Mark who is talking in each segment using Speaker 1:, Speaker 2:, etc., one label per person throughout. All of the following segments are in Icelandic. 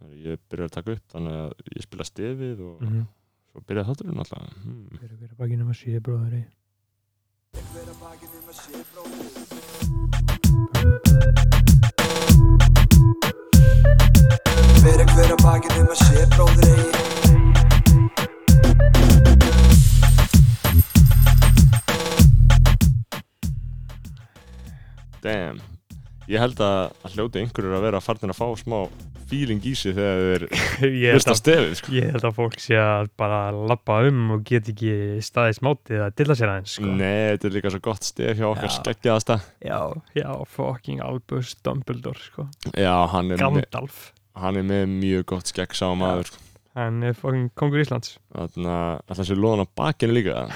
Speaker 1: Þannig að ég byrjaði að taka upp þannig að ég spila stefið og
Speaker 2: mm -hmm.
Speaker 1: svo byrjaði þátturinn alltaf hmm.
Speaker 2: Hver er verið bakið nema sé bróðari?
Speaker 3: Hver er hver að bakið um að sé bróður eigi
Speaker 1: Damn Ég held að, að hljóti einhverjur að vera farnir að fá smá feeling í sig þegar þeir
Speaker 2: ég, held
Speaker 1: hlusta á
Speaker 2: að,
Speaker 1: stefið sko.
Speaker 2: ég held að fólk sé að bara lappa um og get ekki staðið smátið að dilla sér aðeins sko.
Speaker 1: Nei, þetta er líka svo gott stef hjá okkar
Speaker 2: Já.
Speaker 1: skeggjaðasta
Speaker 2: Já, já, fucking Albus Dumbledore sko.
Speaker 1: Já, hann er, með,
Speaker 2: Gandalf
Speaker 1: hann er með mjög gott skegg sá maður sko.
Speaker 2: Hann er fucking kongur Íslands
Speaker 1: Þannig að alltaf sér loðan á bakinu líka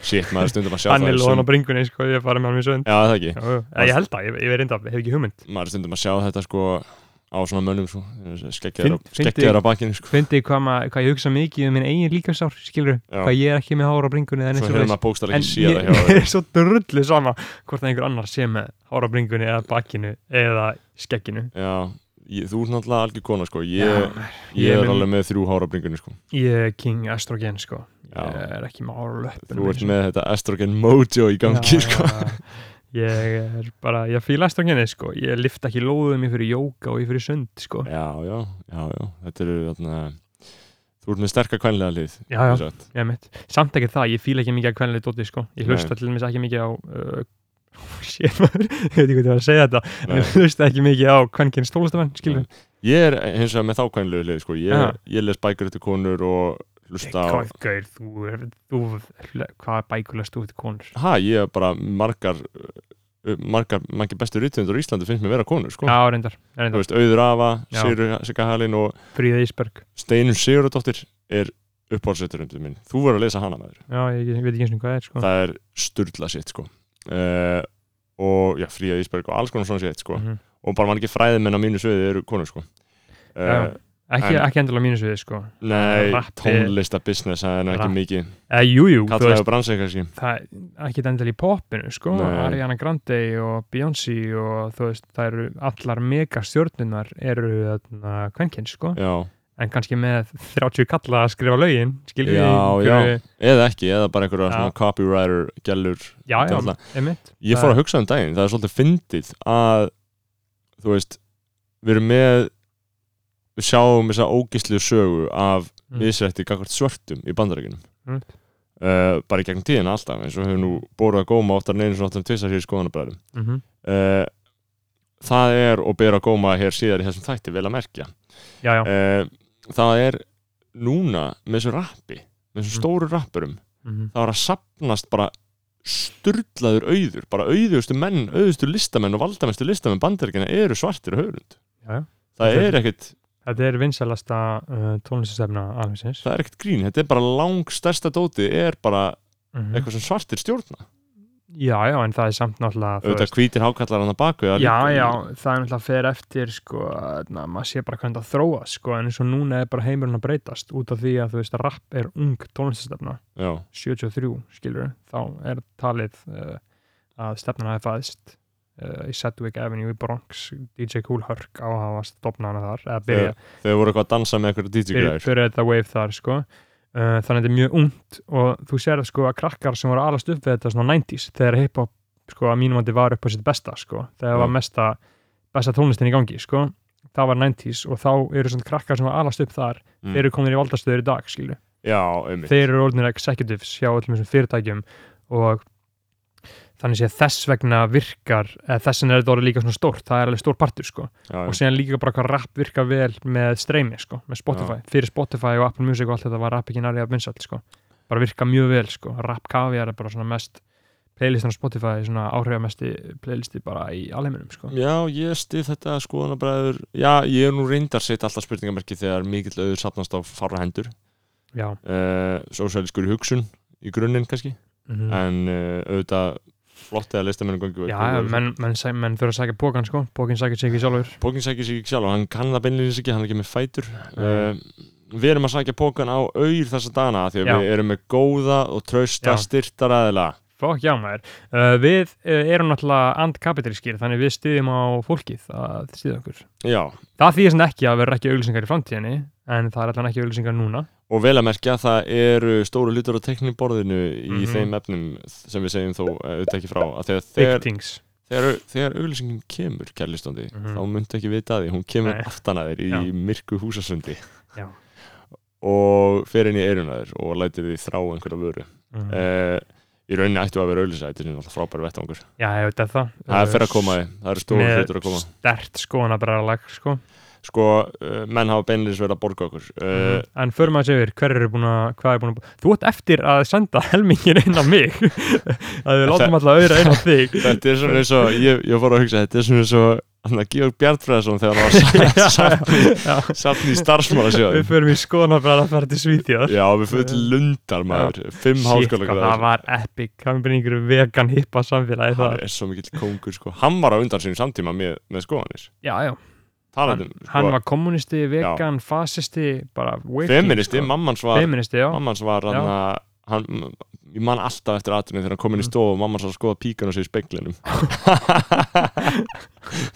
Speaker 1: Shit, maður er stundum að sjá
Speaker 2: Hann
Speaker 1: það
Speaker 2: er
Speaker 1: í
Speaker 2: loðan á
Speaker 1: sum-
Speaker 2: bringunni sko, ég farið með hann í sönd
Speaker 1: Já, það ekki
Speaker 2: Já, já, ég held það, ég, ég er reynda, hef ekki hugmynd
Speaker 1: Maður er stundum að sjá þetta sko á svona mönnum sko Skeggjaður
Speaker 2: Fynd-
Speaker 1: á-
Speaker 2: fyndi-
Speaker 1: skeggjaðir á bakinu sko
Speaker 2: Fyndið hvað, ma- hvað ég hugsa mikið um minn eigin líkasár, skilur
Speaker 1: Já.
Speaker 2: Hvað ég er ekki með hára bringunni eða neitt
Speaker 1: Svo hérna
Speaker 2: svoleiðis.
Speaker 1: hefur maður bókstæðlega
Speaker 2: En
Speaker 1: ekki séð það hjá
Speaker 2: ég, mér er svo drullu sama hvort að einhver annar sé með hárabringunni eða bakinu eða skegginu
Speaker 1: Já, ég, þú ert náttúrulega algjör kona sko Ég,
Speaker 2: Já,
Speaker 1: ég,
Speaker 2: ég
Speaker 1: er
Speaker 2: mun-
Speaker 1: alveg með þrjú hára bringunni sko
Speaker 2: Ég er king estrogen sko Ég
Speaker 1: Já.
Speaker 2: er ekki með sko. hára löppinu
Speaker 1: Þú ert með þetta estrogen mojo í gangi sko
Speaker 2: Ég er bara, ég fíla estrogeni sko Ég lift ekki lóðum, ég fyrir jóka og ég fyrir sund sko
Speaker 1: Já, já, já, já Þetta eru þarna Þú ert með sterka kvænlega lið
Speaker 2: Já, já,
Speaker 1: sem sagt.
Speaker 2: ég mitt Samt ekki það, ég fíla ekki mikið að kvenlega dóti sko Ég
Speaker 1: Nei.
Speaker 2: hlusta til dæmis ekki mikið á uh, Sér maður, ég veit ekki hvað ég var að segja þetta En
Speaker 1: Nei.
Speaker 2: ég hlusta ekki mikið á kvenkins tólestamenn skilur
Speaker 1: Ég er hins vegar með þá kvænlega lið sko
Speaker 2: Já.
Speaker 1: Ég, ég les bækur eftir konur og hlusta á
Speaker 2: Hvað gaur, þú, er- þú, hla- hvað bækulast þú til konur?
Speaker 1: Hæ, ég er bara margar uh, margar, margar bestu rýtvendur í Íslandi finnst mér vera konur sko
Speaker 2: Já, reyndar,
Speaker 1: Þú
Speaker 2: reyndar,
Speaker 1: veist, Auður Afa,
Speaker 2: Já.
Speaker 1: Sigur Sigga Halinn og
Speaker 2: Fríða Ísberg
Speaker 1: Steinun Sigurðardóttir er uppáhaldsrétturundur minn. Þú verður að lesa hana maður.
Speaker 2: Já, ég, ég veit ekki eins og hvað það er sko
Speaker 1: Það er sturla sitt sko. Uh, og já, fríða Ísberg og alls konar svona sitt sko.
Speaker 2: Mhm.
Speaker 1: Og bara mann ekki fræðimenn á mínu sviði eru konur sko. Uh,
Speaker 2: Já. Ekki,
Speaker 1: en-
Speaker 2: ekki endilega mínu sviði sko
Speaker 1: nei,
Speaker 2: Rappi-
Speaker 1: tónlistabusiness, það er nú ekki
Speaker 2: Rapp.
Speaker 1: mikið.
Speaker 2: Eh, Jú, jú, þú
Speaker 1: Kallaði
Speaker 2: veist
Speaker 1: á bransi kannski.
Speaker 2: það er ekkert endilega í popinu sko,
Speaker 1: Nei.
Speaker 2: Ariana Grande og Beyoncé og þú veist, það eru allar megastjörnunar eru kvenkin sko,
Speaker 1: Já.
Speaker 2: en kannski með 30 kalla að skrifa lögin skilur
Speaker 1: Já,
Speaker 2: einhverju-
Speaker 1: Eða ekki, eða bara einhverja
Speaker 2: Já.
Speaker 1: svona copywriter gælur.
Speaker 2: já,
Speaker 1: Þetta
Speaker 2: já,
Speaker 1: er alltaf-
Speaker 2: einmitt
Speaker 1: Ég fór að hugsa um daginn, það er svolítið fyndið að, þú veist, við erum með, við sjáum þessa ógislu sögu af
Speaker 2: mm,
Speaker 1: viðsrætti gagvart svörtum í bandarækjunum
Speaker 2: Mm.
Speaker 1: uh, bara í gegnum tíðina alltaf eins og hefur nú bóruð að góma oftar neynir svona áttum tvisar hér í skoðanabræðum
Speaker 2: mhm.
Speaker 1: uh, það er og byrja að góma hér síðar í þessum þætti vel að merkja
Speaker 2: já, já,
Speaker 1: uh, það er núna með þessu rappi með þessum
Speaker 2: Mm.
Speaker 1: stóru rappurum
Speaker 2: mhm,
Speaker 1: það var að sapnast bara sturlaður auður, bara auðustu menn auðustu listamenn og valdamestu listamenn bandaríkina eru svartir og höfund
Speaker 2: já, já
Speaker 1: það
Speaker 2: Þetta er-
Speaker 1: er ekkert
Speaker 2: þetta er vinsalasta uh, tónlistastefna alheimsins
Speaker 1: það er ekkert grín, þetta er bara lang stærsta dótið er bara
Speaker 2: mhm.
Speaker 1: eitthvað sem svartir stjórna
Speaker 2: já, já, en það er samt náttúrulega þú
Speaker 1: auðvitað
Speaker 2: veist-
Speaker 1: hvítir hákallar hann að baku það er
Speaker 2: Já,
Speaker 1: líka-
Speaker 2: já, það er náttúrulega fer eftir sko, na, maður sé bara hvernig það þróast sko, en eins og núna er bara heimurinn að breytast út af því að þú veist að rapp er ung tónlistastefna,
Speaker 1: já.
Speaker 2: 73 skilur, þá er talið uh, að stefnan hafi fæðst uh, í Sedgwick Avenue í Bronx DJ Cool Herc á að hafa stopnana þar eða byrja,
Speaker 1: þau voru eitthvað að dansa með eitthvað DJ
Speaker 2: byrja,
Speaker 1: græður
Speaker 2: byrja þetta wave þar sko uh, þannig að þetta er mjög ungt og þú sér það sko að krakkar sem voru alast upp við þetta svona 90s þegar hiphop sko að mínum andi var upp á sitt besta sko þegar
Speaker 1: Já.
Speaker 2: var mesta besta tónlistin í gangi sko það var 90s og þá eru svona krakkar sem var alast upp þar
Speaker 1: Mm.
Speaker 2: þeir eru komin í valdastöður í dag skilu
Speaker 1: já, einmitt
Speaker 2: þeir eru orðinir executives hjá öllum þessum fyrirtækjum og þannig sé að þess vegna virkar eða þess vegna er þetta orðið líka svona stórt það er alveg stór partur sko
Speaker 1: já,
Speaker 2: og síðan líka bara hvað rap virkar vel með streymi sko, með Spotify, fyrir Spotify og Apple Music og allt þetta var rap ekki nærið að vinsall sko bara virka mjög vel sko, rap kaviar er bara svona mest playlistin á Spotify svona áhrifamesti playlisti bara í alheiminum sko,
Speaker 1: já, ég stið þetta skoðanabræður já, ég er nú reyndar sitt alltaf spurningamerki þegar mikill auður sapnast á fara hendur
Speaker 2: já
Speaker 1: uh, sósælskur hugsun í grunninn kannski
Speaker 2: mhm.
Speaker 1: en uh, auðvitað flott eða listamennu gangi
Speaker 2: já, menn, menn, sæ- menn þurfa að sækja pókan sko, pókin sækja sig ekki sjálfur
Speaker 1: Pókin sækir sig ekki sjálf og hann kann það beinleins ekki, hann er ekki með fætur uh, Við erum að sækja pókan á auður þessa dana af því að
Speaker 2: Já.
Speaker 1: við erum með góða og trausta
Speaker 2: Já.
Speaker 1: styrtaræðila
Speaker 2: Fokk já maður. Uh, við uh, erum náttúrulega andkapitalískir þannig við styðjum á fólkið að styðja okkur.
Speaker 1: Já,
Speaker 2: Það þýðir sem ekki að vera ekki auglýsingar í framtíðinni en það er allan ekki auglýsingar núna.
Speaker 1: og vel að merkja að það eru stóru hlutur á tekniborðinu í
Speaker 2: Mhm.
Speaker 1: þeim efnum sem við segjum þó eh, auðvitað ekki frá að þegar,
Speaker 2: Big
Speaker 1: þegar,
Speaker 2: things.
Speaker 1: þegar, þegar auglýsingin kemur kærlistandi,
Speaker 2: Mhm.
Speaker 1: þá muntu ekki vita að því hún kemur
Speaker 2: Nei.
Speaker 1: aftan að þér í
Speaker 2: Já.
Speaker 1: myrku húsasundi
Speaker 2: Já.
Speaker 1: og fer inn í eirunaður og lætir því þrá einhverja vöru
Speaker 2: Mm.
Speaker 1: eh, í rauninni ættu að vera auðlýsa þetta er náttúrulega frábæri vettvangur
Speaker 2: Já, ég veit að það.
Speaker 1: það er fyrir að koma því, það eru stóru hlutur að koma
Speaker 2: stert skoðanabræðalag sko.
Speaker 1: sko, eh, menn hafa beinleins verið að borga okkur eh,
Speaker 2: en förum að segja yfir, hver eru búin að hvað er búin að, þú ert eftir að senda helmingin inn á mig að við látum alltaf auðra inn á þig
Speaker 1: þetta er svona eins og ég, ég fór að hugsa, þetta er svona eins og hann að Georg Bjartfræðarsson þegar hann var sa- safn
Speaker 2: Já.
Speaker 1: í- safn í starfsmála
Speaker 2: við förum í skoðanabræða að fara til Svíþjóðar
Speaker 1: já, við fyrir til lundar maður fimm
Speaker 2: Shit,
Speaker 1: háskóla
Speaker 2: hvað það var epic hann byrði ykkur vegan hippa
Speaker 1: hann
Speaker 2: samfélagi það
Speaker 1: er svo mikill kóngur sko hann var á undan sínum samtíma með, með skoðanir
Speaker 2: já, já, hann,
Speaker 1: talandi um
Speaker 2: hann
Speaker 1: sko,
Speaker 2: var kommunisti, vegan, fasisti bara waking,
Speaker 1: feministi,
Speaker 2: sko.
Speaker 1: mammans var
Speaker 2: feministi, já
Speaker 1: mammans var hann að hann, ég man alltaf eftir aðtunni þegar hann kom inn í
Speaker 2: Mm.
Speaker 1: stofu og mamman svo að skoða píkan og sér í speiklinum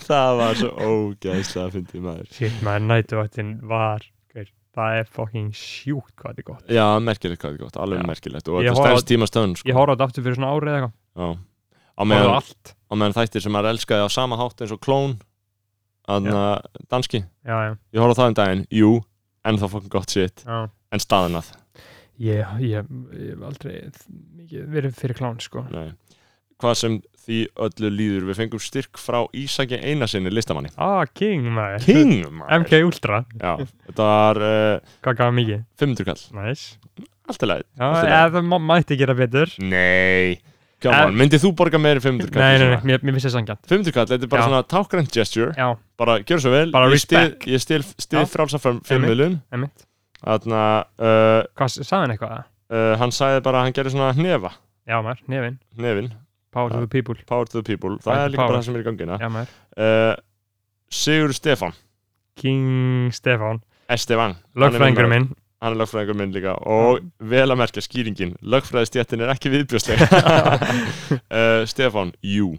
Speaker 1: það var svo ógæðslega að fyndi maður
Speaker 2: shit, maður nætuvættin var hver, það er fucking sjúkt hvað þetta er gott
Speaker 1: já, merkilegt hvað þetta er gott, alveg
Speaker 2: Já.
Speaker 1: merkilegt og
Speaker 2: Ég
Speaker 1: þetta
Speaker 2: horfði á-
Speaker 1: stærst tíma stöðun sko.
Speaker 2: ég horfði á þetta aftur fyrir svona árið eða
Speaker 1: Já.
Speaker 2: eitthvað
Speaker 1: á
Speaker 2: horfði á
Speaker 1: meðan,
Speaker 2: allt
Speaker 1: á meðan þættir sem maður elskaði á sama hátt eins og klón þannig að danski,
Speaker 2: já, já,
Speaker 1: ég horfði á það um daginn jú, en það fokkin gott shit
Speaker 2: já
Speaker 1: en staðan að,
Speaker 2: Ég, ég, ég hef aldrei mikið verið fyrir klán sko
Speaker 1: nei hvað sem því öllu líður, við fengum styrk frá Ísaki Einarsinni listamanni
Speaker 2: Ah, King maður
Speaker 1: King, maður
Speaker 2: MK Ultra,
Speaker 1: Já, þetta var uh,
Speaker 2: hvað gaf hann mikið?
Speaker 1: 500 kall,
Speaker 2: Nice
Speaker 1: allt í lagi
Speaker 2: Já,
Speaker 1: Allt í lagi.
Speaker 2: eða það má- mætti gera betur
Speaker 1: Nei, come
Speaker 2: En-
Speaker 1: on, myndið þú borga meiri 500 kall
Speaker 2: Nei, nei, nei,
Speaker 1: svona?
Speaker 2: mér, mér finnst það sangjant
Speaker 1: 500 kall, þetta er bara
Speaker 2: Já.
Speaker 1: svona tákgrænt gesture
Speaker 2: Já,
Speaker 1: bara gjör svo vel,
Speaker 2: Bara
Speaker 1: ég styð-
Speaker 2: respect.
Speaker 1: ég stil,
Speaker 2: Já.
Speaker 1: stil frálsa fimmulum
Speaker 2: einmitt
Speaker 1: þannig að uh,
Speaker 2: Hvað, sagði hann eitthvað?
Speaker 1: uh, hann sagði bara að hann gerði svona hnefa
Speaker 2: Já maður, nefin,
Speaker 1: hnefin,
Speaker 2: power to
Speaker 1: Ja.
Speaker 2: the people
Speaker 1: power to the people, það
Speaker 2: Fight the
Speaker 1: er líka
Speaker 2: power.
Speaker 1: bara það sem er í gangina
Speaker 2: Já maður,
Speaker 1: uh, Sigur Stefan
Speaker 2: King Stefán
Speaker 1: Estefan,
Speaker 2: Lögfræðingur minn
Speaker 1: hann er lögfræðingur minn líka og vel að merkja skýringin lögfræðistjættin er ekki viðbjörsleg uh, Stefan, jú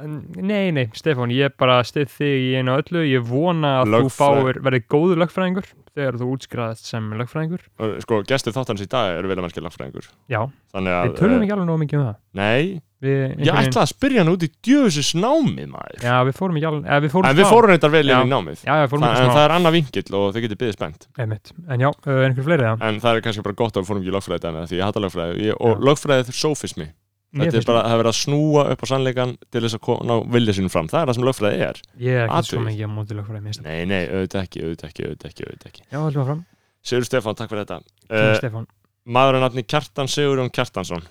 Speaker 2: En, Nei, nei, Stefán, ég bara stið þig í einu og öllu Ég vona að þú
Speaker 1: Lögfræ-
Speaker 2: fáir, verði góður lögfræðingur Þegar þú útskrifaðist sem lögfræðingur
Speaker 1: Og, sko, gestur þáttarins í dag eru vel að merkja lögfræðingur
Speaker 2: Já,
Speaker 1: þannig að
Speaker 2: við tölum
Speaker 1: eh,
Speaker 2: ekki alveg nóg mikið um það
Speaker 1: nei,
Speaker 2: Við,
Speaker 1: ég
Speaker 2: einhvern veginn-
Speaker 1: ætlaði að spyrja hann út í djöfusis námið maður
Speaker 2: Já, við fórum ekki alveg, eða við fórum
Speaker 1: en við
Speaker 2: smá.
Speaker 1: fórum þetta vel inn
Speaker 2: Já.
Speaker 1: í námið
Speaker 2: Já, já, við fórum
Speaker 1: Þa,
Speaker 2: ekki
Speaker 1: en
Speaker 2: smá,
Speaker 1: það er annað vingill og þau getur byggðið spennt
Speaker 2: einmitt En já, uh, er einhver fleiri það?
Speaker 1: en það er kannski bara gott að við fórum ekki í lögfræði dæmið því ég hata lögfræði ég, og
Speaker 2: Já.
Speaker 1: lögfræði þetta er sofismi
Speaker 2: Mér
Speaker 1: þetta er
Speaker 2: finnst
Speaker 1: bara það er verið að snúa upp á sannleikan til þess að ko- ná vilja sínum fram það er það sem lögfræði er
Speaker 2: Ég er ekki
Speaker 1: atvik.
Speaker 2: svo mikið á móti lögfræði mér finnst það.
Speaker 1: nei, nei, auðvitað ekki, auðvitað ekki, auðvitað ekki, auðvitað ekki.
Speaker 2: Já, höldum áfram
Speaker 1: Sigur Stefán, takk fyrir þetta
Speaker 2: King
Speaker 1: uh,
Speaker 2: Stefán,
Speaker 1: maður er nafni Kjartan Sigurjón Kjartansson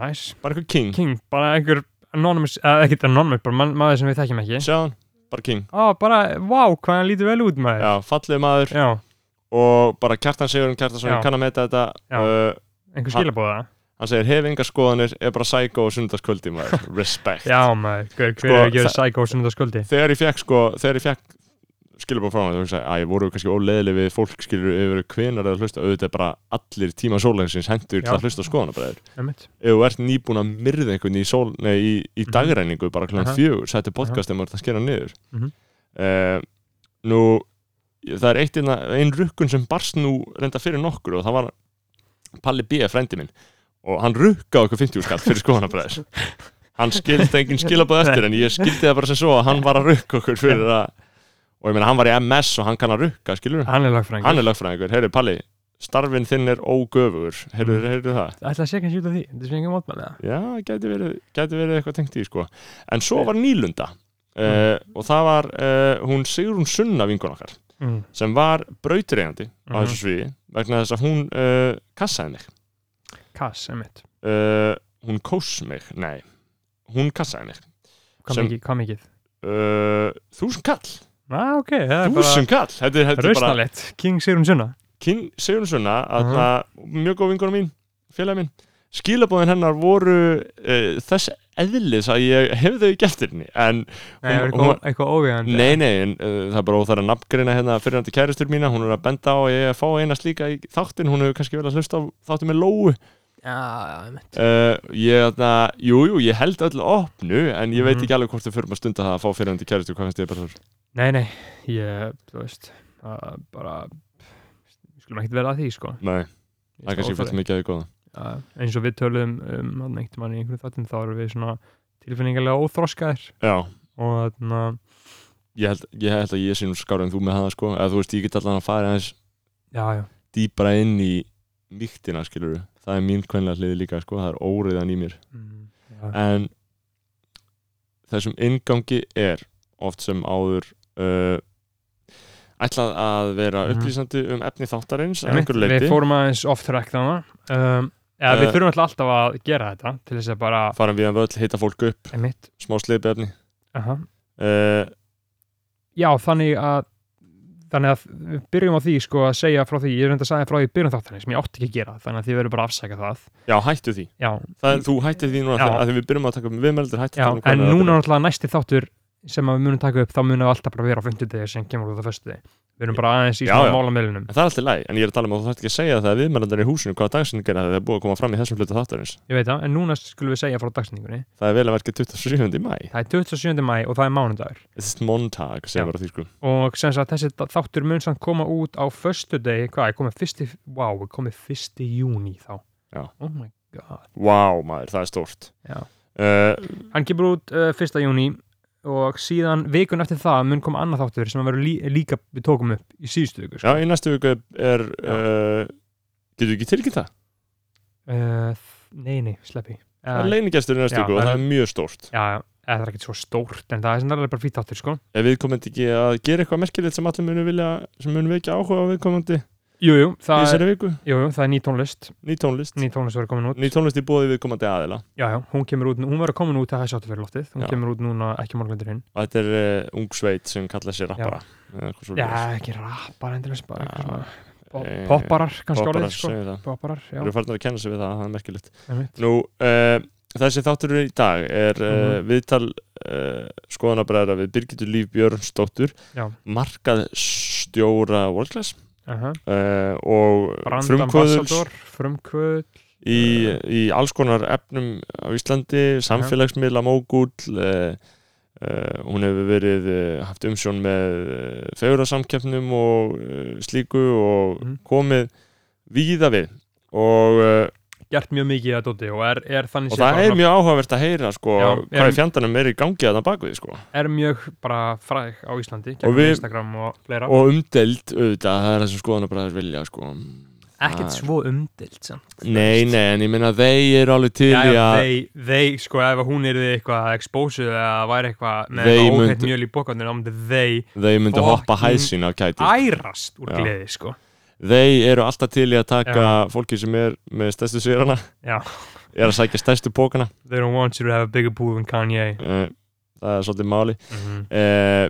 Speaker 2: næs
Speaker 1: bara einhver king,
Speaker 2: King, bara einhver anonymous, eða ekkert anonymous, bara mann- maður sem við þekkjum ekki
Speaker 1: sjáðan, bara king
Speaker 2: Á, bara, vá, hvað hann lítur vel út maður
Speaker 1: já, fallið maður
Speaker 2: Já,
Speaker 1: og bara Kjartan Sigurinn Kjartansson
Speaker 2: Já.
Speaker 1: ég kann að meta þetta
Speaker 2: Já.
Speaker 1: uh,
Speaker 2: einhver
Speaker 1: Ha-
Speaker 2: skilabóða
Speaker 1: hann segir hef enga skoðanir, er bara psycho og sundarskvöldi maður, respect
Speaker 2: Já, maður, hver, hver
Speaker 1: Sko,
Speaker 2: er að gera
Speaker 1: það-
Speaker 2: psycho sem þetta skuldi
Speaker 1: þegar ég fekk sko, þegar ég fekk skilabóð frá hann, þú hugsaði að ég voru kannski óleðileg við fólk skilur yfir hvenar eða hlusta auðvitað er bara allir tíma sólæðinsins hendur til
Speaker 2: Já.
Speaker 1: að hlusta skoðanabræður
Speaker 2: Einmitt,
Speaker 1: ef þú ert nýbúin að myrða einhvern í, sól, nei, í, í
Speaker 2: Mhm.
Speaker 1: dagræningu bara kl.
Speaker 2: Aha.
Speaker 1: fjögur, sættu podcast ef maður ert að skera niður
Speaker 2: Mhm.
Speaker 1: Eh, nú það er eitt einna, ein rukkun sem barst nú reynda fyrir nokkur og það var Palli B, frendi minn og hann rukkaði okkur 50 skall fyrir skoðanabræðis hann skildi engin skilabóð eftir en ég skildi það bara sem svo að hann var að rukka okkur fyrir að og ég meina hann var í MS og hann kann að rukka skilur
Speaker 2: hann er lögfræðingur
Speaker 1: hann er lögfræðingur, heyrðu Palli starfin þinn er ógöfur heyrðu,
Speaker 2: Mhm.
Speaker 1: heyrðu það
Speaker 2: Ætla að sé kannski út af því, þetta er sem engin mótmæli það
Speaker 1: Já, gæti verið, gæti verið eitthvað tengt í sko. En svo var Nýlunda uh, og það var uh, hún Sigrún Sunna vinkun okkar
Speaker 2: mm.
Speaker 1: sem var brautireyjandi á
Speaker 2: Mhm.
Speaker 1: þessu sviði vegna þess að hún uh, kassaði mig
Speaker 2: Kass, einmitt,
Speaker 1: uh, hún kós mig, nei hún kassaði mig
Speaker 2: hvað
Speaker 1: Sem-
Speaker 2: mikið, hvað mikið
Speaker 1: uh, þúsund kall,
Speaker 2: Á, Ah, ok, það er bara
Speaker 1: þúsund kall þetta er, þetta er bara
Speaker 2: Rausnalett, King Sigrun Sunna
Speaker 1: Kinn Sigrún Sunna
Speaker 2: Mhm.
Speaker 1: uh mjög góð vinkona mín, félag mín skilabóðin hennar voru uh, þess eðlis að ég hefði gert henni en
Speaker 2: Nei,
Speaker 1: Hún-
Speaker 2: eitthvað, eitthvað óvíðandi
Speaker 1: Nei, nei, en, uh, það er bara óþar að nafngrina hérna fyrirhandi kæristur mína, hún er að benda á að ég eigi að fá eina slíka í þáttin, hún hefur kannski vel að hlusta á þáttin með Lóu
Speaker 4: Já, já, einmitt.
Speaker 1: uh, ég, þarna, jú, jú, ég held öllu opnu en ég veit
Speaker 2: Mhm.
Speaker 1: ekki alveg hvort þau förum að stunda það að fá fyrirhandi kæristu, hvað finnst ég bara þar
Speaker 2: Nei, nei, ég, þú veist að bara við skulum ekkert vera að því, sko
Speaker 1: nei,
Speaker 2: Ég
Speaker 1: það er
Speaker 2: skal
Speaker 1: kannski
Speaker 2: óþarfi.
Speaker 1: fyrir mikið að þið góða
Speaker 2: Já, eins og við töluðum um hann eitt mann í einhverju þáttum þá erum við svona tilfinningarlega óþroskaðir
Speaker 1: já,
Speaker 2: og þarna
Speaker 1: ég held, ég held að ég sé nú skárið en þú með hana sko, eða þú veist, ég get allan að fara aðeins
Speaker 2: já, já,
Speaker 1: dýpra inn í mýktina, skilur það er mín kvenlega hliði líka, sko, það er óriðan í mér
Speaker 2: mm,
Speaker 1: en þessum inngangi er oft sem áður uh, ætlað að vera
Speaker 2: Mhm.
Speaker 1: upplýsandi um efni þáttarins að
Speaker 2: Einmitt,
Speaker 1: einhverju leiti,
Speaker 2: við fórum aðeins off track þannig um, eða við
Speaker 1: Eh.
Speaker 2: þurfum alltaf alltaf að gera þetta til þess að bara,
Speaker 1: farum við að völl, hitta fólk upp
Speaker 2: einmitt
Speaker 1: smá sleipi efni
Speaker 2: aha.
Speaker 1: uh,
Speaker 2: já, þannig að þannig að við byrjum á því sko að segja frá því, ég er reynd að segja frá því í byrjun þáttanir sem ég átti ekki að gera, þannig að því verður bara að afsæka það
Speaker 1: já, hættu því
Speaker 2: já,
Speaker 1: Það, þú hættir því núna
Speaker 2: Já.
Speaker 1: þegar- að því við byrjum að taka upp viðmeldur hættu um
Speaker 2: já, en núna náttúrulega næsti þáttur sem að við munum taka upp, þá munum við alltaf bara vera á fimmtudegi sem kemur út á föstudegi við erum bara aðeins í
Speaker 1: Já, já.
Speaker 2: svona málameilunum
Speaker 1: En það er alltaf læg, en ég er að tala um að þú þarft ekki að segja það að viðmælandarinn í húsinu hvaða dagsinningar það er búið að koma fram í þessum hluta þáttarins.
Speaker 2: ég veit það, en núna skulum við segja frá dagsetningunni
Speaker 1: Það er vel að verka 27. mæ.
Speaker 2: það er 27. mæ og það er mánudagur
Speaker 1: Þetta er montag, segja
Speaker 2: Já.
Speaker 1: bara því sko.
Speaker 2: og sem sagt þessi þáttur mun samt koma út á föstudegi, hvað, er komið fyrsti wow, er komið fyrsti júni þá
Speaker 1: Já.
Speaker 2: oh my god
Speaker 1: Vá, maður, það er stórt.
Speaker 2: Já.
Speaker 1: Uh,
Speaker 2: hann kemur út uh, fyrsta júni og síðan vikun eftir það mun koma annað þáttur sem að vera lí líka við tókum upp í síðustu viku sko.
Speaker 1: já, í næstu viku er, uh, getur við ekki tilkynnt það?
Speaker 2: uh, nei, nei, sleppi
Speaker 1: Það
Speaker 2: uh,
Speaker 1: er leinigestur í næstu
Speaker 2: Já,
Speaker 1: viku og
Speaker 2: það
Speaker 1: það
Speaker 2: er-
Speaker 1: er mjög stórt.
Speaker 2: já, já, eða það er ekkert svo stórt en það er sem það er bara fýtt þáttur sko
Speaker 1: Ef við komandi ekki að gera eitthvað merkilegt sem allir munu vilja, sem munu vekja áhuga á viðkomandi í
Speaker 2: jú, jú, það er,
Speaker 1: þessari viku,
Speaker 2: jú, jú, það er ný tónlist
Speaker 1: ný tónlist,
Speaker 2: ný tónlist verður komin út
Speaker 1: ný tónlist í bóði viðkomandi aðila.
Speaker 2: já, já, hún kemur út, hún verður komin út að þessu áttu fyrir loftið hún
Speaker 1: Já.
Speaker 2: kemur út núna ekki morgundur hinn
Speaker 1: og þetta er uh, ung sveit sem kallar sér rappara Eða eitthvað svoleiðis.
Speaker 2: Já, ekki rappar endilega bara
Speaker 1: Já,
Speaker 2: eitthvað svona pop-
Speaker 1: eh,
Speaker 2: popparar kannski
Speaker 1: popparar,
Speaker 2: orðið sko
Speaker 1: segjum það.
Speaker 2: popparar, já,
Speaker 1: Þeir eru farin að kenna sig við það, það er merkilegt
Speaker 2: einmitt
Speaker 1: Nú, uh, þessi þáttur í dag er uh,
Speaker 2: Mhm.
Speaker 1: viðtal uh, skoðanabræðra við Birgitur Líf Björnsdóttur
Speaker 2: Já.
Speaker 1: markað stjóra World Class
Speaker 2: uh -huh.
Speaker 1: uh, og
Speaker 2: Brandan
Speaker 1: frumkvöðuls
Speaker 2: Bassador, frumkvöðul
Speaker 1: í, í alls konar efnum á Íslandi, samfélagsmiðla mógúll uh, uh, hún hefur verið uh, haft umsjón með uh, fegurarsamkeppnum og uh, slíku og
Speaker 2: Mhm.
Speaker 1: komið víða við og, uh,
Speaker 2: gert mjög mikið að dóti og er, er þannig
Speaker 1: og
Speaker 2: séð
Speaker 1: það
Speaker 2: bara
Speaker 1: er
Speaker 2: svona-
Speaker 1: mjög áhugavert að heyra sko,
Speaker 2: Já,
Speaker 1: hvað er
Speaker 2: erum-
Speaker 1: fjandarnum er í gangi að það baku því sko.
Speaker 2: er mjög bara fræg á Íslandi
Speaker 1: Og
Speaker 2: gegnum
Speaker 1: við-
Speaker 2: Instagram og fleira
Speaker 1: og umdeld auðvitað, það er það sem skoðanabræður vilja sko.
Speaker 4: Ekkert svo umdilt samt.
Speaker 1: nei, nei, en ég minna þeir eru alveg til
Speaker 2: Já,
Speaker 1: í
Speaker 2: já,
Speaker 1: að
Speaker 2: þeir, þeir, sko, ef hún er þið eitthvað expósuð eða væri eitthvað með
Speaker 1: They
Speaker 2: eitthvað óhætt
Speaker 1: myndu-
Speaker 2: mjöl í bókandun þá myndi þeir
Speaker 1: þeir myndi hoppa
Speaker 2: Fucking-
Speaker 1: hæsin af kæti
Speaker 2: ærast úr
Speaker 1: Já.
Speaker 2: gleði, sko
Speaker 1: þeir eru alltaf til í að taka fólki sem er með stærstu sérana
Speaker 2: Já.
Speaker 1: er að sækja stærstu pókana
Speaker 2: They don't want you to have a bigger boo than Kanye
Speaker 1: Eh, það er svolítið máli
Speaker 2: mm -hmm.
Speaker 1: Eh,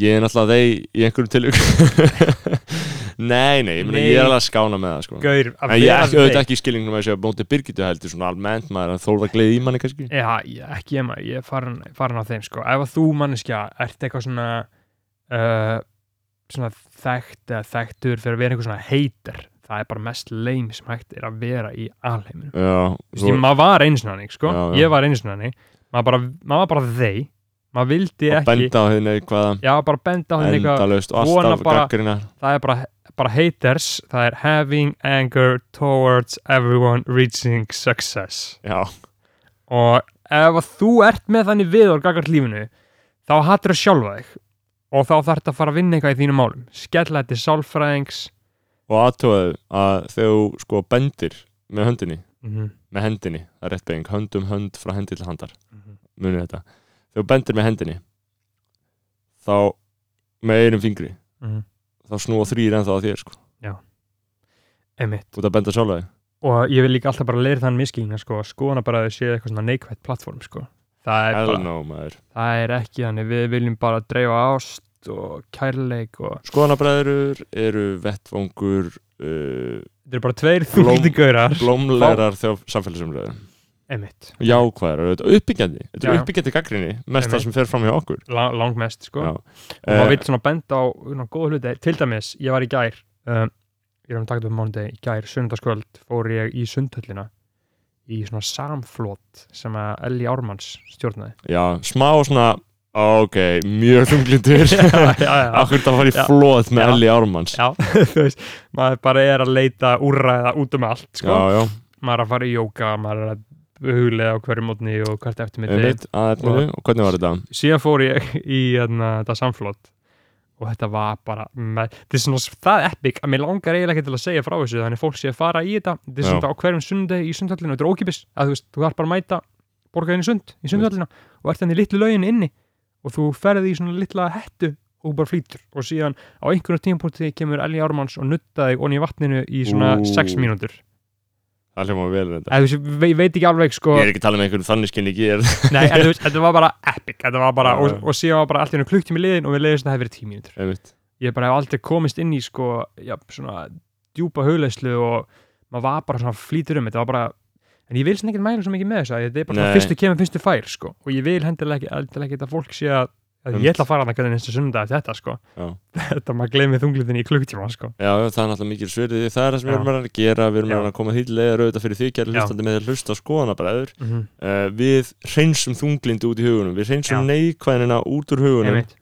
Speaker 1: ég er náttúrulega þeir í einhverjum tilvík nei, nei, ég, meni, ég er
Speaker 2: Nei.
Speaker 1: alveg að skána með það sko.
Speaker 2: Gaur, að
Speaker 1: en ég er
Speaker 2: vera
Speaker 1: ekki, auðvitað
Speaker 2: þeir-
Speaker 1: ekki í skilningnum að ég sé að bóndi Birgitu heldur svona almennt maður en þólfa gleði í manni kannski
Speaker 2: Já, ég- ekki ég maður, ég er farin, farin á þeim sko. Ef að þú manneskja ert eitthvað svona uh, svona þekkt eða þekktur fyrir að vera eitthvað svona heitar það er bara mest leim sem hægt er að vera í alheiminu.
Speaker 1: já,
Speaker 2: Þú veist, ég- maður var einu sinni hannig, sko.
Speaker 1: Já, já.
Speaker 2: Ég var einu sinni hannig. Maður, bara, maður var bara þeir. Maður vildi
Speaker 1: að
Speaker 2: ekki
Speaker 1: benda á henni eitthvað
Speaker 2: Já, bara benda á henni eitthvað.
Speaker 1: endalaust og
Speaker 2: vona
Speaker 1: alltaf
Speaker 2: bara-
Speaker 1: gaggrina
Speaker 2: Það er bara, bara haters. Það er having anger towards everyone reaching success.
Speaker 1: já,
Speaker 2: og ef að þú ert með þannig viðorð gagart lífinu þá hattur að sjálfa þig og þá þarf þetta að fara að vinna eitthvað í þínum málum skella þetta sálfræðings
Speaker 1: og aðtóðu að þegar þú sko bendir með höndinni
Speaker 2: mm -hmm.
Speaker 1: með hendinni, það er rétt beiging, hönd um hönd frá hendi til handar, munið þetta þegar þú bendir með hendinni þá með einum fingri þá snúa þrýr ennþá að þér sko,
Speaker 2: einmitt
Speaker 1: út að benda sjálf þig
Speaker 2: og ég vil líka alltaf bara leira þann miskilina sko, skoðana bara að þau séu eitthvað svona neikvætt plattform sko. það, er
Speaker 1: hell
Speaker 2: bara,
Speaker 1: no maður
Speaker 2: það er ekki þannig við viljum bara dreifa ást og kærleik og
Speaker 1: skoðanabræður eru vettvangur uh,
Speaker 2: þetta eru bara tveir
Speaker 1: Blóm-
Speaker 2: þúldi gaurar
Speaker 1: blómlegar þegar samfélagsumröður
Speaker 2: einmitt,
Speaker 1: jákvæðar, auðvitað uppbyggjandi þetta
Speaker 2: Já,
Speaker 1: er
Speaker 2: já.
Speaker 1: uppbyggjandi gaggrinni, mest það
Speaker 2: Einmitt.
Speaker 1: sem fer fram hjá okkur
Speaker 2: La langmest sko.
Speaker 1: Já.
Speaker 2: og maður
Speaker 1: Eh,
Speaker 2: vil svona benda á svona, góða hluti, til dæmis, ég var í gær um, ég er um takt upp mánuði í gær, sunnudagskvöld fór ég í sundhöllina í svona samflót sem að Elli Ármanns stjórnaði
Speaker 1: já, smá svona ok, mjög þunglindur
Speaker 2: já,
Speaker 1: akkur það fara í
Speaker 2: Já.
Speaker 1: flóð með
Speaker 2: Já.
Speaker 1: Elli Ármanns já,
Speaker 2: já, þú veist maður bara er að leita úrræða út um allt sko.
Speaker 1: já,
Speaker 2: maður er að fara í jóka, maður er að huglega á hverju mótni og hvert
Speaker 1: ég
Speaker 2: eftir mitt
Speaker 1: veit að þetta og hvernig var þetta?
Speaker 2: síðan fór ég í hérna, þetta samflót og þetta var bara með, þetta er svona það epic að mér langar eiginlega ekki til að segja frá þessu þannig að fólk sé að fara í þetta þetta er
Speaker 1: Já.
Speaker 2: svona á hverjum sundegi í sundhallinu þetta er ókipis að þú veist, þú þarf bara að mæta borgaðinu sund í sundhallina og ert þannig í litlu lögin inni og þú ferði í svona litla hettu og bara flýtur og síðan á einhvern tímpúti kemur Elli Ármanns og nutta þig onni í vatninu í svona
Speaker 1: Ú.
Speaker 2: 6 mínútur
Speaker 1: það hljóma vel þetta
Speaker 2: eða þú veist, ve- veit ekki alveg sko
Speaker 1: ég er ekki að tala með einhverjum þannig skinn ekki er
Speaker 2: Nei, en þú veist, þetta var bara epic Þetta var bara,
Speaker 1: Já, já.
Speaker 2: og, og síðan var bara allt í hennu klukktum í liðin og við leiðist að það hefði verið tíu mínútur
Speaker 1: Einmitt.
Speaker 2: Ég bara hef aldrei komist inn í sko, já, svona djúpa hugleyslu og maður var bara svona flýtur um þetta var bara, en ég vil svona ekkert mæla svo mikið með þess að þetta er bara svona
Speaker 1: Nei.
Speaker 2: fyrstu kemur, fyrstu fær sko, og ég vil hendilega ekki, hendilega ekki þetta fólk sé að, að
Speaker 1: Einmitt.
Speaker 2: ég ætla að fara þannig hvernig næsta sunda eftir þetta sko
Speaker 1: Um. Já.
Speaker 2: Þetta maður gleymið þunglitin í klukktíma sko
Speaker 1: Já, já, það er náttúrulega mikil sverið því það er það sem við
Speaker 2: Já.
Speaker 1: erum að reyna að gera, við erum
Speaker 2: Já.
Speaker 1: að reyna að koma hýllega rauðta fyrir því kæri
Speaker 2: Já.
Speaker 1: hlustandi með að hlusta skoðanabræður uh, við hreinsum þunglindi út í hugunum við hreinsum neikvæðina út úr hugunum
Speaker 2: Einmitt.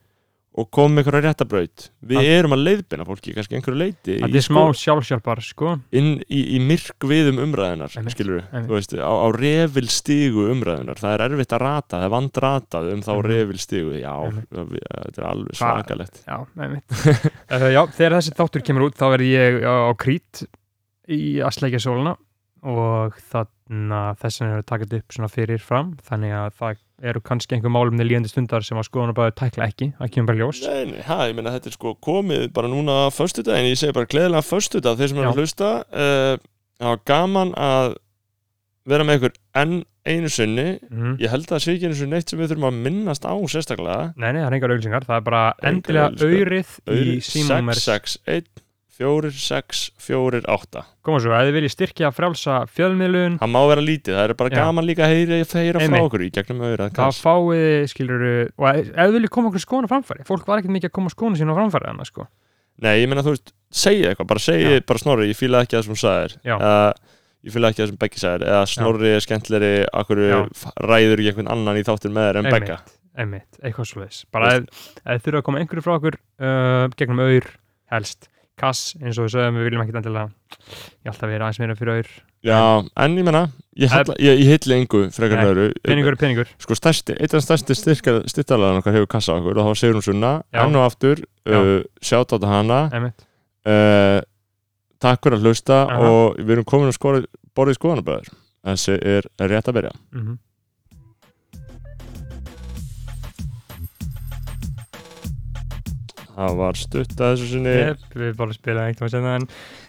Speaker 1: og komum einhverja réttabraut við
Speaker 2: Það-
Speaker 1: erum að leiðbina fólki, kannski einhverju leiti
Speaker 2: Þetta
Speaker 1: í,
Speaker 2: er smá sjálfsjálpar sko
Speaker 1: inn í, í myrk viðum umræðinar
Speaker 2: Einmitt,
Speaker 1: skilur við,
Speaker 2: einmitt.
Speaker 1: þú veist, á, á revilstigu umræðinar það er erfitt að rata, það er vandratað um þá
Speaker 2: Mhm.
Speaker 1: revilstigu, já
Speaker 2: Einmitt.
Speaker 1: við- þetta er alveg
Speaker 2: Hva-
Speaker 1: svakalegt
Speaker 2: Já, einmitt uh, Já, þegar þessi þáttur kemur út þá verði ég á, á krít í að sleikja sóluna og þannig að þessin eru takat upp svona fyrir fram, þannig að það eru kannski einhver málumni líðandi stundar sem að skoðan bara tækla ekki, það kemur bara í ljós
Speaker 1: Nei, nei, ha, ég meina þetta er sko komið bara núna að föstudaginn, ég segi bara gleðilega föstudag þeir sem eru
Speaker 2: Já.
Speaker 1: að hlusta uh, það var gaman að vera með ykkur enn einu sinni
Speaker 2: mm.
Speaker 1: ég held að það sé ekki einu sinni neitt sem við þurfum að minnast á sérstaklega
Speaker 2: Nei, nei, það er engar auglýsingar, það er bara
Speaker 1: Engar
Speaker 2: endilega auðrið í
Speaker 1: Auður,
Speaker 2: símúmer
Speaker 1: 661 4648
Speaker 2: Koma svo, ef þið viljið styrkja frjálsa fjölmiðlun
Speaker 1: það má vera lítið, það er bara
Speaker 2: Já.
Speaker 1: gaman líka að heyra, heyra frá
Speaker 2: Einmitt.
Speaker 1: okkur í gegnum auðra
Speaker 2: þá fáið þið, skilur og ef ef þið viljið koma okkur skoðan á framfæri fólk var ekkert mikið að koma skoðan sín á framfæri annars, sko.
Speaker 1: Nei, ég meina þú veist, segja eitthvað, bara segja,
Speaker 2: Já.
Speaker 1: bara snorri, ég fýla ekki það sem hún sagðir
Speaker 2: Já.
Speaker 1: uh, Ég fýla ekki það sem Beggi sagðir Eða snorri er skemmtleri, akkur
Speaker 2: Já.
Speaker 1: ræður ekki einhvern annan í þáttur með þér en
Speaker 2: Einmitt.
Speaker 1: Begga
Speaker 2: einmitt, eitthvað svoleiðis bara ef, ef þurfa að koma einhverju frá okkur uh, gegnum auður, helst kass, eins og við sögum, við viljum ekkit endilega ég alltaf vera aðeins meira fyrir auður
Speaker 1: Já, en ég meina, ég, halla, ég, ég heitli engu frekar
Speaker 2: Nei,
Speaker 1: en öðru
Speaker 2: peningur er peningur,
Speaker 1: Sko, stærsti, eitt af stærsti styrtalaðan okkar hefur kassa okkur og það var Sigrun Sunna,
Speaker 2: Já.
Speaker 1: enn og aftur uh, sjátt á hana
Speaker 2: einmitt
Speaker 1: uh, Takk fyrir að hlusta
Speaker 2: Aha.
Speaker 1: og við erum komin að skora borðið skoðanabæður Þessi er rétt að byrja
Speaker 2: mm
Speaker 1: Það var stutt að þessu sinni
Speaker 2: yep, við bara spila eitthvað senna en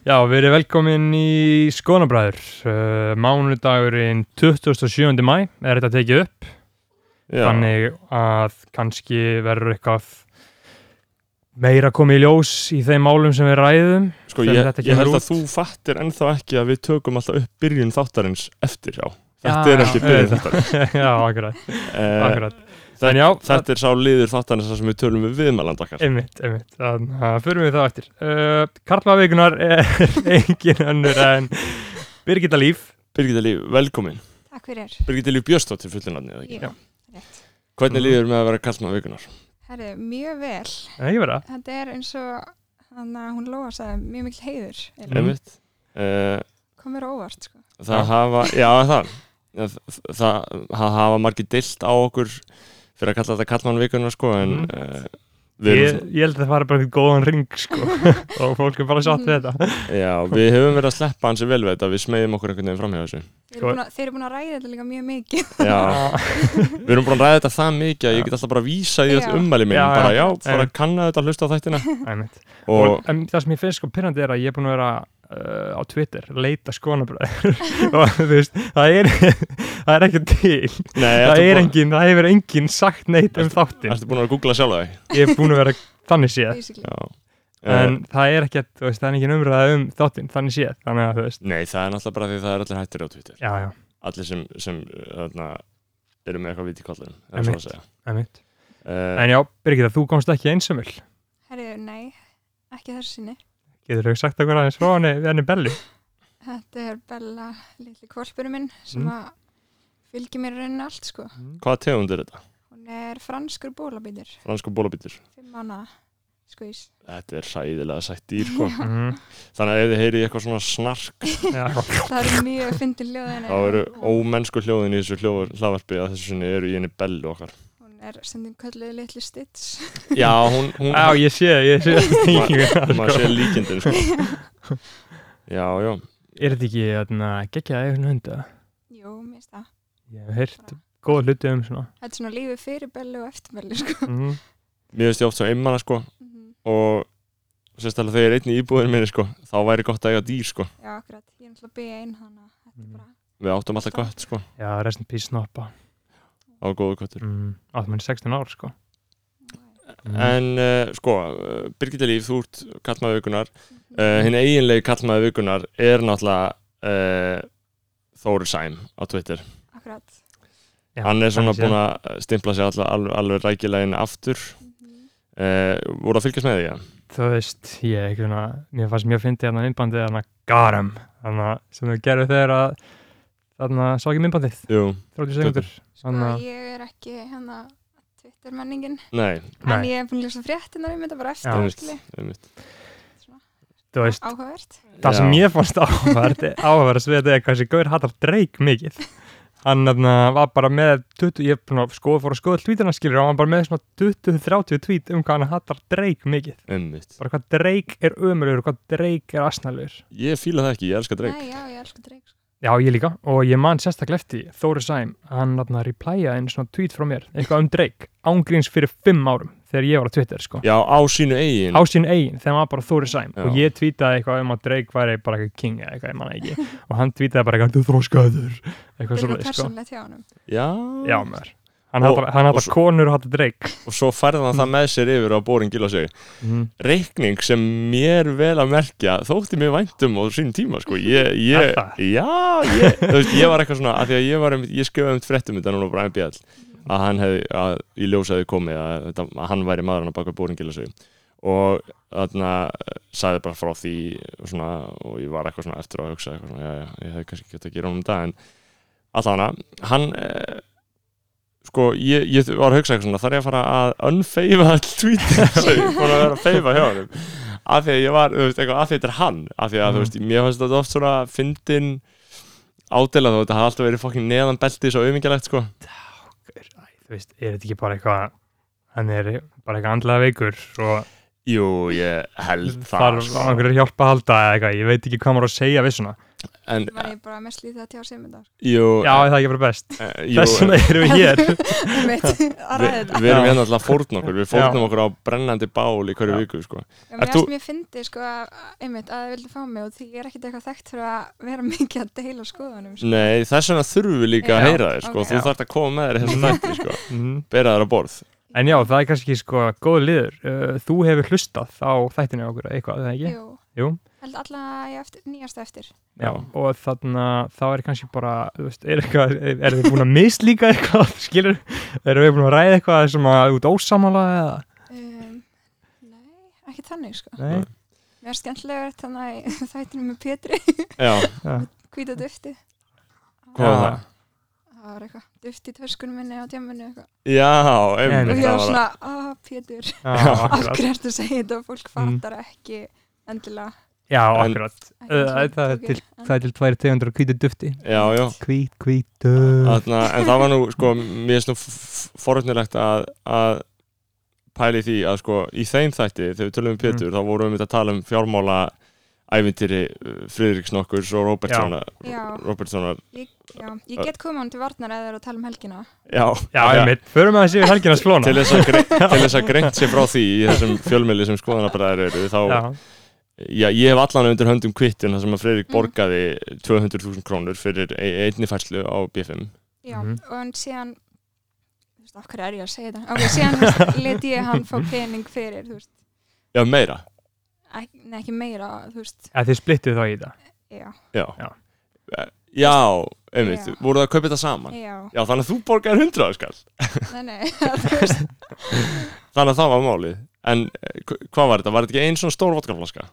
Speaker 2: já, við erum velkomin í Skonabræður uh, mánudagurinn 27. mæ er þetta tekið upp
Speaker 1: Já.
Speaker 2: þannig að kannski verður eitthvað meira komið í ljós í þeim málum sem við ræðum
Speaker 1: Sko,
Speaker 2: þegar
Speaker 1: ég,
Speaker 2: þetta
Speaker 1: ég
Speaker 2: kemur
Speaker 1: held að
Speaker 2: út.
Speaker 1: þú fattir ennþá ekki að við tökum alltaf upp byrjun þáttarins eftir á. Þetta
Speaker 2: Já,
Speaker 1: er
Speaker 2: já,
Speaker 1: ekki byrjun
Speaker 2: auðvitað.
Speaker 1: þáttarins.
Speaker 2: já, akkurat,
Speaker 1: Eh,
Speaker 2: akkurat.
Speaker 1: þetta-
Speaker 2: En já,
Speaker 1: Þetta er sá liður þáttarins þar sem við tölum við viðmæland okkar.
Speaker 2: Einmitt, einmitt, þannig að förum við þá eftir uh, Karlmaveikunar er engin önnur en Birgitta Líf
Speaker 1: Birgitta Líf, velkomin.
Speaker 5: Takk fyrir.
Speaker 1: Birgitta Líf Björnsdóttir fullinarni, eða ekki?
Speaker 5: Jú, rétt.
Speaker 1: Hvernig
Speaker 2: Mhm.
Speaker 1: líður með að vera kallmann vikunar?
Speaker 5: Herri, mjög vel.
Speaker 2: Nei, ekki vera
Speaker 5: Þetta er eins og hann að hún lóa sagði mjög mikil heiður.
Speaker 2: Mhm.
Speaker 5: eiginlega.
Speaker 1: Einmitt. Eh,
Speaker 5: Kom mér á óvart, sko.
Speaker 1: það
Speaker 2: Já.
Speaker 1: hafa, já það, það, það, það hafa margir deilt á okkur fyrir að kalla þetta kallmann vikunar sko, en
Speaker 2: Mhm.
Speaker 1: eh, við
Speaker 2: ég,
Speaker 1: erum,
Speaker 2: ég held að það fara bara eitthvað góðan ring sko og fólk er bara satt við þetta
Speaker 1: já, við höfum verið að sleppa hans vel við þetta, við smeyðum okkur einhvern veginn framhjá þessu.
Speaker 5: Þeir eru búin að, þeir eru búin að ræða þetta líka mjög mikið.
Speaker 1: Já, Við erum búin að ræða þetta það mikið að ég get alltaf bara að vísa í
Speaker 5: Já.
Speaker 1: þetta ummæli mín
Speaker 2: Já, já.
Speaker 1: bara já, bara
Speaker 2: Einmitt.
Speaker 1: kanna þetta hlusta á þættina
Speaker 2: Einmitt.
Speaker 1: og
Speaker 2: og en, það sem ég finnst sko pyrrandi er að ég er búin að vera uh, á Twitter, leita skonabröður og þú veist, það er það er ekki til,
Speaker 1: nei,
Speaker 2: það
Speaker 1: ertu
Speaker 2: er
Speaker 1: búin-
Speaker 2: engin það hefur engin sagt neitt um þáttin
Speaker 1: Ertu búin að googla sjálf þig?
Speaker 2: ég er búin að vera þannig séð
Speaker 5: basically.
Speaker 1: Já Eh,
Speaker 2: en
Speaker 1: en,
Speaker 2: það er ekkert, þú veist, það er engin umræða um þáttinn, þannig séð, þannig að þú veist
Speaker 1: Nei, það er náttúrulega bara því það er allir hættir á Twitter
Speaker 2: já, já,
Speaker 1: Allir sem, sem eh, þarna, eru með eitthvað vit í kollum
Speaker 2: Einmitt.
Speaker 1: uh,
Speaker 2: emitt
Speaker 1: Eh,
Speaker 2: en já, Birgitta, þú komst ekki einsamil
Speaker 5: Herri, nei, ekki þessu sinni.
Speaker 2: Getur þau sagt okkur aðeins frá henni við henni Bellu?
Speaker 5: Þetta er Bella, litli kvolpurinn minn sem
Speaker 2: Mm.
Speaker 5: að fylgir mér í rauninni allt sko.
Speaker 2: Mhm.
Speaker 1: Hvaða tegund er þetta?
Speaker 5: Hún er franskur bólabýtir,
Speaker 1: Fransku bólabítur.
Speaker 5: fimm mánaða sko, skvís.
Speaker 1: Þetta er sæðilega sætt dýr, sko.
Speaker 2: Mm.
Speaker 1: Þannig að ef þið heyrið eitthvað svona snark,
Speaker 2: Já,
Speaker 5: Það eru mjög fyndin hljóðin.
Speaker 1: þá eru ómennsku hljóðin í þessu hljóð- hlaðvarpi að þessu sinni eru í henni bellu okkar.
Speaker 5: Hún er stundum kölluð litli stits.
Speaker 1: Já, hún, hún,
Speaker 2: Já, ég sé, ég sé
Speaker 1: maður
Speaker 2: Er
Speaker 1: sé líkindin, sko. Já, já.
Speaker 2: þetta ekki geggjað eða svona hunda?
Speaker 5: Jú, mér finnst það.
Speaker 2: Ég hef heyrt góða hluti um svona
Speaker 5: Þetta er svona lífið fyrir Bellu og eftir Bellu sko.
Speaker 2: mm.
Speaker 1: Mér veist ég oft svo einmana, sko,
Speaker 5: Mhm.
Speaker 1: og sérstaklega þegar ég er einn í íbúðinu minni, sko, þá væri gott að eiga dýr, sko.
Speaker 5: Já, akkurat. Ég er náttúrulega bíða einn hana. Þetta
Speaker 2: Mm.
Speaker 5: er bara...
Speaker 1: Við áttum alltaf gött, sko,
Speaker 2: Já, rest in peace snoppa
Speaker 1: á góðu köttur.
Speaker 2: mm. Áttum henni 16 ár sko mm.
Speaker 1: En, uh, sko, uh, Birgitta Líf, þú ert kallmaður vikunar.
Speaker 5: Mhm.
Speaker 1: Uh, hinn eiginlegi kallmaður vikunar er náttúrulega uh, Þóri Sæm á Twitter.
Speaker 5: Akkurat.
Speaker 2: Já,
Speaker 1: hann er svona
Speaker 2: sé.
Speaker 1: búinn að stimpla sig alla, alveg, alveg rækilegin aftur
Speaker 5: Mhm.
Speaker 1: uh, voru að fylgjast með því ja?
Speaker 2: Þú veist, ég er svona Mér fannst mjög fyndið hann að myndbandið hann að garum Þannig að sem þau gerðu þegar að Þannig að sá ekki myndbandið
Speaker 1: Jú,
Speaker 2: 30 sekundur Þannig
Speaker 5: Sko,
Speaker 2: að
Speaker 5: ég er ekki hérna Twitter menningin.
Speaker 1: nei,
Speaker 5: En
Speaker 2: Nei.
Speaker 5: ég hef búin að ljósa fréttinar um þetta bara
Speaker 2: Já.
Speaker 5: eftir, skilji.
Speaker 1: einmitt
Speaker 2: þú veist
Speaker 5: Áhugavert.
Speaker 2: Það sem
Speaker 1: Já.
Speaker 2: ég fannst áhverð áhverð að þetta er hvað sem Gaur hattar dreik mikið hann þarna, var bara með 20, ég búin að skoða fór að skoða tweetina skilur og hann var bara með svona 20-30 tweet um hvað hann hattar dreik mikið
Speaker 1: einmitt
Speaker 2: bara hvað dreik er ömurlegur og hvað dreik er asnalegur
Speaker 1: ég fíla það ekki, ég elska dreik
Speaker 5: Nei, já, ég elskar dreik. sko.
Speaker 2: já ég líka og ég man sérstaklega eftir því, Þóri Sæm hann þarna replya einu svona tweet frá mér eitthvað um dreik ángríns fyrir 5 árum þegar ég var á Twitter sko
Speaker 1: já, á sínu eigin
Speaker 2: á sín eigin þegar hann var bara Þóri Sæm
Speaker 1: Já.
Speaker 2: og ég tweetaði eitthvað um að Drake væri bara eitthvað king eða eitthvað, ég manna ekki og hann tweetaði bara eitthvað, þú þróskaður eitthvað
Speaker 5: Þetta
Speaker 2: svona,
Speaker 5: er
Speaker 2: sko
Speaker 5: persónlegt hjá honum.
Speaker 1: já.
Speaker 2: já, maður. hann
Speaker 1: Og-
Speaker 2: hattar
Speaker 1: og
Speaker 2: hann hattar
Speaker 1: svo-
Speaker 2: konur og hattar Drake
Speaker 1: og svo færði hann það með sér yfir á bórin gil og segi
Speaker 2: mm.
Speaker 1: Mhm. reikning sem mér vel að merkja þótti mér væntum á sínum tíma sko. ég,
Speaker 2: Er
Speaker 1: ég,
Speaker 2: það?
Speaker 1: já, ég, þú veist, ég var eitthvað svona að því að ég, var, einmitt- ég skrifaði um fréttum þetta núna á Brian Bjall að hann hefði, að í ljós hefði komið að, þetta, að hann væri maður hann að baka bóringil og sig og þarna sagði bara frá því og svona, og ég var eitthvað svona eftir á að hugsa eitthvað svona, já, já, ég hefði kannski gett að gera honum þetta en allana, hann eh, sko, ég, ég var að hugsa eitthvað svona, þarf ég að fara að unfeiva all tweetin, svo ég búin að vera að feiva hjá hann af því að ég var, þú veist, eitthvað, af því að þetta er hann af því að, þú
Speaker 2: Mhm.
Speaker 1: veist, mér fannst þetta oft svona fyndin ádela þó, þetta hafði alltaf verið fokkin neðan beltið svo auðmingjalegt, sko
Speaker 2: Æ, þú veist, er þetta ekki bara eitthvað hann er bara eitthvað andlega veikur og
Speaker 1: Jú, ég held það, sko.
Speaker 2: þarf á einhverju hjálpa að halda eða eitthvað, ég veit ekki hvað maður á að segja við svona
Speaker 1: en,
Speaker 5: Það var ég bara mest lítið að tjá sig um þetta.
Speaker 1: jú,
Speaker 2: já, er það er ekki bara best,
Speaker 1: eh, jú
Speaker 2: þess vegna erum við hér
Speaker 5: Ég veit, að
Speaker 1: Við,
Speaker 5: ræða þetta.
Speaker 1: við erum
Speaker 2: Já.
Speaker 1: hérna alltaf að fórna okkur, við
Speaker 2: Já.
Speaker 1: fórnum okkur á brennandi bál í hverju
Speaker 2: Já.
Speaker 1: viku, sko.
Speaker 5: Já, mér
Speaker 1: Ert
Speaker 5: finnst
Speaker 1: þú-
Speaker 5: mjög fyndið, sko, að- einmitt, að þið vildu fá mig og því ég er ekkert eitthvað þekkt fyrir að vera mikið að deila skoðunum, sko.
Speaker 1: Nei, þess vegna þurfum við líka að
Speaker 5: Já.
Speaker 1: heyra þér, sko,
Speaker 5: Ok.
Speaker 1: þú
Speaker 5: Já.
Speaker 1: þarft að koma með þér í þessu þætti, sko,
Speaker 2: mm.
Speaker 1: bera þér á borð.
Speaker 2: en já, það er kannski sko góð liður, uh, þú hefur hlustað á þættinu hjá okkur, eitthvað, eða ekki?
Speaker 5: Jú,
Speaker 2: Jú.
Speaker 5: held alla ég eftir, nýjasta eftir.
Speaker 1: Já.
Speaker 2: Já, og þannig að þá er kannski bara, þú veist, er, eitthvað, er þið búin að mislíka eitthvað, skilur, erum við búin að ræða eitthvað sem að út ósamála eða,
Speaker 5: Um, nei, ekki þannig, sko.
Speaker 2: nei,
Speaker 5: Mér er skemmtilega þannig að þættinum með Pétri,
Speaker 1: Já,
Speaker 5: hvita dufti.
Speaker 1: hvað var
Speaker 2: Já.
Speaker 1: það?
Speaker 5: Það var eitthvað, duft í törskunum minni á djemmunni eitthvað.
Speaker 1: Já,
Speaker 2: Einmitt.
Speaker 1: einmitt,
Speaker 5: Og ég
Speaker 1: það
Speaker 5: var
Speaker 1: var
Speaker 5: svona, að Pétur,
Speaker 2: já,
Speaker 5: af
Speaker 2: akkurat,
Speaker 5: hverju ertu að segja þetta og fólk
Speaker 2: Mm.
Speaker 5: fattar ekki endilega
Speaker 2: já,
Speaker 1: En-
Speaker 2: akkurat,
Speaker 5: ekki
Speaker 2: Uh,
Speaker 5: svona
Speaker 2: það er
Speaker 5: tökir,
Speaker 2: til-
Speaker 5: en-
Speaker 2: það er til tværi tegundur og hvítu dufti,
Speaker 1: Já, já,
Speaker 2: hvít, hvítu,
Speaker 1: Þarna, en það var nú, sko, mér finnst nú forutnilegt að, að pæli því að, sko, í þeim þætti, þegar við tölum um
Speaker 2: Mhm.
Speaker 1: Pétur, þá vorum við mitt að tala um fjármála ævintýri uh, Friðriks nokkurs og Robertssonar,
Speaker 5: Já.
Speaker 1: Robertssonar,
Speaker 5: Já, ég get komið hann til varnar eða það er að tala um helgina.
Speaker 1: já,
Speaker 2: já, einmitt, förum við að séu helgina slóna,
Speaker 1: til þess að, grei, til þess að greint sér frá því í þessum fjölmiðli sem skoðanabræðar eru, þá,
Speaker 2: já,
Speaker 1: já. ég hef allan undir höndum kvittin þar sem að Friðrik
Speaker 5: Mm.
Speaker 1: borgaði 200.000 krónur fyrir e- einni færslu á BFM.
Speaker 5: Já,
Speaker 2: Mhm.
Speaker 5: og hann síðan, þú veist, af hverju er ég að segja þetta? Ok, síðan þú veist, let ég hann fá pening fyrir, þú veist,
Speaker 1: Já, meira,
Speaker 5: ek, nei, ekki meira, þú veist,
Speaker 2: að þið splittuð þá í það,
Speaker 5: já,
Speaker 1: já. E,
Speaker 2: Já.
Speaker 1: Já, einmitt,
Speaker 5: Já.
Speaker 1: voru það að kaupa þetta saman?
Speaker 5: já,
Speaker 1: Já, þannig að þú borgar 100 skall
Speaker 5: nei, nei, þú veist,
Speaker 1: Þannig að það var málið En eh, hva- hvað var þetta? Var þetta ekki einn svona stór vodkaflaska?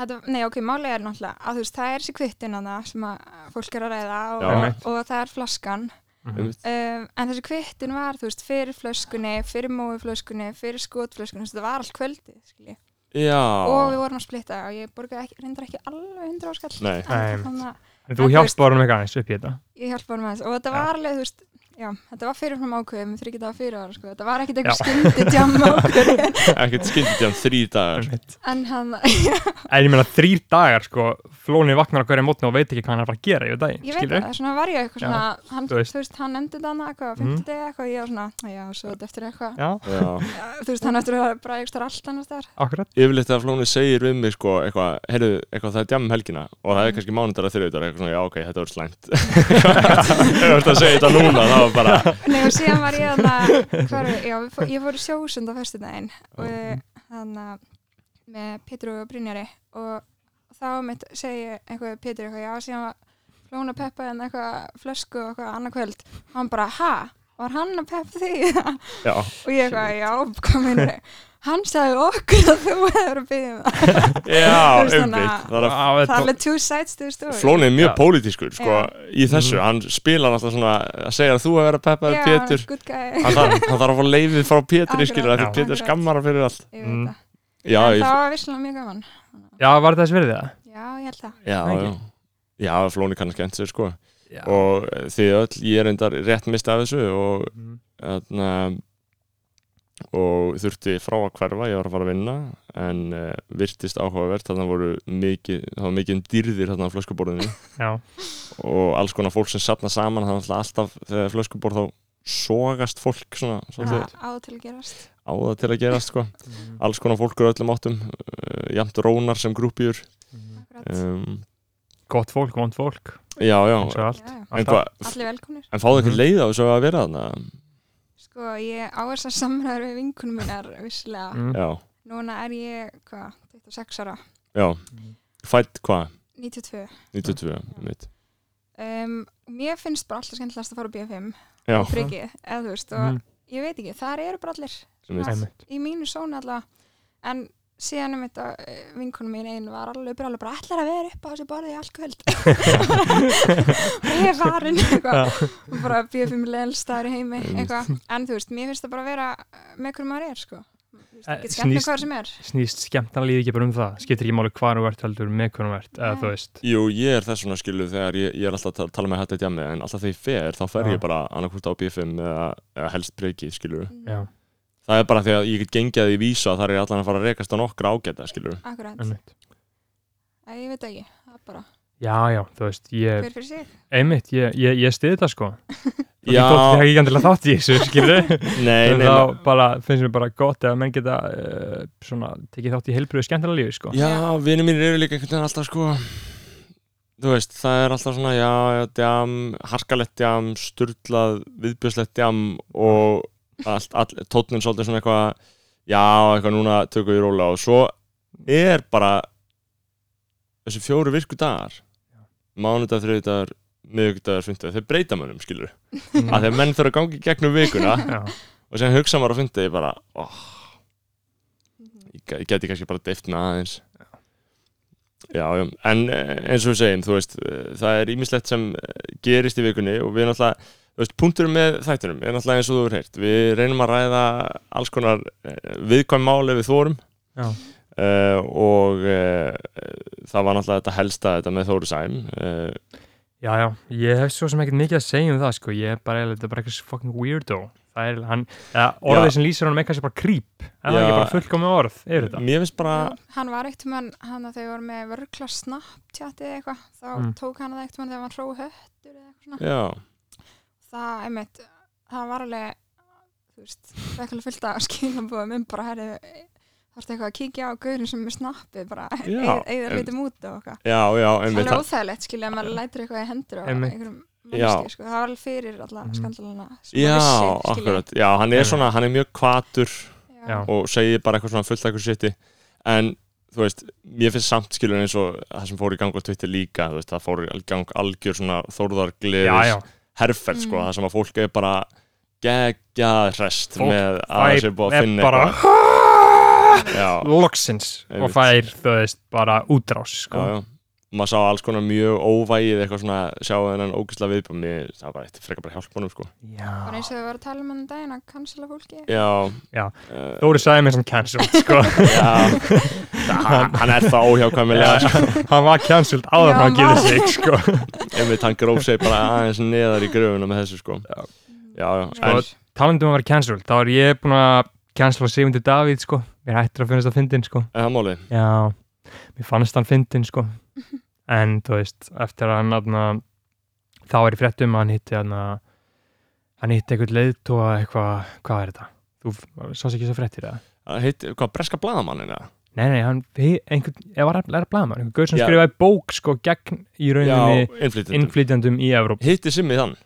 Speaker 5: þetta, nei ok, málega er náttúrulega að þú veist, það er þessi kvittin hana sem að fólk er að ræða og,
Speaker 1: Já.
Speaker 5: og það er flaskan
Speaker 2: Mhm.
Speaker 5: um, en þessi kvittin var, þú veist, fyrir flöskunni fyrir móðuflöskunni, fyrir skotflöskunni þú veist, það var allt kvöldið, skilji
Speaker 1: Já
Speaker 5: og við vorum að splitta og ég borgaði ekki, reyndar ekki alveg 100 áskall
Speaker 1: Nei.
Speaker 2: Nei,
Speaker 5: en,
Speaker 2: einmitt.
Speaker 5: þannig að
Speaker 2: En Þú
Speaker 5: En þú
Speaker 2: hjálpar honum eitthvað aðeins upp í þetta
Speaker 5: ég hjálpa honum aðeins og þetta
Speaker 2: Já.
Speaker 5: var alveg, þú veist Já, þetta var fyrirfram ákveðið með þryggja daga fyrir ára sko. þetta var ekkit
Speaker 2: Já.
Speaker 5: eitthvað skyndi tjám ákveðið
Speaker 1: Ekkert skyndið hann þrý dagar
Speaker 2: Einmitt.
Speaker 5: en hann,
Speaker 2: En ég meina þrýr dagar sko Flóni vaknar á hverja mótni og veit ekki hvað hann er að fara að gera yfir daginn
Speaker 5: ég veit
Speaker 2: skilurðu?
Speaker 5: það, svona var ég eitthvað
Speaker 2: Já,
Speaker 5: svona, hann,
Speaker 2: þú
Speaker 5: þú
Speaker 2: veist.
Speaker 5: veist, hann nefndi þetta annað eitthvað,
Speaker 2: Mhm.
Speaker 5: 50 degi eitthvað, ég var svona, já, svo þetta eftir eitthvað,
Speaker 2: Já,
Speaker 1: Já
Speaker 5: Já, þú veist, hann eftir að bara ég starf allt annars þar,
Speaker 2: akkurat
Speaker 1: Yfirleitt að Flóni segir við mig sko eitthvað, heyrðu, eitthvað það er djam um helgina og
Speaker 5: Mm.
Speaker 1: það er kannski mánundar að þriðutar eitthvað svona, já ok, þetta var slæmt Ef þú ert að segja þetta núna, þá var bara
Speaker 5: nei og síðan var ég að, hvað er, já, við fó, ég fór í sjósund á festudaginn
Speaker 2: mhm.
Speaker 5: og þannig að með Pétur og Brynjari og þá um mitt segi ég eitthvað Pétur eitthvað, já, síðan var Flóna Peppa en eitthvað flösku og eitthvað annað kvöld, hann bara, ha, var hann að peppa þig?
Speaker 1: Já,
Speaker 5: og ég eitthvað, já, hvað meinar hann sagði okkur að þú hefur að byggja um það Þú veist,
Speaker 1: já,
Speaker 5: þannig
Speaker 1: umbytt
Speaker 5: að-
Speaker 1: Það er að
Speaker 2: Á,
Speaker 5: það er
Speaker 2: þetta-
Speaker 5: alveg two sides to the story
Speaker 1: Flóni er mjög
Speaker 2: Já.
Speaker 1: pólitískur sko, í þessu,
Speaker 2: Mhm.
Speaker 1: hann spilar alltaf svona að segja að þú að vera peppaður
Speaker 5: Mm. Já,
Speaker 1: Pétur Ah.
Speaker 5: good guy
Speaker 1: hann þarf, hann þarf að fá leifið frá Pétur
Speaker 5: Akkurat,
Speaker 1: skilur, af því
Speaker 2: já.
Speaker 1: Pétur
Speaker 5: akkurat.
Speaker 1: skammar hann fyrir allt
Speaker 5: Ég
Speaker 2: Mm.
Speaker 5: veit það.
Speaker 1: Já,
Speaker 5: en
Speaker 1: ég,
Speaker 5: það var visslega mjög gaman
Speaker 2: Já, var þetta þess verið það?
Speaker 5: já, ég held það
Speaker 1: já,
Speaker 2: Ekki.
Speaker 1: já Já, Flóni kann skemmt sér sko
Speaker 4: Já.
Speaker 1: og eh, þið öll, ég er endar rétt mista af þessu og
Speaker 2: Mm,
Speaker 1: þarna og þurfti frá að hverfa, ég var að fara að vinna en uh, virtist áhugavert þarna voru mikið, það var mikið um dýrðir þarna á flöskuborðinu
Speaker 2: Já,
Speaker 1: og alls konar fólk sem sapna saman þannig að alltaf þegar er flöskuborð þá sogast fólk svona, svona
Speaker 5: Það á til að gerast
Speaker 1: á það til að gerast sko. alls konar fólk úr öllum áttum uh, jæmt rónar sem grúpjur
Speaker 5: akkurat.
Speaker 1: um,
Speaker 2: gott fólk, vond fólk
Speaker 1: já, já,
Speaker 2: eins og allt
Speaker 5: Já, já.
Speaker 1: en,
Speaker 2: Alltaf. Mhm.
Speaker 1: hva,
Speaker 5: allir velkomnir
Speaker 1: en fáðu ekki leið á þessu að vera þarna
Speaker 5: sko, ég á þessar samræður við vinkunum mínar visslega
Speaker 2: Mm.
Speaker 1: já,
Speaker 5: núna er ég, hvað, 26 ára
Speaker 1: já, fætt hvað
Speaker 5: 92
Speaker 1: 92, mitt
Speaker 5: um, mér finnst bara alltaf skemmtilegast að fara á BFM
Speaker 1: já,
Speaker 5: frikið, eða þú veist og
Speaker 2: Mhm.
Speaker 5: ég veit ekki, þar eru bara allir
Speaker 1: mitt
Speaker 2: Einmitt.
Speaker 5: í mínu sónu alltaf en síðan um þetta vinkunum mín einn var alveg bara, bara ætlar að vera upp á þessu borði í allt kvöld og ég er farin eitthvað og bara býða fyrir mig leðlstaður í heimi eitthvað, en þú veist, mér finnst það bara að vera eh, með hverju maður er sko
Speaker 2: Eh,
Speaker 5: ekki skemmt með
Speaker 2: snýst-
Speaker 5: hvað sem er
Speaker 2: Snýst skemmtanlega ekki bara um það Skiptir ekki máli hvar þú ert heldur, með hvernig þú ert eða
Speaker 5: Nei.
Speaker 2: þú veist
Speaker 1: Jú, ég er þess vegna skilu þegar ég, ég er alltaf að ta- tala með hætti að djami en alltaf þegar ég fer þá fer
Speaker 2: Já.
Speaker 1: ég bara annarkvort á BFM eða, eða helst breykið skilu
Speaker 2: Já,
Speaker 1: Það er bara því að ég get gengið að því vísa að það er allan að fara að rekast á nokkra ágæta skilu
Speaker 5: akkurat,
Speaker 2: einmitt
Speaker 5: Æ, ég veit ekki það er bara,
Speaker 2: Já, já, þú veist, ég
Speaker 5: hver fyrir sig
Speaker 2: Einmitt, ég, ég, ég stiði þetta sko Þú
Speaker 1: Já,
Speaker 2: tótt þér ekki gandilega þátt í þessu, skilur
Speaker 1: nei,
Speaker 2: En
Speaker 1: nei
Speaker 2: þá bara, finnst mér bara gott ef menn geta uh, svona, tekið þátt í heilbröðu skemmtilega lífi, sko
Speaker 1: Já, vinir mínir eru líka einhvern veginn alltaf sko Þú veist, það er alltaf svona já, já, djam, harkalett djam sturlað, viðbjöðslegt djam og allt, all, tónninn svolítið svona eitthvað já, eitthvað núna tökum við róla og svo er bara þessi fjóru virku dagar mánudag, þriðudagar, miðugudagar, fymtudagar þeir breyta mönnum, skilur
Speaker 2: Mm.
Speaker 1: að þegar menn þurfa að gangi gegnum vikuna
Speaker 2: Já,
Speaker 1: og sem hugsa maður á fymtudegi bara oh,
Speaker 5: Mhm.
Speaker 1: ég ga- ég geti kannski bara deift með aðeins já, já, en eh, eins og við segjum, þú veist eh, það er ímislegt sem eh, gerist í vikunni og við náttúrulega, þú veist, punkturum með þættunum er náttúrulega eins og þú er heyrt við reynum að ræða alls konar eh, viðkvæm mál ef við þórum
Speaker 2: já,
Speaker 1: Uh, og uh, það var náttúrulega þetta helsta þetta með Þóri Sæm uh,
Speaker 2: já, já, ég hef svo sem ekkert mikið að segja um það, sko Ég er bara, eiginlega- þetta er bara eitthvað fucking weirdo Það er, hann, eða, orðið
Speaker 1: Já.
Speaker 2: sem lýsir honum eitthvað sem bara creep En það er
Speaker 1: Já.
Speaker 2: ekki bara fullkomið orð, yfir þetta
Speaker 1: mér finnst bara
Speaker 5: Jú, hann var eitt mann, hann að þau voru með vörgla snapptjatið eða eitthvað þá
Speaker 2: Mm.
Speaker 5: tók hann það eitt mann þegar hann hrói höttur eða eitthvað svona
Speaker 1: já,
Speaker 5: það, einmitt, það var alveg þú veist, það er alveg fullt af skilabóðum um bara herri þarf eitthvað að kíkja á gaurin sem er snappið bara
Speaker 1: Já,
Speaker 5: eigða
Speaker 1: em-
Speaker 5: hlutum út og okkar
Speaker 1: já, já, einmitt,
Speaker 5: alveg
Speaker 1: það,
Speaker 5: óþægilegt skilja að maður lætir eitthvað í hendur á
Speaker 2: Einmitt.
Speaker 5: einhverjum
Speaker 1: Já.
Speaker 5: mannski sko. það var alveg fyrir alla
Speaker 2: Mhm.
Speaker 5: skandalana sko. sem
Speaker 1: já
Speaker 5: maður vissi, skilja.
Speaker 1: akkurat já, hann er svona, hann er mjög kvatur
Speaker 5: já,
Speaker 2: Já.
Speaker 1: og segir bara eitthvað svona fullt eitthvað sétti en þú veist, mér finnst samt skilur eins og það sem fór í gang á Twitter líka þú veist, það fór í gang algjör svona
Speaker 2: Já,
Speaker 1: þórðargleðis
Speaker 2: já,
Speaker 1: herferð sko,
Speaker 5: Mm.
Speaker 1: það sem að fólk er bara geggjað hrest
Speaker 2: Fólk
Speaker 1: með að það sé búið að
Speaker 2: er
Speaker 1: finna
Speaker 2: bara
Speaker 1: eitthvað já,
Speaker 2: loksins
Speaker 1: Einmitt.
Speaker 2: og fær þú veist bara útrás sko.
Speaker 1: já, já. Og maður sá alls konar mjög óvægið eitthvað svona, sjá þennan ógisla viðbjörn mér, það var bara eitt frekar bara hjálp honum sko.
Speaker 5: bara
Speaker 2: já.
Speaker 5: eins og við varum að tala um hann um daginn að cancela fólki
Speaker 1: já,
Speaker 2: Já.
Speaker 1: Eh,
Speaker 2: Dóri sagði mér sem cancelled sko.
Speaker 1: já. Það, hann- hann er það óhjákvæmilega
Speaker 2: Já, hann var cancelled áður
Speaker 5: Já,
Speaker 2: en hann
Speaker 5: hann
Speaker 2: gerir sig sko.
Speaker 1: einmitt hann gróf sig bara aðeins neðar í gröfuna með þessu sko
Speaker 2: Já.
Speaker 5: Mhm.
Speaker 1: já, já,
Speaker 5: Nei.
Speaker 1: en,
Speaker 2: talandi um að vera cancelled þá er ég búin að cancella Sigmundur Davíð sko. mér hættir að finnast það fyndin sko.
Speaker 1: en það máli
Speaker 2: já, mér fannst hann fyndin sko. en þú veist eftir að hann aðna, þá er í fréttum að hann hitti aðna, hann hitti einhvern leiðtóa eitthvað, hvað er þetta? þú sást ekki þess að fréttir það?
Speaker 1: hitt, hvað, breska blaðamannin eða?
Speaker 2: Nei, nei, hann, hi- einhvern, ég var að læra blaðmann, einhvern gaur sem
Speaker 1: Já.
Speaker 2: skrifaði bók sko gegn í
Speaker 1: já,
Speaker 2: rauninni
Speaker 1: innflytjum
Speaker 2: innflytjandum í Evróp.
Speaker 1: hitti simmi þann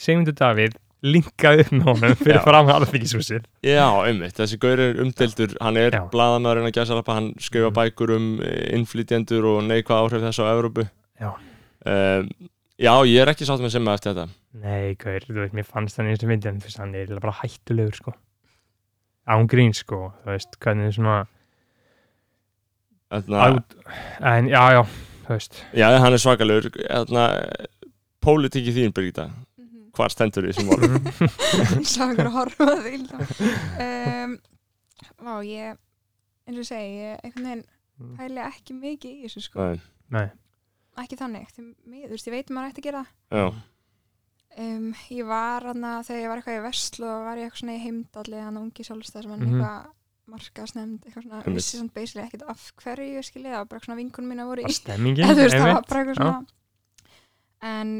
Speaker 2: Segmundur Davíð linkaði upp með honum fyrir
Speaker 1: Já.
Speaker 2: fram alþingisúsið.
Speaker 1: já, einmitt, þessi gaur er umdeldur hann er
Speaker 2: Já. Mm.
Speaker 1: blaðamæðurinn að gæsalappa hann skrifa bækur um eh, innflytjendur og neikvað áhrif þess á Evrópu
Speaker 2: Já.
Speaker 1: Ehm, já, ég er ekki sátt með simmi eftir þetta
Speaker 2: Nei, gaur, þú veit, mér fannst hann í þessu myndi en fyrst hann er eiginlega bara hættulegur sko. Án grín sko, þú veist, hvernig svona
Speaker 1: Þarna,
Speaker 2: át, en já, já, þú veist,
Speaker 1: já, hann er svakalegur Þarna, pólitíki þín, Birgitta
Speaker 5: Mhm.
Speaker 1: hvar stendur í þessum orðum
Speaker 5: ég sá einhver að horfa á því um, Vá, ég eins og ég segi, ég einhvern veginn pæli ekki mikið í þessu sko
Speaker 1: Nei,
Speaker 2: nei,
Speaker 5: ekki þannig, því miður, þú veist, ég veit að maður ætti að gera það.
Speaker 1: já,
Speaker 5: um, ég var hann þegar ég var eitthvað í verslu og var ég eitthvað svona í heimdalli hann ungi sjálfstæð sem hann
Speaker 2: Mhm.
Speaker 5: eitthvað markaðsnefnd, eitthvað svona,
Speaker 1: Einmitt.
Speaker 5: vissi svona basically ekkert af hverju, skilja, það var bara svona vinkun mín að voru í
Speaker 2: bara stemmingin,
Speaker 5: eða þú veist, það var
Speaker 2: einmitt,
Speaker 5: bara eitthvað
Speaker 2: já.
Speaker 5: svona en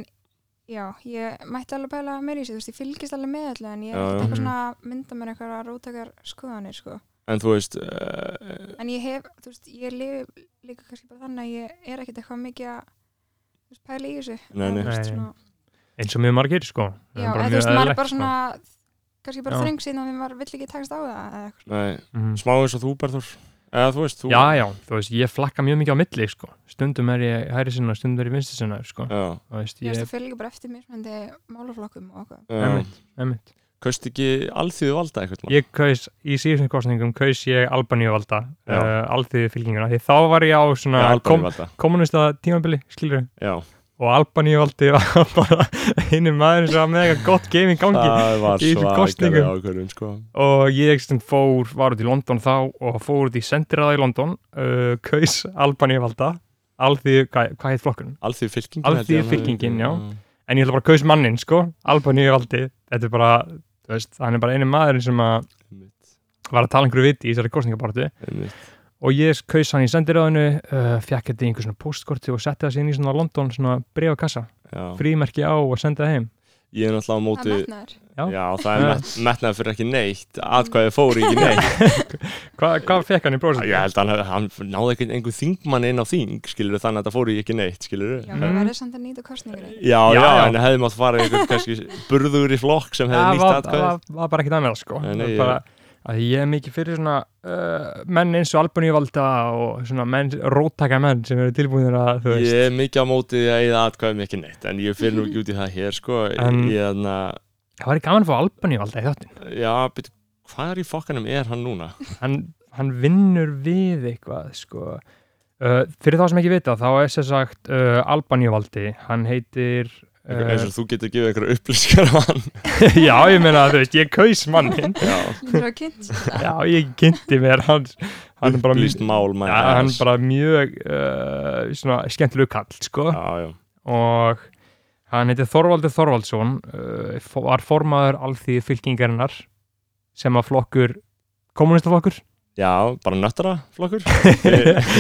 Speaker 5: já, ég mætti alveg pæla meira í sig, þú veist, ég fylgist alveg með allir en ég er
Speaker 1: Já,
Speaker 5: ekkert
Speaker 1: já.
Speaker 5: eitthvað svona að mynda mér eitthvað að rótakar skoðanir, sko
Speaker 1: en þú veist uh,
Speaker 5: en ég hef, þú veist, ég lifi líka kannski bara þannig að ég er ekkert eitthvað mikið að þú veist, pæla í þessu
Speaker 1: Nei,
Speaker 5: Og,
Speaker 1: nei.
Speaker 5: þú veist,
Speaker 2: Nei, nei.
Speaker 5: svona-
Speaker 2: eins og mjög margir sko. Það bara
Speaker 5: já, eða þú
Speaker 2: mjög
Speaker 5: veist, maður
Speaker 2: eðlilegt, sko.
Speaker 5: er bara svona kannski bara
Speaker 2: Já.
Speaker 5: þröng síðan að maður vill ekki takast á það eða eitthvað
Speaker 1: nei,
Speaker 2: sko. Mhm.
Speaker 1: smá eins og þú Berður eða þú veist þú
Speaker 2: Já, já, þú veist, ég flakka mjög mikið á milli, sko. Stundum er ég hæri sinna, stundum er ég vinstri sinna, sko.
Speaker 1: já,
Speaker 2: Þú veist,
Speaker 5: ég veist,
Speaker 2: ég,
Speaker 5: það fylgir bara eftir mér málaflokkum og okkur
Speaker 1: já.
Speaker 2: Einmitt. einmitt.
Speaker 1: kaust ekki alþýðu valda eitthvað
Speaker 2: Ég kaus, í síðustum kostningum kaus ég Albaníu valda,
Speaker 1: Já.
Speaker 2: uh, alþýðu fylkinguna, því þá var ég á svona kom,
Speaker 1: valda
Speaker 2: kommunista tímabili, skilur
Speaker 1: já,
Speaker 2: og Albaníu valdi var bara einu maður sem var með eitthvað gott game í gangi
Speaker 1: það var
Speaker 2: í þessum
Speaker 1: svakalega
Speaker 2: kosningum.
Speaker 1: ákvörðun sko.
Speaker 2: og ég sem fór, var út í London þá og fór út í sendiræða í London, uh, kaus Albaníu valda, alþýðu, hvað, hvað heit flokkun?
Speaker 1: alþýðu fylkingin
Speaker 2: Alþýðu fylkingin, já. en ég ætla bara að kaus mannin sko, Albaníu valdi þetta er bara, þú veist, hann er bara einu maðurinn sem að var að tala einhverju viti í þessari kostningabartu og ég kaus hann í sendiröðinu uh, fekk þetta í einhver svona postkorti og setti það síðan í svona London svona brefakassa,
Speaker 1: já.
Speaker 2: frímerki á og sendi það heim
Speaker 1: ég er náttúrulega á
Speaker 5: það
Speaker 1: móti
Speaker 5: er metnaður
Speaker 2: Já.
Speaker 1: já, það er met, metnað fyrir ekki neitt atkvæði fór ekki neitt
Speaker 2: Hva, hvað fekk hann í prósentu?
Speaker 1: ég held að hann, hann náði ekki einhver þingmann inn á þing skilur þannig að þetta fór í ekki neitt skilur
Speaker 5: já,
Speaker 2: Mhm.
Speaker 5: maður verður samt að nýta kostningur
Speaker 1: já,
Speaker 2: Já,
Speaker 1: já,
Speaker 2: já.
Speaker 1: en hefði mátt fara í einhver kannski burður í flokk sem hefði
Speaker 2: það
Speaker 1: nýtt
Speaker 2: var, það
Speaker 1: atkvæði
Speaker 2: var, var bara ekkert annað sko
Speaker 1: Nei, nei,
Speaker 2: Það er
Speaker 1: ég-
Speaker 2: bara, að ég er mikið fyrir svona uh, menn eins og albaníuvalda og svona menn, róttaka menn sem eru tilbúinir að þú veist
Speaker 1: Ég er mikið á móti að eða atkvæði mikið neitt en ég fyrir nú ekki út í það hér sko
Speaker 2: En-
Speaker 1: ég þannig að,
Speaker 2: það væri gaman að fá albaníuvalda í þáttin
Speaker 1: já, byrju, hvað er í fokkanum er hann núna?
Speaker 2: hann, hann vinnur við eitthvað sko. uh, fyrir þá sem ekki vita þá er sér sagt uh, albaníuvaldi hann heitir
Speaker 1: Einhver- eins
Speaker 2: uh,
Speaker 1: og þú getur að gefa einhverja upplýsingar á hann
Speaker 2: já ég meina þú veist ég kaus mannin
Speaker 5: þú er að kynnt
Speaker 2: já ég kynnti mér hann, hann er bara
Speaker 1: upplýst mál
Speaker 2: já,
Speaker 1: maður
Speaker 2: hann
Speaker 1: hans.
Speaker 2: bara mjög uh, svona skemmtilegu kall sko.
Speaker 1: já, já,
Speaker 2: og hann heitir Þorvaldur Þorvaldsson uh, fó- var formaður alþýði fylkingarinnar sem að flokkur kommunistaflokkur
Speaker 1: já, bara nöttara flokkur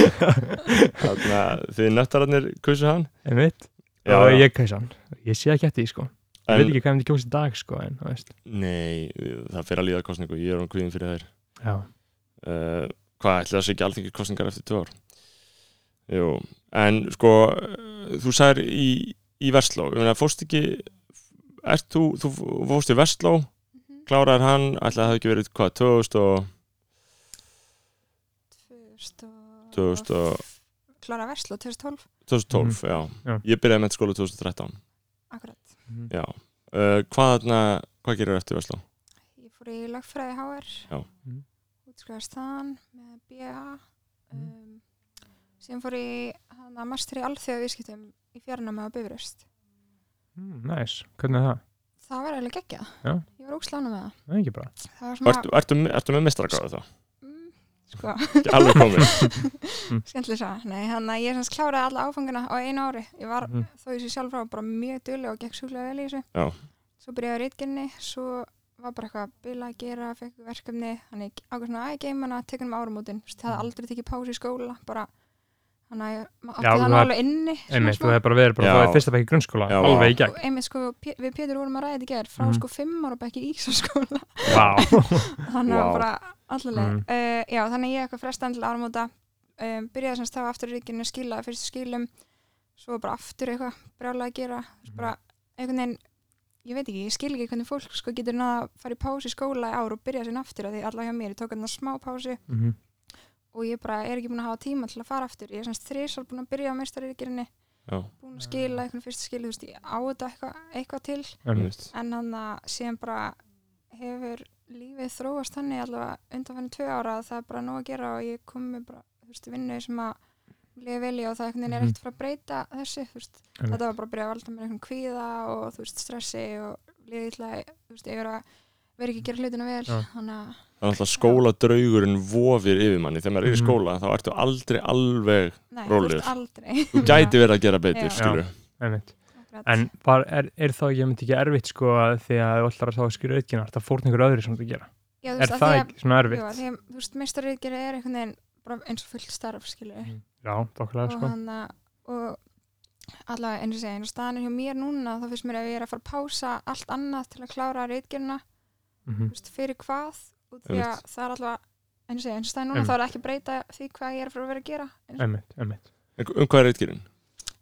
Speaker 1: þannig að þið nöttararnir kusu hann
Speaker 2: einmitt
Speaker 1: Já,
Speaker 2: og
Speaker 1: já.
Speaker 2: ég kaus hann ég sé ekki eftir því sko ég veit
Speaker 1: en,
Speaker 2: ekki hvað myndi kjósa í dag sko en, þú veist.
Speaker 1: nei, það fyrir að líða kostningu ég er án kvíðin fyrir þær
Speaker 2: já,
Speaker 1: uh, hvað ætli það sé ekki alþingi kostningar eftir tvö ár Jú, en sko eh, þú sagðir í, í Vestló ég meina, fórst ekki ert þú, þú fórst í Vestló
Speaker 5: Mhm.
Speaker 1: klárar hann, ætli það hafi ekki verið hvað, 2000 og 2000 og-
Speaker 5: klára verslu 2012
Speaker 1: 2012, já.
Speaker 2: Mhm. Já.
Speaker 1: ég byrjaði með skóla 2013
Speaker 5: akkurat,
Speaker 2: Mhm.
Speaker 1: já, uh, hvað þarna hvað gerir eftir Vestló?
Speaker 5: ég fór í lögfræði HR
Speaker 1: Já.
Speaker 2: Mhm.
Speaker 5: skrifast þann með BA um, síðan fór ég hana master í alþjóða viðskiptum í fjarnámi á Bifröst
Speaker 2: Mm, nice. Hvernig er það?
Speaker 5: það var eiginlega geggjað,
Speaker 2: Já.
Speaker 5: ég var ógslána með það
Speaker 2: Það er ekki bara.
Speaker 5: það var svona,
Speaker 1: Ertu, ertu, ertu með mistrakráðu þá?
Speaker 5: mm, sko
Speaker 1: Ekki alveg komið
Speaker 5: skemmtileg sá, nei, þannig að ég sem sagt kláraði alla áfangina á einu ári, ég var
Speaker 2: Mhm.
Speaker 5: þó ég sé sjálf frá bara mjög duðlega og gekk sjúklega vel í þessu
Speaker 1: Já.
Speaker 5: svo byrjaði ég á reitgenni, svo var bara eitthvað að bila að gera, fekk verkefni þannig ákveð svona, að geima hana, tekunum áramótin Þú veist, það hafði aldrei tekið pási í skóla bara, þannig að ég- maður
Speaker 2: Mhm. Já,
Speaker 5: átti það
Speaker 2: það-
Speaker 5: alveg inni svona
Speaker 2: Einmitt,
Speaker 5: smá.
Speaker 2: þú hefur bara verið bara
Speaker 1: Já.
Speaker 2: frá því fyrsta bekk í grunnskóla,
Speaker 1: Já.
Speaker 2: alveg í gegn.
Speaker 5: og einmitt sko, P- við Pétur vorum að ræða þetta í gerð frá
Speaker 2: Mhm.
Speaker 5: sko fimm ára bekki í Ísaskóla
Speaker 2: Vá.
Speaker 5: þannig að
Speaker 1: Vá.
Speaker 5: bara allalega
Speaker 2: Mhm.
Speaker 5: uh, já, þannig að ég eitthvað frestaðan til áramóta um, byrjaði semst þá aftur í ríkinu skilaði fyrstu skilum svo bara aftur eitthvað brjálega að gera mm. bara einhvern veginn ég veit ekki, ég skil ekki hvernig fólk sko getur náða að fara í pási í skóla í ár og byrja sinna aftur af því allavega hjá mér, ég tók hérna smá pási
Speaker 2: Mhm.
Speaker 5: og ég bara er ekki búin að hafa tíma til að fara aftur ég er semst þrísar búin að byrja á meistaririkirni
Speaker 1: Já.
Speaker 5: búin að skila einhvern fyrstu skil þú veist, ég á þetta eitthvað, eitthvað til
Speaker 2: Einmitt.
Speaker 5: en hann að síðan bara hefur lífið þróast þannig allavega undanfæni tvö ára að það er bara nóg að gera og ég kom með bara, þú veist, vinnu sem að lifa vel í og það einhvern veginn er
Speaker 2: Mhm.
Speaker 5: ekkert fyrir að breyta þessu, þú veist,
Speaker 2: Einmitt.
Speaker 5: þetta var bara að byrja að valda mér einhvern kvíða og, þú veist, stressi og liðið illa, þú veist, ég er að vera ekki að gera hlutina vel,
Speaker 2: Já.
Speaker 5: þannig að
Speaker 1: Það er alltaf skóladraugurinn vofir yfir manni þegar maður er í
Speaker 2: Mhm.
Speaker 1: skóla þá ertu aldrei alveg
Speaker 5: nei,
Speaker 1: Rólegur.
Speaker 5: þú veist, aldrei
Speaker 1: þú gæti verið að gera betur
Speaker 5: Já.
Speaker 1: skilur
Speaker 2: Einmitt.
Speaker 5: Akkurat.
Speaker 2: En var, er, er þá ekki, ég myndi ekki erfitt sko að því að þú ætlar að þá skilja auðvitað, það fórn ykkur öðru sem þú gera.
Speaker 5: Já, þú
Speaker 2: Er
Speaker 5: veist, af
Speaker 2: það
Speaker 5: því að-
Speaker 2: ekki svona
Speaker 5: jú, af
Speaker 2: erfitt?
Speaker 5: því að, þú veist, meistarriðgerð er einhvern veginn bara eins og fullt starf, skilur
Speaker 2: Mhm. Já, dokkulega
Speaker 5: og
Speaker 2: sko.
Speaker 5: hann og allavega eins og segja, eins og staðan er hjá mér núna þá finnst mér að ég er að fara að pása allt annað til að klára reitgerina, þú
Speaker 2: Mhm.
Speaker 5: veist, fyrir hvað og því að
Speaker 1: Einmitt.
Speaker 5: það er allavega eins og segja, eins og staðan núna
Speaker 2: Einmitt.
Speaker 5: þá er ekki að breyta því hvað ég er að fara að vera að gera eins,
Speaker 2: Einmitt, einmitt.
Speaker 1: En um hvað er reitgerinn?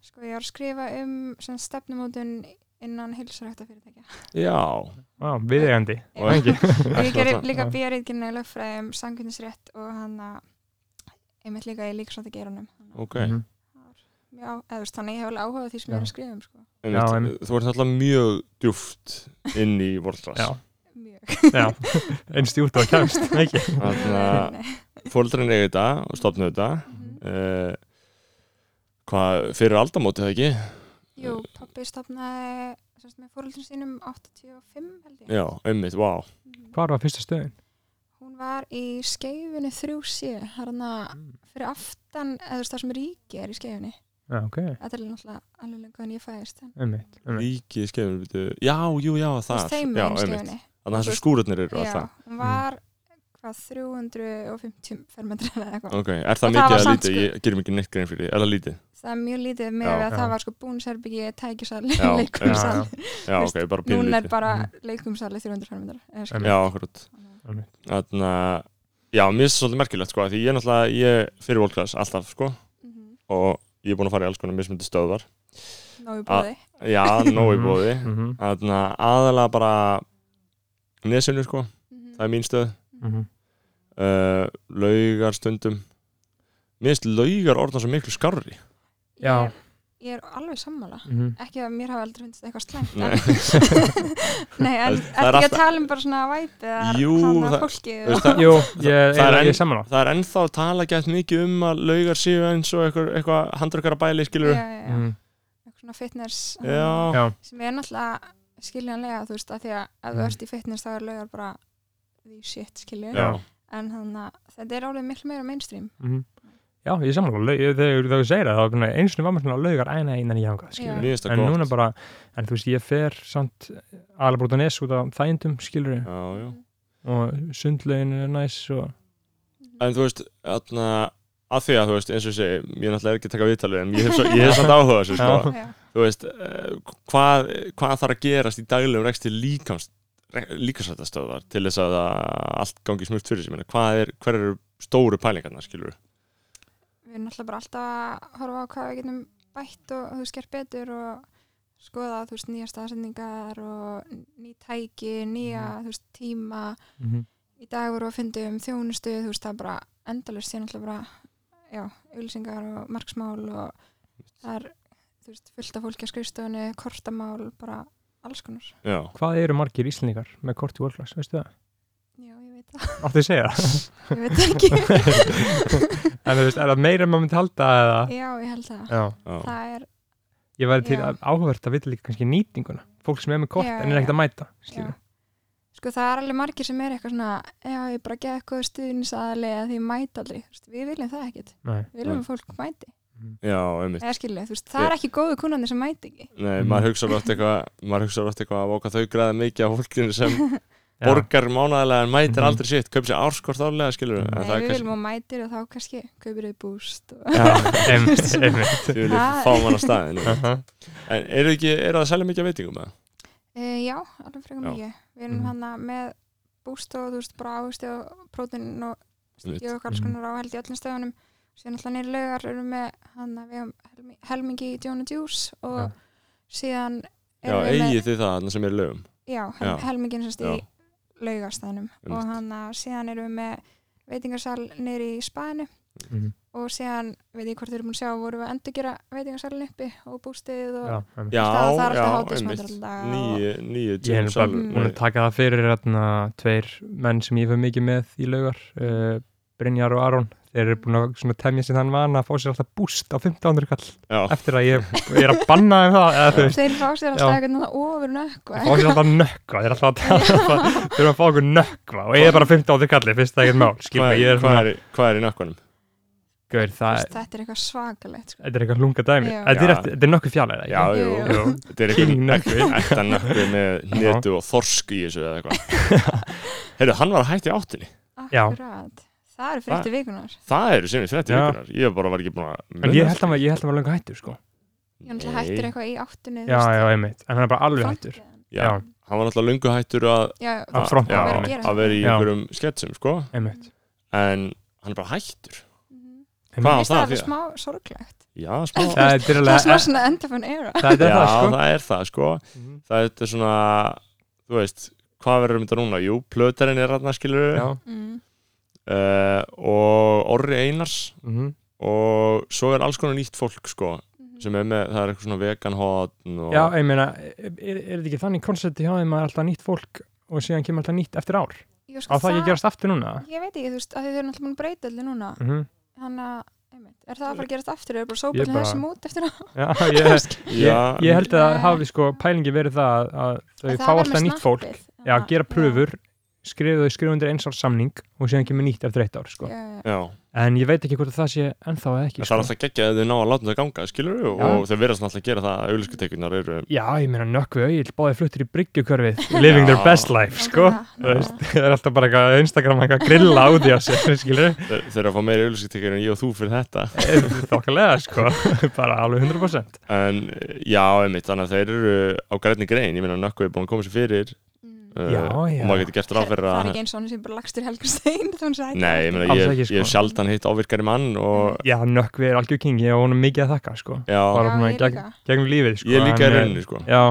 Speaker 5: sko ég er að skrifa um sem stefnumótun innan hilsarækta fyrirtækja
Speaker 1: Já
Speaker 2: Vá, viðegandi.
Speaker 1: Og
Speaker 5: og
Speaker 1: ekki
Speaker 5: ég gerir líka
Speaker 2: Já.
Speaker 5: bíjareitgerina í lögfræði um sangjöndisrétt og hann að einmitt líka í líksvænt að gera honum
Speaker 1: Ok
Speaker 2: Mhm.
Speaker 5: Já, eða þú veist, þannig að ég hef alveg áhugað því sem ég er að skrifa um sko.
Speaker 1: Einmitt.
Speaker 2: Já, einmitt.
Speaker 1: Þú ert alltaf mjög djúft inn í vortlas
Speaker 2: Já,
Speaker 5: Mjög.
Speaker 2: já. Einst í út og að kemst, ekki?
Speaker 1: Þannig að
Speaker 5: Nei.
Speaker 1: fóreldrin eiga þetta og stopna þetta
Speaker 5: Mhm.
Speaker 1: uh, Hvað fyrir aldamóti það ekki?
Speaker 5: Jú, pabbi stopnaði semst, með fóröldum sínum 85 held ég.
Speaker 1: Já, einmitt, vá
Speaker 5: Mhm.
Speaker 2: Hvar var fyrsta stöðin?
Speaker 5: Hún var í skeifinu 3C, hérna fyrir aftan, eða þú veist það sem ríki er í skeifinni.
Speaker 2: Já, ok.
Speaker 5: Þetta er náttúrulega alveg lengur en ég fæðist. en-
Speaker 2: Einmitt, einmitt.
Speaker 1: Ríki í skefinu byrju. Já, jú, já,
Speaker 5: Þú
Speaker 1: það
Speaker 5: veist þeim
Speaker 1: Já,
Speaker 5: megin í
Speaker 1: einmitt
Speaker 5: skeifinni.
Speaker 1: Þannig að þessu skúrarnir eru og allt
Speaker 5: Já,
Speaker 1: það
Speaker 5: hún var hvað 350 fermetrar eða eitthvað.
Speaker 1: Ok, er það
Speaker 5: Og það
Speaker 1: mikið
Speaker 5: var
Speaker 1: að
Speaker 5: samt
Speaker 1: lítið?
Speaker 5: sko-
Speaker 1: Ég gerum ekki neitt grein fyrir því, er það lítið?
Speaker 5: Það er mjög lítið með
Speaker 1: Já.
Speaker 5: að
Speaker 2: Já.
Speaker 5: það var sko búnsherbyggi, tækjusal,
Speaker 1: Já, Já,
Speaker 5: leikumsal.
Speaker 1: Mhm.
Speaker 5: Þú veist,
Speaker 1: ok, bara pínu
Speaker 5: Núna er bara leikumsali 300 fermetrar. eða sko. skilur.
Speaker 1: Já, akkurat Þannig að, já, mér finnst það svolítið merkilegt sko, af því ég er náttúrulega, ég fyrir World Class alltaf sko
Speaker 5: Mhm.
Speaker 1: og ég er búin að fara í alls konar mismyndi stöðvar
Speaker 5: Nógu
Speaker 1: Ah.
Speaker 5: bóði.
Speaker 1: Já, nóg í bóði
Speaker 2: Mhm,
Speaker 1: Þannig að aðalega bara nesinu sko, það er mín stöð
Speaker 2: mhm.
Speaker 1: uh, laugar stundum Mér finnst laugar orðan svo miklu skarri
Speaker 2: Já.
Speaker 5: Ég, ég er alveg sammála.
Speaker 2: Mhm.
Speaker 5: ekki að mér hafa aldrei finnst eitthvað slæmt
Speaker 1: Nei.
Speaker 5: en- Nei, en
Speaker 1: Það er
Speaker 5: ertu ekki að
Speaker 1: alltaf-
Speaker 5: tala um bara svona væpið að
Speaker 1: Jú,
Speaker 5: hana
Speaker 1: það-
Speaker 5: fólki
Speaker 1: Þú veist, það,
Speaker 2: Jú, ég
Speaker 1: það er
Speaker 2: ég- ég
Speaker 1: enn-
Speaker 2: er saman á.
Speaker 1: það er ennþá tala gætt mikið um að laugar séu eins og eitthvað, eitthvað handrökkara bæli skilur
Speaker 5: já, já, já.
Speaker 2: Mm. Mhm,
Speaker 5: eitthvað svona fitness hana,
Speaker 1: Já,
Speaker 2: Já,
Speaker 5: sem er náttúrulega skiljanlega þú veist að því að ef þú
Speaker 2: Mm.
Speaker 5: ert í fitness þá er laugar bara því shit skilju
Speaker 1: já,
Speaker 5: en þannig að þetta er alveg miklu meira mainstream
Speaker 2: mhm. Já, ég er samanlega, þegar þegar þú segir það, þá er bara einu sinni var mér svona laugar æna einan í hangað, skilur
Speaker 1: mér finnst það
Speaker 2: en núna
Speaker 1: gott
Speaker 2: bara, en þú veist, ég fer samt alveg brúta nes út af þægindum, skilur ég,
Speaker 1: Já, já
Speaker 2: og sundlegin er næs og,
Speaker 5: Mhm.
Speaker 1: en þú veist, atna, að því að þú veist, eins og ég segi, ég er náttúrulega ekki að taka viðtalið en ég hef, svo, ég hef samt áhuga á þessu sko.
Speaker 5: Já.
Speaker 1: þú veist, uh, hvað, hvað þarf að gerast í daglegum reksti líkams líkasættastöðar til þess að það allt gangi smurt fyrir sig, Ég meina, hvað er, hver eru stóru pælingarnar, skilur
Speaker 5: við erum náttúrulega bara alltaf að horfa á hvað við getum bætt og þú sker betur og skoða þú veist nýja staðsendingar og ný tæki, nýja þú veist tíma
Speaker 2: mhm,
Speaker 5: í dag voru að fundi um þjónustu þú veist það er bara endalust ég náttúrulega bara, já, auðlýsingar og marksmál og það er þú veist, fullt af fólki á skrifstofunni kortamál, bara alls konar
Speaker 1: já,
Speaker 2: hvað eru margir íslendingar með kort í World Class, veistu það?
Speaker 5: já, ég veit það
Speaker 2: átti að segja það?
Speaker 5: ég veit ekki
Speaker 2: en þú veist, er það meira en maður myndi halda eða
Speaker 5: já, ég held það
Speaker 2: já.
Speaker 1: Já.
Speaker 5: það er,
Speaker 2: ég væri til
Speaker 5: Já.
Speaker 2: að áhverta að vita líka kannski nýtinguna fólk sem er með kort
Speaker 5: Já,
Speaker 2: en er ekkert að mæta
Speaker 5: já
Speaker 2: skilur.
Speaker 5: sko það er alveg margir sem er eitthvað svona já, ég bara geða eitthvað stuðnisaðali eða því ég mæta aldrei, Þú veist, við viljum það ekkit
Speaker 2: Nei.
Speaker 5: við viljum
Speaker 1: Nei.
Speaker 5: að fólk mæti,
Speaker 1: Já, einmitt
Speaker 5: eða skilja þú veist, það er ekki góðu kunnandi sem mæti ekki
Speaker 1: Nei,
Speaker 2: Mm.
Speaker 1: maður hugsa rátt eitthvað maður hugsa rátt eitthvað að voka þau græða mikið af fólkinu sem
Speaker 2: Já.
Speaker 1: borgar mánaðilega en mætir
Speaker 2: Mhm.
Speaker 1: aldrei sitt kaup sér árskort álega, skilur
Speaker 2: Mm.
Speaker 1: en
Speaker 5: Nei,
Speaker 1: það
Speaker 5: við
Speaker 1: er
Speaker 5: viljum að mætir og þá kannski kaupir þau búst og...
Speaker 2: Já, einmitt, einmitt.
Speaker 1: kannski við viljum
Speaker 5: Ha.
Speaker 1: fá mann að staðin en
Speaker 2: Aha.
Speaker 1: eru ekki, eru það selja mikið af veitingum eða?
Speaker 5: e, Já, alveg frekar
Speaker 1: Já.
Speaker 5: mikið Við erum
Speaker 2: Mhm.
Speaker 5: mm. hann með búst og þú veist bara áhusti og prótin og
Speaker 1: Einmitt. Mhm.
Speaker 5: ég og alls konar áhald í öllum stöðunum síðan alltaf nýr lögar erum með hann við hefum helmi, helmingi í John Juice og
Speaker 2: Já.
Speaker 5: síðan
Speaker 1: Já,
Speaker 5: erum við með-
Speaker 1: eigið þið það þarna sem er í lögum
Speaker 5: Já,
Speaker 1: Já.
Speaker 5: hel, helmingin sérst í
Speaker 1: Já.
Speaker 5: laugastæðnum og
Speaker 1: Einmitt.
Speaker 5: hann að síðan erum við með veitingarsal nýri í spaðinu
Speaker 2: Mhm.
Speaker 5: og síðan, veit ég hvort þið eru búin að sjá vorum við að endurgera veitingarsalin uppi og bústið og
Speaker 2: Já, einmitt.
Speaker 1: Já,
Speaker 5: Það- það er alltaf
Speaker 1: já, einmitt.
Speaker 5: hátíðismatur alla daga
Speaker 1: Nýju, nýju
Speaker 2: Ég hef
Speaker 1: James
Speaker 2: bara
Speaker 1: Allen-
Speaker 2: búin að taka það fyrir atna, tveir menn sem ég fyrir mikið með í laugar, uh, Brynjar og Aron þeir eru búin að svona temja sér þann vana að fá sér alltaf búst á 1500 kall
Speaker 1: Já,
Speaker 2: eftir að ég, ég er að banna þeim það eða þú veist,
Speaker 5: þeir fá sér alltaf
Speaker 2: Já.
Speaker 5: eitthvað ofur eh. nökkva
Speaker 2: fá sér alltaf nökkva þeir eru alltaf að tala um það, þeir eru að fá okkur nökkva og ég er bara 1500 kalli, finnst það ekkert mál skilur,
Speaker 1: hvað
Speaker 2: mig, ég
Speaker 1: er,
Speaker 2: er
Speaker 1: hvað
Speaker 2: svona,
Speaker 1: er, hvað er í nökkunum?
Speaker 2: gaur, það
Speaker 5: þetta er eitthvað svakalegt sko.
Speaker 2: þetta er eitthvað lunga dæmi,
Speaker 5: Já.
Speaker 2: þetta er,
Speaker 1: Já.
Speaker 2: eftir- þetta er nokkuð fjálega
Speaker 1: Já, jú,
Speaker 5: Jú,
Speaker 2: jú.
Speaker 1: þetta er
Speaker 2: King nökkvi.
Speaker 1: eitthvað Þetta nökku með netu og þorsk í þessu eða eitthvað Heyrðu, hann var að hætti áttinni
Speaker 2: Já.
Speaker 5: Akkurat. það eru frétti vikunar
Speaker 1: Það eru sem við frétti
Speaker 2: Já.
Speaker 1: vikunar Ég bara var ekki búin að
Speaker 2: en ég held að maður- ég held að maður löngu hættur sko.
Speaker 5: ég er náttúrulega hættur eitthvað í áttunni
Speaker 2: já, já, einmitt, en hann er bara alveg hættur
Speaker 1: Já, hann var náttúrulega löngu hættur að
Speaker 5: já, já,
Speaker 2: Að fronta,
Speaker 1: já,
Speaker 5: að gera hérna?
Speaker 1: að vera í
Speaker 2: þetta. Já.
Speaker 1: einhverjum sketsum sko.
Speaker 2: einmitt
Speaker 1: En hann er bara hættur Hvað
Speaker 5: Mhm.
Speaker 1: á
Speaker 5: Mér finnst
Speaker 1: það að
Speaker 5: það alveg
Speaker 1: þýða?
Speaker 5: smá sorglegt
Speaker 1: Já, smá
Speaker 2: Já, þetta er
Speaker 5: það er
Speaker 2: alveg
Speaker 5: smá svona end of an era
Speaker 1: Já,
Speaker 2: það er það sko
Speaker 1: það er það sko
Speaker 2: Mhm.
Speaker 1: Það er þetta svona, þú veist Hvað verður um þetta núna? Jú, plötarinn er rannar skilur
Speaker 2: Já.
Speaker 5: mm.
Speaker 1: uh, Og Orri Einars
Speaker 2: Mhm.
Speaker 1: og svo er alls konar nýtt fólk sko, sem er með, það er eitthvað svona vegan hotn og
Speaker 2: Já, ég meina, er, er þetta ekki þannig konsepti hjá þeim að alltaf nýtt fólk og síðan kemur alltaf nýtt eftir ár?
Speaker 5: Jú,
Speaker 2: Á
Speaker 5: sko,
Speaker 2: það, ekki gerast aftur núna?
Speaker 5: ég veit ekki, þú veist, að þið eru náttúrulega búin að breyta allir núna
Speaker 2: Mm
Speaker 5: þannig að, einmitt, er það að fara að gerast aftur er bara
Speaker 2: Ég
Speaker 5: sópallin
Speaker 2: bara-
Speaker 5: þessum út eftir á
Speaker 2: Já, ég,
Speaker 1: Já,
Speaker 2: ég held að
Speaker 5: Nei.
Speaker 2: hafi sko pælingi verið það að- að þau fá alltaf nýtt fólk, já, gera pröfur, skrifa þau skrifa undir eins árs samning og síðan kemur nýtt eftir eitt ár sko.
Speaker 5: já,
Speaker 1: já.
Speaker 2: En ég veit ekki hvort að það sé ennþá eða
Speaker 1: En það
Speaker 2: ekki
Speaker 1: er
Speaker 2: sko.
Speaker 1: alltaf geggjað að þau ná að láta þetta ganga skilur við,
Speaker 2: Já.
Speaker 1: og þau verðast náttúrulega að gera það að auðlýskutekjurnar eru
Speaker 2: Já, ég meina nökkvi auðvill, báði fluttir í bryggjukörfið, living their
Speaker 1: Já.
Speaker 2: best life sko. Þú veist, Það er alltaf bara eitthvað að Instagram eitthvað grilla á því á sér, skilur
Speaker 1: þau þau eru að fá meiri auðlýskutekjur en ég og þú fyrir þetta
Speaker 2: þokkalega sko, bara alveg 100%
Speaker 1: en já, einmitt, þannig að þeir eru á grænni grein, ég meina nökku er búin að koma sér fyrir uh,
Speaker 2: Já, já.
Speaker 1: og maður getur gert ráð
Speaker 5: mm. það
Speaker 1: fyrir
Speaker 5: er
Speaker 1: að
Speaker 5: ekki eins og hann sem bara lagstur helgastein
Speaker 1: Nei, ég meina,
Speaker 2: Alls
Speaker 1: ég,
Speaker 2: ekki, sko.
Speaker 1: ég hef sjaldan hitt ávirkari mann og
Speaker 2: Já, Nökkvi er algjör king, ég á honum mikið að þakka sko,
Speaker 1: já,
Speaker 2: bara svona
Speaker 5: ég
Speaker 2: gegn-
Speaker 5: líka.
Speaker 2: gegnum lífið sko
Speaker 1: ég er líka í
Speaker 2: Hann er-
Speaker 1: rauninni sko
Speaker 2: Já,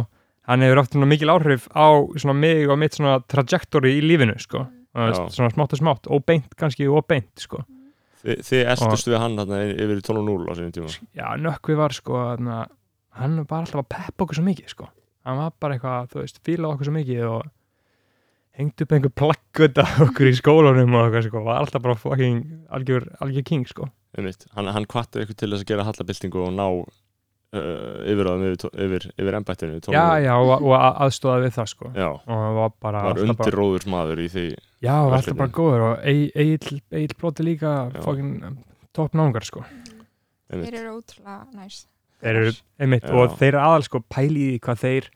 Speaker 2: hann hefur haft svona mikil áhrif á svona mig og mitt svona trajectory í lífinu sko,
Speaker 5: Mm.
Speaker 2: Þú veist,
Speaker 1: Já.
Speaker 2: svona smátt og smátt óbeint kannski og óbeint sko
Speaker 1: Þi- Þið eldustu við hann þarna yfir í 12.0 á sinni tíma
Speaker 2: Já, Nökkvi var sko þarna, hann var bara alltaf að peppa okkur svo mikið sko, hann var bara eitthvað þú veist, fíla okkur svo mikið og hengt upp einhver plakkut af okkur í skólanum og eitthvað sko, var alltaf bara fucking algjör, algjör king sko
Speaker 1: Einmitt. hann, hann kvartaði ykkur til þess að gera hallabildingu og ná uh, yfirráðum yfir, tó- yfir, yfir embættinu í tólf
Speaker 2: Já,
Speaker 1: árum.
Speaker 2: já, og, og að- aðstoðaði við það sko
Speaker 1: já,
Speaker 2: og hann var bara
Speaker 1: var
Speaker 2: alltaf bara,
Speaker 1: undirróður maður í því
Speaker 2: já, var alltaf
Speaker 1: verkefni.
Speaker 2: bara góður og Egil, Egil blóti líka
Speaker 1: Já.
Speaker 2: fókin topp náungar sko
Speaker 5: þeir
Speaker 1: einmitt.
Speaker 5: eru ótrúlega næs
Speaker 2: þeir eru, einmitt,
Speaker 1: Já.
Speaker 2: og þeir eru aðal sko pæli í því hvað þeir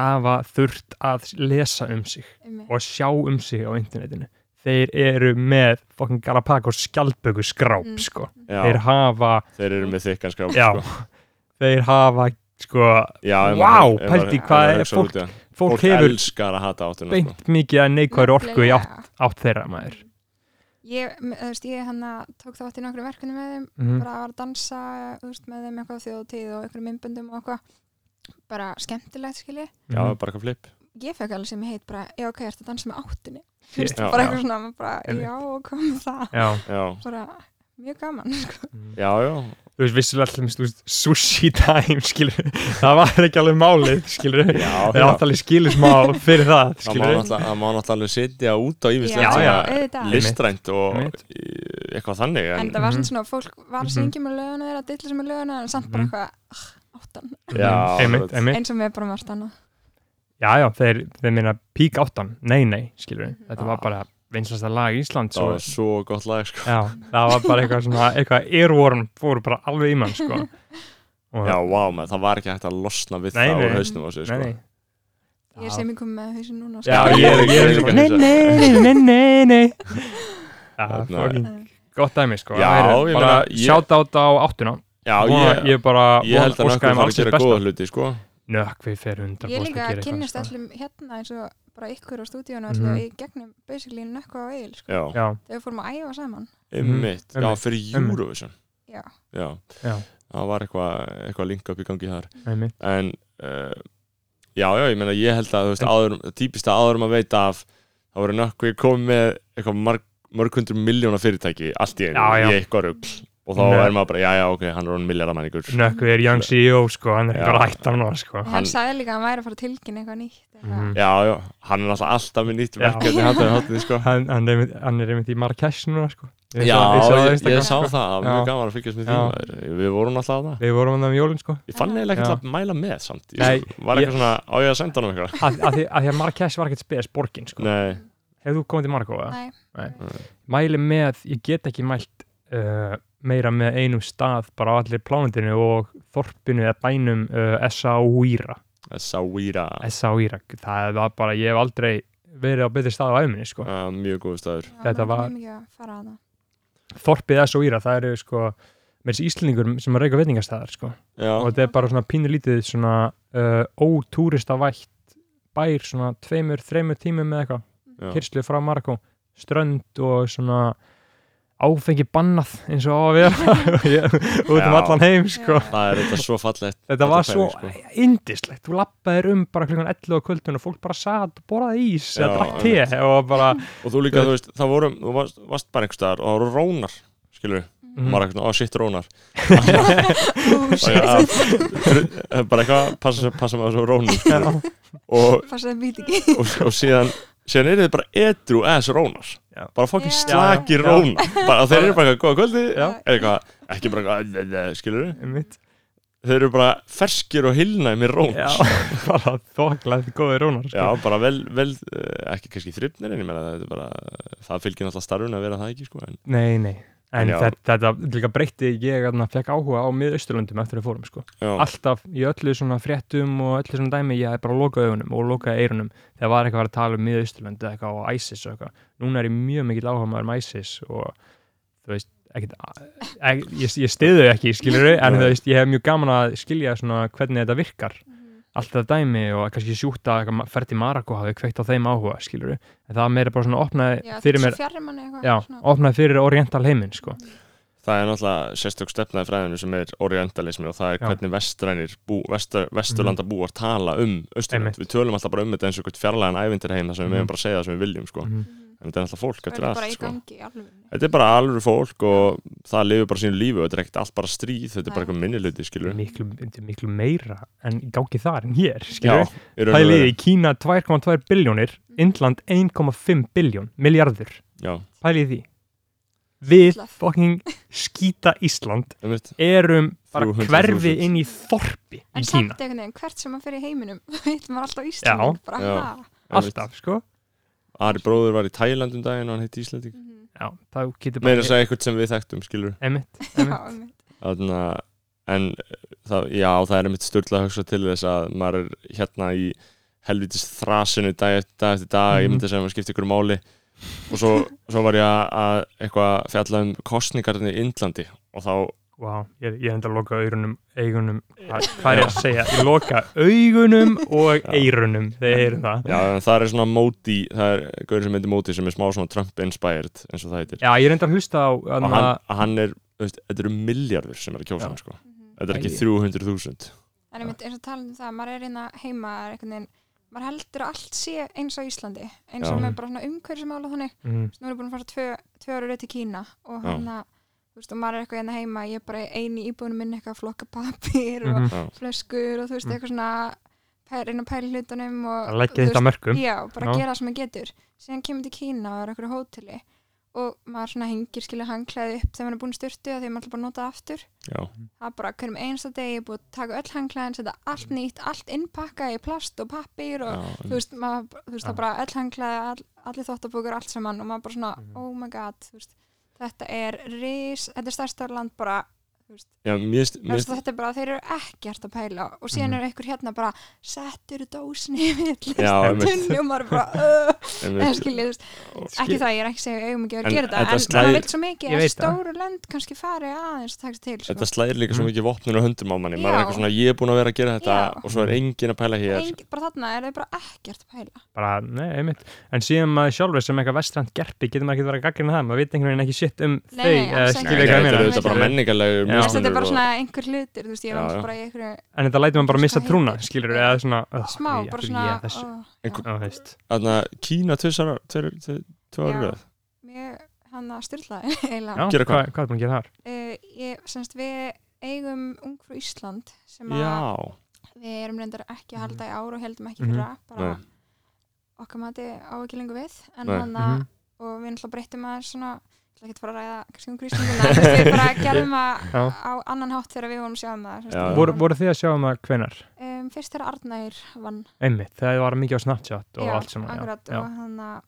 Speaker 2: hafa þurft að lesa um sig
Speaker 5: Einmitt.
Speaker 2: og sjá um sig á internetinu þeir eru með fókin Galapagos skjaldböku skráp
Speaker 5: Mm.
Speaker 2: sko
Speaker 1: já,
Speaker 2: þeir hafa,
Speaker 1: þeir eru með þykkan skráp
Speaker 2: já
Speaker 1: sko.
Speaker 2: þeir hafa sko,
Speaker 1: já, ef
Speaker 2: Vá,
Speaker 1: maður- ef maður-
Speaker 2: pældi
Speaker 1: ef
Speaker 2: hvað
Speaker 1: maður
Speaker 2: er
Speaker 1: hugsar
Speaker 2: fólk-
Speaker 1: út í það.
Speaker 2: fólk,
Speaker 1: fólk
Speaker 2: hefur
Speaker 1: elskar að hata áttuna sko.
Speaker 2: beint mikið að neikvæður orku í átt,
Speaker 5: Nefnilega.
Speaker 2: átt þeirra maður
Speaker 5: ég, m- þú veist, ég hann tók þátt í nokkru verkunum með þeim
Speaker 2: mm
Speaker 5: bara var að dansa þú veist, með þeim eitthvað á þjóðtíð og einhverjum myndböndum og eitthvað bara skemmtilegt skilji
Speaker 2: Mhm.
Speaker 1: já, bara eitthvað flip
Speaker 5: ég fekk alveg sem ég heit bara, já ok, ertu að dansa með áttinni
Speaker 2: Þú veist,
Speaker 1: Já,
Speaker 5: bara
Speaker 1: já.
Speaker 5: eitthvað svona, maður bara,
Speaker 2: Einmitt.
Speaker 5: já, og hvað með það
Speaker 2: já,
Speaker 1: já,
Speaker 5: bara, mjög gaman sko.
Speaker 1: já, já,
Speaker 2: þú veist, vissulega allir, þú veist, sushi time, skilur, það var ekki alveg málið, skilur,
Speaker 1: Já,
Speaker 2: það átt alveg skilur smá fyrir það,
Speaker 1: Það má
Speaker 2: skilur,
Speaker 1: náttúrulega það má náttúrulega alveg sitja út á
Speaker 2: Já,
Speaker 1: yfirstætt
Speaker 2: já.
Speaker 5: auðvitað.
Speaker 1: listrænt og
Speaker 2: Einmitt.
Speaker 1: eh, eitthvað þannig
Speaker 5: En
Speaker 1: en,
Speaker 5: það var
Speaker 2: Mhm.
Speaker 5: svona svona, fólk var að
Speaker 2: Mhm.
Speaker 5: syngja með löguna þeirra, dilla sem með löguna en samt bara
Speaker 2: Mhm.
Speaker 5: eitthvað, ah, áttan,
Speaker 1: Já,
Speaker 2: einmitt,
Speaker 1: akkurat.
Speaker 2: einmitt,
Speaker 5: eins og með bara margt annað.
Speaker 2: já, já, þeir, þeir minna pík áttan, nei, nei, skilur, þetta
Speaker 1: Ah.
Speaker 2: var bara vinslasta lag Íslands
Speaker 1: það
Speaker 2: og
Speaker 1: var svo gott lag sko.
Speaker 2: Já, það var bara eitthvað svona, eitthvað earworm fóru bara alveg í mann, sko. Og,
Speaker 1: Já, vá, wow, það var ekki hægt að losna við
Speaker 2: Nei,
Speaker 1: það úr
Speaker 2: nei.
Speaker 1: hausnum á sig
Speaker 2: nei,
Speaker 1: sko.
Speaker 2: nei.
Speaker 5: Ég er
Speaker 2: Já.
Speaker 5: sem ég kom með hausin núna. sko.
Speaker 2: Já,
Speaker 1: Já,
Speaker 2: ég er, ég er,
Speaker 1: líka
Speaker 2: nei,
Speaker 1: hissa.
Speaker 2: nei, nei, nei, nei. Já,
Speaker 1: Þarna-
Speaker 2: fokkin,
Speaker 5: Eh,
Speaker 2: gott dæmi, sko.
Speaker 1: Hérna- Já,
Speaker 2: Heyrðu,
Speaker 1: ég
Speaker 2: bara
Speaker 1: meina, ég-
Speaker 2: Sjáta á þetta á áttuna.
Speaker 1: Já,
Speaker 2: Vona-
Speaker 1: ég, ég,
Speaker 2: Ég bara,
Speaker 1: held að
Speaker 2: óskaði
Speaker 1: nökkum
Speaker 2: þeim
Speaker 1: fara að
Speaker 2: alls hins
Speaker 1: gera
Speaker 2: besta.
Speaker 1: góða hluti sko.
Speaker 2: Nökkvi fer hundra
Speaker 5: Ég
Speaker 2: búst að
Speaker 5: líka
Speaker 2: gera
Speaker 5: kynnist
Speaker 2: eitthvað. sko.
Speaker 5: allum hérna eins og bara ykkur á stúdíónu mm -hmm.
Speaker 2: Mhm.
Speaker 5: í gegnum basically nökkva á eil, sko.
Speaker 1: Já,
Speaker 2: Já,
Speaker 5: Þegar við fórum að æfa saman.
Speaker 1: einmitt, já,
Speaker 2: einmitt,
Speaker 1: fyrir
Speaker 2: einmitt.
Speaker 1: Eurovision
Speaker 5: Já.
Speaker 1: Já,
Speaker 2: Já.
Speaker 1: það var eitthvað eitthva link upp í gangi þar
Speaker 2: einmitt.
Speaker 1: en uh, já, já, ég meina ég held að þú veist,
Speaker 2: En-
Speaker 1: áður, típist að áður maður veit af þá voru nökkvi komið með eitthvað marg, mörg hundru miljóna fyrirtæki allt í einu,
Speaker 2: Já, já.
Speaker 1: í eitthvað rugl og þá
Speaker 2: Nei.
Speaker 1: er maður bara, já, já, ok, hann er orðin miljardamæningur
Speaker 2: Nökkvi er young CEO, sko, hann er
Speaker 1: Já.
Speaker 2: ekki bara hættan nú, sko.
Speaker 5: Hann,
Speaker 1: Hann-
Speaker 5: sagði líka að hann væri að fara að tilkynna eitthvað nýtt. Eitthvað.
Speaker 2: Mhm.
Speaker 1: Já, já, hann er alltaf alltaf með nýtt
Speaker 2: Já.
Speaker 1: verkefni hann er hátni, sko
Speaker 2: Hann, hann, er einmitt, hann er einmitt í Marrakesh núna, sko. Ég
Speaker 1: Já,
Speaker 2: sá- ég sá það á
Speaker 1: ég,
Speaker 2: Instagram,
Speaker 1: ég sá
Speaker 2: sko.
Speaker 1: það, það var
Speaker 2: Já.
Speaker 1: mjög gaman að fylgjast með því
Speaker 2: Já.
Speaker 1: maður. Við vorum alltaf að það
Speaker 2: Við vorum hann um jólinn, sko.
Speaker 1: Ég fann eiginlega
Speaker 2: Já.
Speaker 1: ekkert að mæla með samt Ég
Speaker 2: Nei,
Speaker 1: var
Speaker 2: ég-
Speaker 1: eitthvað svona, á ég að senda hann um eitthvað
Speaker 2: að, að, því, að því að Marrakesh var ekkert spes borgin sko.
Speaker 1: Nei,
Speaker 2: hefur þú komið til Marrakesh? eða?
Speaker 5: Nei.
Speaker 2: mæli með, ég get ekki mælt uh, meira með einum stað bara á allir plánundinu og þorpinu eða bænum uh, S.A.U.I.R.A.
Speaker 1: Sáíra
Speaker 2: S.A.U.I.R.A. það var bara, ég hef aldrei verið á betri stað á æminni sko.
Speaker 1: uh, Mjög góð staður
Speaker 5: Já,
Speaker 2: Þetta
Speaker 5: mig
Speaker 2: var-
Speaker 5: langar mikið að fara að það.
Speaker 2: þorpið S.A.U.I.R.A. það eru sko með þessi Íslendingur sem að reyka veitingastæðar sko. og
Speaker 1: Já,
Speaker 2: þetta er bara svona pínulítið svona uh, ótúristavætt bær svona tveimur, þreimur tímum eða eitthvað
Speaker 1: já.
Speaker 2: kyrslu frá Marokko strönd og svona áfengi bannað eins og á að vera Ég- út um
Speaker 1: Já.
Speaker 2: allan heim sko.
Speaker 5: Já.
Speaker 1: Það er þetta svo fallegt
Speaker 2: þetta var
Speaker 1: Þetta sko.
Speaker 2: svo
Speaker 1: pæling,
Speaker 2: indislegt þú lappaðir um bara klukkan 11 á kvöldun og fólk bara sat og borðaði ís
Speaker 1: Já,
Speaker 2: eða drakk te og bara
Speaker 1: Og þú líka, þú veist, það voru, þú varst, varst bara einhvers staðar og það voru rónar, skilur
Speaker 2: Mhm.
Speaker 1: mm. Bara eitthvað, á, sitt rónar
Speaker 5: Ú,
Speaker 1: Bara,
Speaker 5: shit,
Speaker 1: að- þru- bara eitthvað, passa, passa með þessu rónum skilurðu. og,
Speaker 5: fannst það být ekki.
Speaker 1: og, og síðan síðan eru þið bara edru eða þessu rónar
Speaker 2: Já.
Speaker 1: bara fokkin
Speaker 5: Já.
Speaker 1: slaki
Speaker 2: Já.
Speaker 1: rónar bara, og þeir eru bara eitthvað góða kvöldi
Speaker 2: Já.
Speaker 1: eða eitthvað, ekki bara eitthvað, skilur
Speaker 2: Mm, Einmitt.
Speaker 1: þeir eru bara ferskir og hilnaði með
Speaker 2: Já,
Speaker 1: rónar
Speaker 2: bara þoklað góði rónar
Speaker 1: Já,
Speaker 2: sko.
Speaker 1: bara vel, vel eh, ekki kannski þrifnir en ég meina þetta er bara, það fylgir náttúrulega starfun að vera það ekki sko en
Speaker 2: nei, nei En
Speaker 1: En já.
Speaker 2: þetta, þetta líka breytti ég að fekk áhuga á miðausturlöndum eftir að fórum sko.
Speaker 1: já,
Speaker 2: alltaf í öllu svona fréttum og öllu svona dæmi, ég hef bara lokað augunum og lokað eirunum þegar var eitthvað að tala um miðausturlönd eða eitthvað og ISIS og eitthvað núna er ég mjög mikill áhuga maður um ISIS og þú veist, ekkit, ek, ég, ég stiðu ekki, skilur en
Speaker 1: Nei.
Speaker 2: þú veist, ég hef mjög gaman að skilja svona hvernig þetta virkar alltaf dæmi og kannski sjúta eitthvað ferdi Marako hafi kveikt á þeim áhuga, skilur en það meira bara svona opnaði
Speaker 5: Já,
Speaker 2: fyrir mér,
Speaker 5: svo fjarrir manni eitthvað.
Speaker 2: já,
Speaker 5: svona.
Speaker 2: opnaði fyrir oriental heiminn, sko,
Speaker 1: það er náttúrulega sérstök stefnaði fræðinu sem er orientalismi og það er
Speaker 2: Já. Mhm.
Speaker 1: hvernig vestrænir bú, vestur, vesturlanda búar tala um
Speaker 2: Einmitt.
Speaker 1: austurland, við tölum alltaf bara um þetta eins og eitthvað fjarlægan ævindir heim þar sem við
Speaker 2: Mhm.
Speaker 1: meðum bara að segja það sem við viljum sko,
Speaker 2: Mhm.
Speaker 1: en þetta er náttúrulega fólk
Speaker 5: Það
Speaker 1: þetta er
Speaker 5: er bara í
Speaker 1: allt sko,
Speaker 5: gangi, alveg.
Speaker 1: þetta er bara alveg fólk og það lifir bara sínu lífi og þetta er ekkert allt bara stríð, þetta er bara eitthvað minniluti skilur,
Speaker 2: miklu, miklu meira en gangi þar en hér,
Speaker 1: já,
Speaker 2: skilur
Speaker 1: í raun og
Speaker 2: Pæliði
Speaker 1: veru.
Speaker 2: í Kína 2,2 biljónir,
Speaker 5: Mhm.
Speaker 2: Indland 1,5 biljón, miljardur.
Speaker 1: já,
Speaker 2: Pæliði því. Við
Speaker 5: Ísland.
Speaker 2: fucking skýta Ísland
Speaker 1: einmitt,
Speaker 2: erum bara
Speaker 1: 300.000.
Speaker 2: hverfi inn í þorpi í
Speaker 5: En samt
Speaker 2: Kína.
Speaker 5: einhvern veginn, hvert sem maður fyrir heiminum, þá hittum maður alltaf Ísland. Já, bara,
Speaker 1: Já.
Speaker 5: já.
Speaker 1: einmitt.
Speaker 2: Alltaf, sko.
Speaker 1: Ari bróður var í Tæland um daginn og hann heitti Íslending
Speaker 2: Já, það getur
Speaker 1: meira
Speaker 2: bara...
Speaker 1: að segja eitthvað sem við þekktum skilur
Speaker 2: Emitt,
Speaker 5: Já,
Speaker 2: emitt.
Speaker 5: einmitt.
Speaker 1: Þarna, en eh, það, já, það er einmitt störla að hugsa til þess að maður er hérna í helvitis þrasinu dag eftir dag, eftir dag ég
Speaker 2: Mhm.
Speaker 1: myndi að segja að maður skipti ykkur máli og svo, svo var ég að- að eitthvað fjalla um kostningarnir í Indlandi og þá,
Speaker 2: Vá, ég, ég enda að loka augunum, eigunum, hvað hvað er ég að segja? Ég loka augunum og
Speaker 1: Já.
Speaker 2: eirunum, þegar ég heyri það.
Speaker 1: já, en það er svona móti, það er gaur sem heitir móti sem er smá svona Trump inspired eins og það heitir
Speaker 2: Já, ég er enda að hlusta á... hérna,
Speaker 1: og
Speaker 2: Anna,
Speaker 1: hann, að hann er, þú veist, þetta eru miljardur sem er að kjósa
Speaker 2: Já.
Speaker 1: hann sko, þetta er
Speaker 2: Æi.
Speaker 1: ekki 300.000
Speaker 5: Mhm. En einmitt eins og tala um það, maður er hérna heima, er einhvern veginn, maður heldur að allt sé eins á Íslandi, eins
Speaker 1: Já.
Speaker 5: og með bara svona umhverfismála þannig,
Speaker 2: mm,
Speaker 5: Þú veist, nú erum við búin að fara tvö, tvö ára rauð til Kína og
Speaker 1: Já.
Speaker 5: hann að, þú veist, og maður er eitthvað hérna heima ég er bara eini íbúinu minni eitthvað að flokka papír og
Speaker 2: Mhm.
Speaker 5: flöskur og þú veist,
Speaker 1: Mhm.
Speaker 2: Mm.
Speaker 5: eitthvað svona pæ- reyna að pæla í hlutunum og,
Speaker 2: að leggja
Speaker 5: þú
Speaker 2: þetta mörgum
Speaker 5: Já, bara
Speaker 2: Já.
Speaker 5: gera það sem maður getur síðan kemur til Kína og er okkur á hóteli og maður svona hengir skilja hangklæði upp þegar maður er búin styrtu að því að maður ætlar bara að nota það aftur
Speaker 1: já,
Speaker 5: það er bara á hverjum einsta degi ég er búið að taka öll hangklæðin, setja allt nýtt allt innpakka í plast og pappir og
Speaker 1: já,
Speaker 5: þú veist, maður, þú veist það
Speaker 2: Já.
Speaker 5: er bara öll hangklæði all, allir þóttabúkur, allt saman og maður bara svona,
Speaker 2: Mhm.
Speaker 5: oh my god þú veist, þetta er ris, þetta er stærsta land bara
Speaker 1: já mér, finnst-
Speaker 5: Mér...
Speaker 1: mér, finnst-
Speaker 5: Þetta er bara, þeir eru ekkert að pæla og síðan
Speaker 2: Mhm.
Speaker 5: er einhver hérna bara settur dósinni við
Speaker 1: Já, einmitt.
Speaker 5: tunni og maður bara uh, en
Speaker 1: einmitt.
Speaker 5: skiljið, ekki það, ég er ekki að segja við eigum ekki að
Speaker 1: En
Speaker 5: gera þetta,
Speaker 1: þetta
Speaker 5: en
Speaker 1: slær-
Speaker 5: það vil svo mikið
Speaker 4: Ég
Speaker 5: að
Speaker 4: veit það.
Speaker 5: stóru lönd kannski fari aðeins að taka sig til
Speaker 1: þetta
Speaker 5: sko.
Speaker 1: slæðir líka svo
Speaker 2: Mm.
Speaker 1: mikið vopnun og höndum á manni maður er
Speaker 5: Já.
Speaker 1: eitthvað svona, ég er búin að vera að gera þetta
Speaker 5: Já.
Speaker 1: og svo er engin að pæla hér
Speaker 5: Eng, bara þarna er þeir bara ekkert að pæla
Speaker 2: bara, nei, einmitt en síðan maður sjálfur sem eitthvað vestrænt gerpi getur maður ekki verið að gaggina það, maður veit einhvern veginn ekki shit um
Speaker 5: Nei,
Speaker 2: þau,
Speaker 5: nei,
Speaker 2: eða
Speaker 5: alls
Speaker 2: skilur
Speaker 5: ekki.
Speaker 1: þetta er
Speaker 2: ekki hvað ég meina.
Speaker 1: auðvitað bara menningarlegur
Speaker 2: Já.
Speaker 5: Þú veist, þetta
Speaker 1: mismunur
Speaker 5: er bara
Speaker 1: og-
Speaker 5: svona einhver hlutir, þú veist, ég
Speaker 1: Já, já.
Speaker 5: var náttúrulega bara í einhverju
Speaker 2: en þetta lætur maður bara
Speaker 5: Hvað
Speaker 2: missa
Speaker 5: heitir?
Speaker 2: trúna skilur, eða svona, "Ugh,
Speaker 5: smá,
Speaker 2: af
Speaker 5: bara
Speaker 2: hverju
Speaker 5: svona uh,
Speaker 2: ég að þessu,
Speaker 5: ó,
Speaker 1: Einhver-
Speaker 2: Á, veist.
Speaker 1: Þarna, Kína tvisar tveir
Speaker 5: Já.
Speaker 1: ára
Speaker 5: Mér, hann að styrlaði eiginlega
Speaker 2: já,
Speaker 1: Gera hvað?
Speaker 2: hvað, hvað er búin að gera þar?
Speaker 5: uh, ég, semst, Við eigum Ungfrú Ísland sem að
Speaker 1: já,
Speaker 5: við erum reyndar ekki að halda í ár og heldum ekki
Speaker 2: Mhm.
Speaker 5: fyrra bara
Speaker 1: Nei.
Speaker 5: okkar mati á ekki lengur við en
Speaker 1: Nei.
Speaker 5: hann
Speaker 2: Mhm.
Speaker 5: og við náttúrulega breyttum að svona ég ætla ekki að fara að ræða kannski um gríslinguna þú veist, við bara gerðum að
Speaker 2: Já.
Speaker 5: á annan hátt þegar við vorum sjáum það sem sagt,
Speaker 1: Já,
Speaker 5: við
Speaker 1: já.
Speaker 2: voru,
Speaker 5: vorum-
Speaker 2: voru þið að sjá um að hvenar?
Speaker 5: um, fyrst þegar Arnær vann
Speaker 2: einmitt, það var mikið á Snapchat og allt sem
Speaker 5: akkurat,
Speaker 2: já,
Speaker 5: og hann að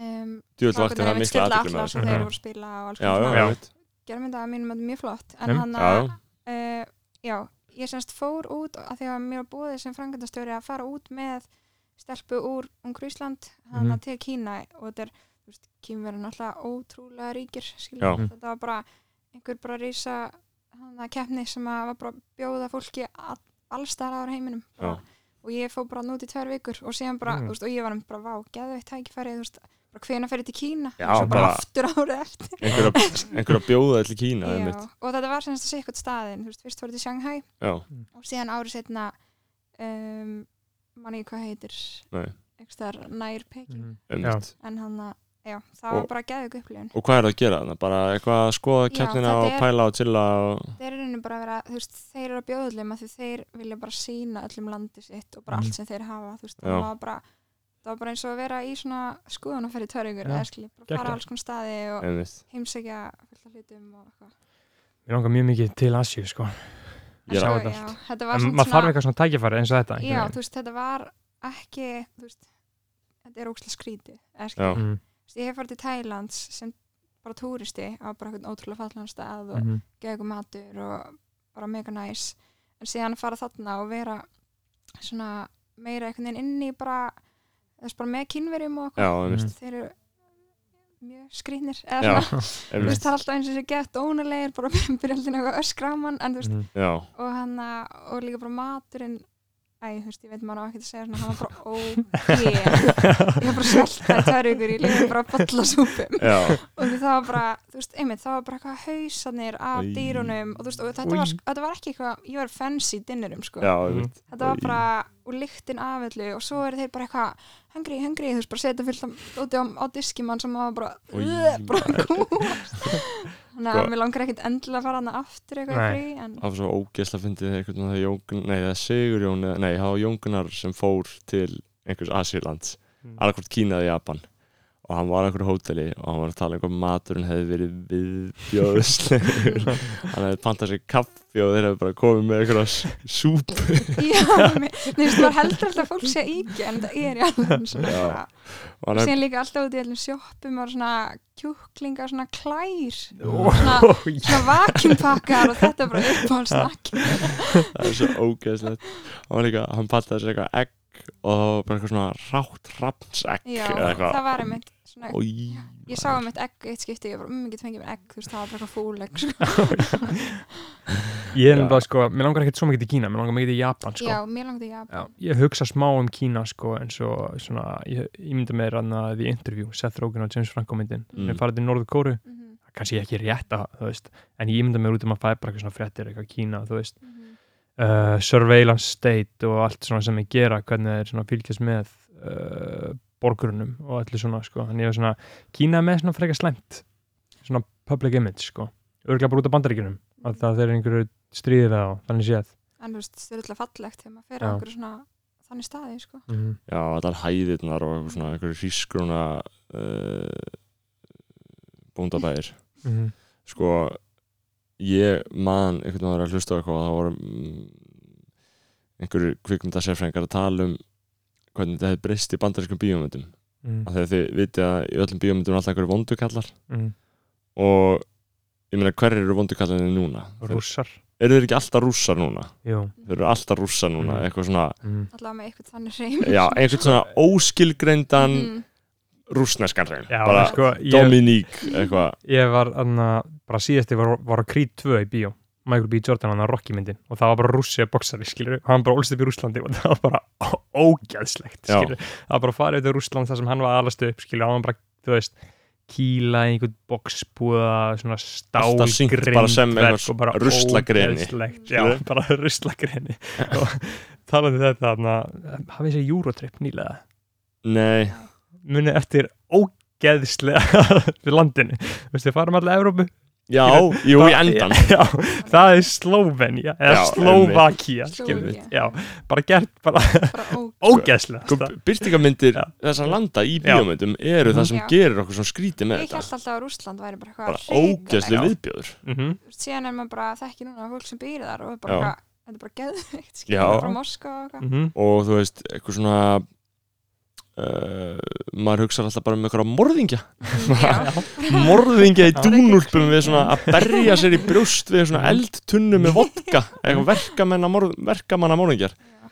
Speaker 5: um,
Speaker 1: djúvill vakti
Speaker 5: strákurnar
Speaker 1: það
Speaker 5: einmitt
Speaker 1: mikla
Speaker 5: skilla
Speaker 1: aðtekli
Speaker 5: alla
Speaker 1: með þessu
Speaker 5: svo þeir
Speaker 2: Mhm.
Speaker 5: voru að spila og alls
Speaker 1: já,
Speaker 5: konar
Speaker 1: já,
Speaker 5: svona.
Speaker 1: já,
Speaker 2: Já.
Speaker 1: einmitt.
Speaker 5: gerðmynda að mínum að þetta er mjög flott en
Speaker 2: Mm,
Speaker 5: hann
Speaker 1: já,
Speaker 5: að
Speaker 1: já.
Speaker 5: uh, já, ég semst fór út að því að mér var búið sem frangandastjóri að fara út með stelpu úr Ungur Ísland hann
Speaker 2: Mhm.
Speaker 5: að til Kína og þetta er, þú veist, Kínverðin alltaf ótrúlega ríkir,
Speaker 1: Já.
Speaker 5: skiljum, þetta var bara einhver bara rísa hann að keppni sem að var bara að bjóða fólki all, allstar á heiminum
Speaker 1: Já. Mhm.
Speaker 5: og ég fór bara nút í tvær vikur og síðan bara,
Speaker 2: Mm.
Speaker 5: þú veist, og ég var einmitt bara vá, geðveitt tækifæri, þú veist, bara hvena fyrir til Kína
Speaker 1: Já,
Speaker 5: og svo bara,
Speaker 1: bara-
Speaker 5: aftur árið eftir
Speaker 1: einhverja einhverja bjóða til Kína
Speaker 5: Já,
Speaker 1: einmitt.
Speaker 5: og þetta var semst að sé eitthvað staðin þú veist, fyrst voru þetta í Shanghai
Speaker 1: já,
Speaker 5: og síðan árið setna um, manni hvað heitir
Speaker 1: Nei.
Speaker 5: eitthvað nær Peking
Speaker 2: Mhm.
Speaker 1: einmitt.
Speaker 5: en hann að, já,
Speaker 1: Og-
Speaker 5: það var bara geðug upplifun
Speaker 1: og hvað er það að gera þarna? bara eitthvað að skoða
Speaker 5: Já,
Speaker 1: keppnina
Speaker 5: þetta
Speaker 1: og
Speaker 5: er-
Speaker 1: pæla og chilla og...
Speaker 5: þeir eru rauninni bara að vera, þú veist, þeir eru að bjóða öllum að því þeir vilja bara sína öllum landi sitt og bara
Speaker 2: Mhm.
Speaker 5: allt sem þeir hafa þú veist,
Speaker 1: Já.
Speaker 5: það var bara það var bara eins og að vera í svona skoðun og ferði törringur
Speaker 2: Já,
Speaker 5: eða skilji, bara
Speaker 2: geggjað.
Speaker 5: fara á alls konar staði og
Speaker 1: einmitt.
Speaker 5: heimsækja fullt af hlutum og eitthvað
Speaker 2: ég langar mjög mikið til Asju sko.
Speaker 5: En
Speaker 1: Ég er
Speaker 5: sko,
Speaker 2: að-
Speaker 5: já, þetta var
Speaker 2: en
Speaker 5: samt
Speaker 2: maður þarf eitthvað svona tækifæri eins og þetta
Speaker 5: Já,
Speaker 2: einhvern
Speaker 5: þú veist, þetta var ekki, þú veist, þetta er ókslega skrítið. eða
Speaker 1: Já.
Speaker 5: skilur.
Speaker 2: veginn. Mhm,
Speaker 5: Þú veist, Ég hef farið til Tælands sem bara túristi á bara eitthvað ótrúlega fallan stað og mm.
Speaker 2: mhm.
Speaker 5: geðu matur og bara mega næs. En síðan að fara þarna og vera svona meira einhvern veginn inn í bara, þess bara með kynverjum
Speaker 1: já,
Speaker 5: og okkur.
Speaker 1: einmitt.
Speaker 5: Þeir eru mjög skrýnir eða
Speaker 1: Mm. Já,
Speaker 5: svona, þú veist,
Speaker 1: einmitt.
Speaker 5: það er alltaf eins og þessi gett ónulegir, bara byrja alltaf eitthvað öskraman, en þú veist,
Speaker 2: Mhm.
Speaker 1: já,
Speaker 5: og hann og líka bara maturinn æ, þú veist, ég veit maður á ekki að segja svona hann var bara ó, ég ég var bara svelta í tvær ykkur, ég líka bara að bolla súpum
Speaker 1: já,
Speaker 5: og því það var bara, þú veist, einmitt, það var bara eitthvað hausanir af
Speaker 1: Í.
Speaker 5: dýrunum og þú veist, og þetta var, sk- þetta var ekki eitthvað ég var fancy dinnerum, sko
Speaker 1: já, einmitt.
Speaker 5: þetta var
Speaker 1: Í.
Speaker 5: bara, og lyktin af öllu og svo eru þeir bara eitthvað, hungry, hungry þú veist, bara setja fullt af- úti á, á diskimann sem var bara,
Speaker 1: Í.
Speaker 5: "Ugh", bara kúast þannig að
Speaker 1: Sko.
Speaker 5: mér langar ekkit endilega að fara hana aftur eitthvað
Speaker 2: Nei.
Speaker 5: í frí, en
Speaker 1: það var svo ógeðsla fyndið einhvern veginn að Jókun, nei það er Sigurjón eða- nei, það var Jóngunar sem fór til einhvers Asílands, mm.
Speaker 2: Mm.
Speaker 1: alveg Kína eða Japan og hann var á einhverju hóteli og hann var að tala um hvað maturinn hefði verið viðbjóðslegur hann hefði pantað sér kaffi og þeir hefði bara komið með einhverja s- súpu
Speaker 5: Já, mér mér finnst maður heldur alltaf að fólk sé íkja en það er í alveg svona
Speaker 1: Já.
Speaker 5: bara.
Speaker 1: og
Speaker 5: Og
Speaker 1: hann
Speaker 5: síðan líka alltaf út í allum sjoppum og svona kjúklingar, svona klær
Speaker 2: Ó,
Speaker 5: svona,
Speaker 2: já.
Speaker 5: svona vakinpakkar og þetta er bara uppáhaldsnakki
Speaker 1: það er svo ógeðslegt og hann líka, hann pantaði sér eitthvað egg og það var bara eitthvað svona rátt rapnsegg
Speaker 5: Já,
Speaker 1: eða
Speaker 5: það
Speaker 1: eitthvað
Speaker 5: var einmitt svona,
Speaker 1: og
Speaker 5: ég sá einmitt egg eitt skipti, ég var um ekki tvengið mér egg þú veist, það var bara eitthvað fúlegg sko.
Speaker 2: ég er
Speaker 1: Já.
Speaker 2: nefnilega sko, mér langar ekkert svo mikið í Kína mér langar mikið í Japan sko
Speaker 5: Já, mér langti ég að
Speaker 2: Já, ég hugsa smá um Kína sko en svo svona, ég, ég myndi mér hann að því interview, Seth Rogen og James Franco myndin
Speaker 1: Mm.
Speaker 2: mm. við farið til Norður Kóru,
Speaker 5: Mhm,
Speaker 2: kannski ekki rétt að, þú veist, en ég myndi mér út um að fæða bara eitthvað svona fréttir, eitthvað Kína, þú veist
Speaker 5: mhm.
Speaker 2: uh, surveillance state og allt svona sem ég gera, hvernig þeir svona fylgjast með uh, borgurunum og allir svona, sko, þannig ég er svona Kína er með svona frekar slæmt svona public image, sko örgulega bara út af bandaríkjunum að það þeir eru einhverju stríðið það og þannig séð
Speaker 5: en þú veist, það er alltaf fallegt þegar maður fer
Speaker 2: Já.
Speaker 5: á okkur svona þannig staði, sko
Speaker 1: Já, allar hæðirnar og einhver svona einhverjum hrísgruna uh, bóndabæðir
Speaker 2: Mhm.
Speaker 1: sko ég man einhvern veginn var að hlusta á eitthvað og það voru mm, einhverju kvikmyndasérfræðingar að tala um hvernig þetta hefði breyst í bandarískum bíómyndum
Speaker 2: Mhm.
Speaker 1: af því að þið vitið að í öllum bíómyndum er alltaf einhverju vondukallar
Speaker 2: Mhm.
Speaker 1: og ég meina hverju eru vondukallarnir núna Þeir-
Speaker 2: rússar
Speaker 1: eru þeir ekki alltaf rússar núna
Speaker 2: Jú.
Speaker 1: þeir eru alltaf rússar núna
Speaker 2: Mhm.
Speaker 1: eitthvað svona,
Speaker 2: Mhm.
Speaker 5: allavega með eitthvað þannig Mhm. reym
Speaker 1: já, einhvern svona óskilgreindan
Speaker 5: Mm.
Speaker 1: rússneskan reyn
Speaker 2: Já,
Speaker 1: bara
Speaker 2: sko, ég,
Speaker 1: Dominique eitthvað
Speaker 2: ég var anna, bara síðast ég var, var á Creed 2 í bíó Michael B. Jordan hann á Rocky myndin og það var bara rússi að boksari skilur hann bara ólst upp í Rúslandi og það var bara ó- ógeðslegt
Speaker 1: Já.
Speaker 2: skilur það var bara að fara yfir til Rúsland þar sem hann var alastu upp skilur hann var bara þú veist kýla í einhvern boksbúða svona
Speaker 1: Alltaf sýnt bara sem
Speaker 2: stálgrindverk
Speaker 1: eitthvað
Speaker 2: og bara
Speaker 1: ruslagreni,
Speaker 2: ógeðslegt, já,
Speaker 1: skilurðu?
Speaker 2: bara ruslagreni og talandi um þetta þarna, hafið þessi Eurotrip nýlega
Speaker 1: Nei,
Speaker 2: munið eftir ógeðslega við landinu, veistu, farum alla Evrópu
Speaker 1: já, jú, í endan
Speaker 2: já, það er Slóvenja eða
Speaker 1: Já,
Speaker 2: Slóvakía
Speaker 5: Slóvakía.
Speaker 2: skilurðu. já, bara gert bara
Speaker 5: bara ó,
Speaker 1: Sko,
Speaker 2: ógeðslega
Speaker 1: Byrtingamyndir
Speaker 2: Já.
Speaker 1: þessar landa í
Speaker 2: Já.
Speaker 1: bíómyndum eru það sem
Speaker 5: Já.
Speaker 1: gerir okkur svona skrítið með
Speaker 5: ég held
Speaker 1: þetta
Speaker 5: alltaf að Rússland væri bara
Speaker 1: bara
Speaker 5: eitthvað
Speaker 1: ógæslu
Speaker 5: hrikalegt.
Speaker 1: viðbjóður
Speaker 2: mm -hmm.
Speaker 5: Þú veist, síðan er maður bara þekki núna fólk sem býr þar og er bara
Speaker 1: Já.
Speaker 5: eitthvað, þetta er bara geðveikt
Speaker 1: Já.
Speaker 5: skilur frá Moskva og eitthvað
Speaker 2: mhm.
Speaker 1: og þú veist, eitthvað svona uh, maður hugsar alltaf bara um eitthvað morðingja
Speaker 5: Já.
Speaker 1: morðingja í
Speaker 2: Já.
Speaker 1: dúnúlpum við svona að berja sér í brjóst við svona eldtunnu með vodka eitthvað verkamanna morð, verkamanna morðingjar
Speaker 5: Já.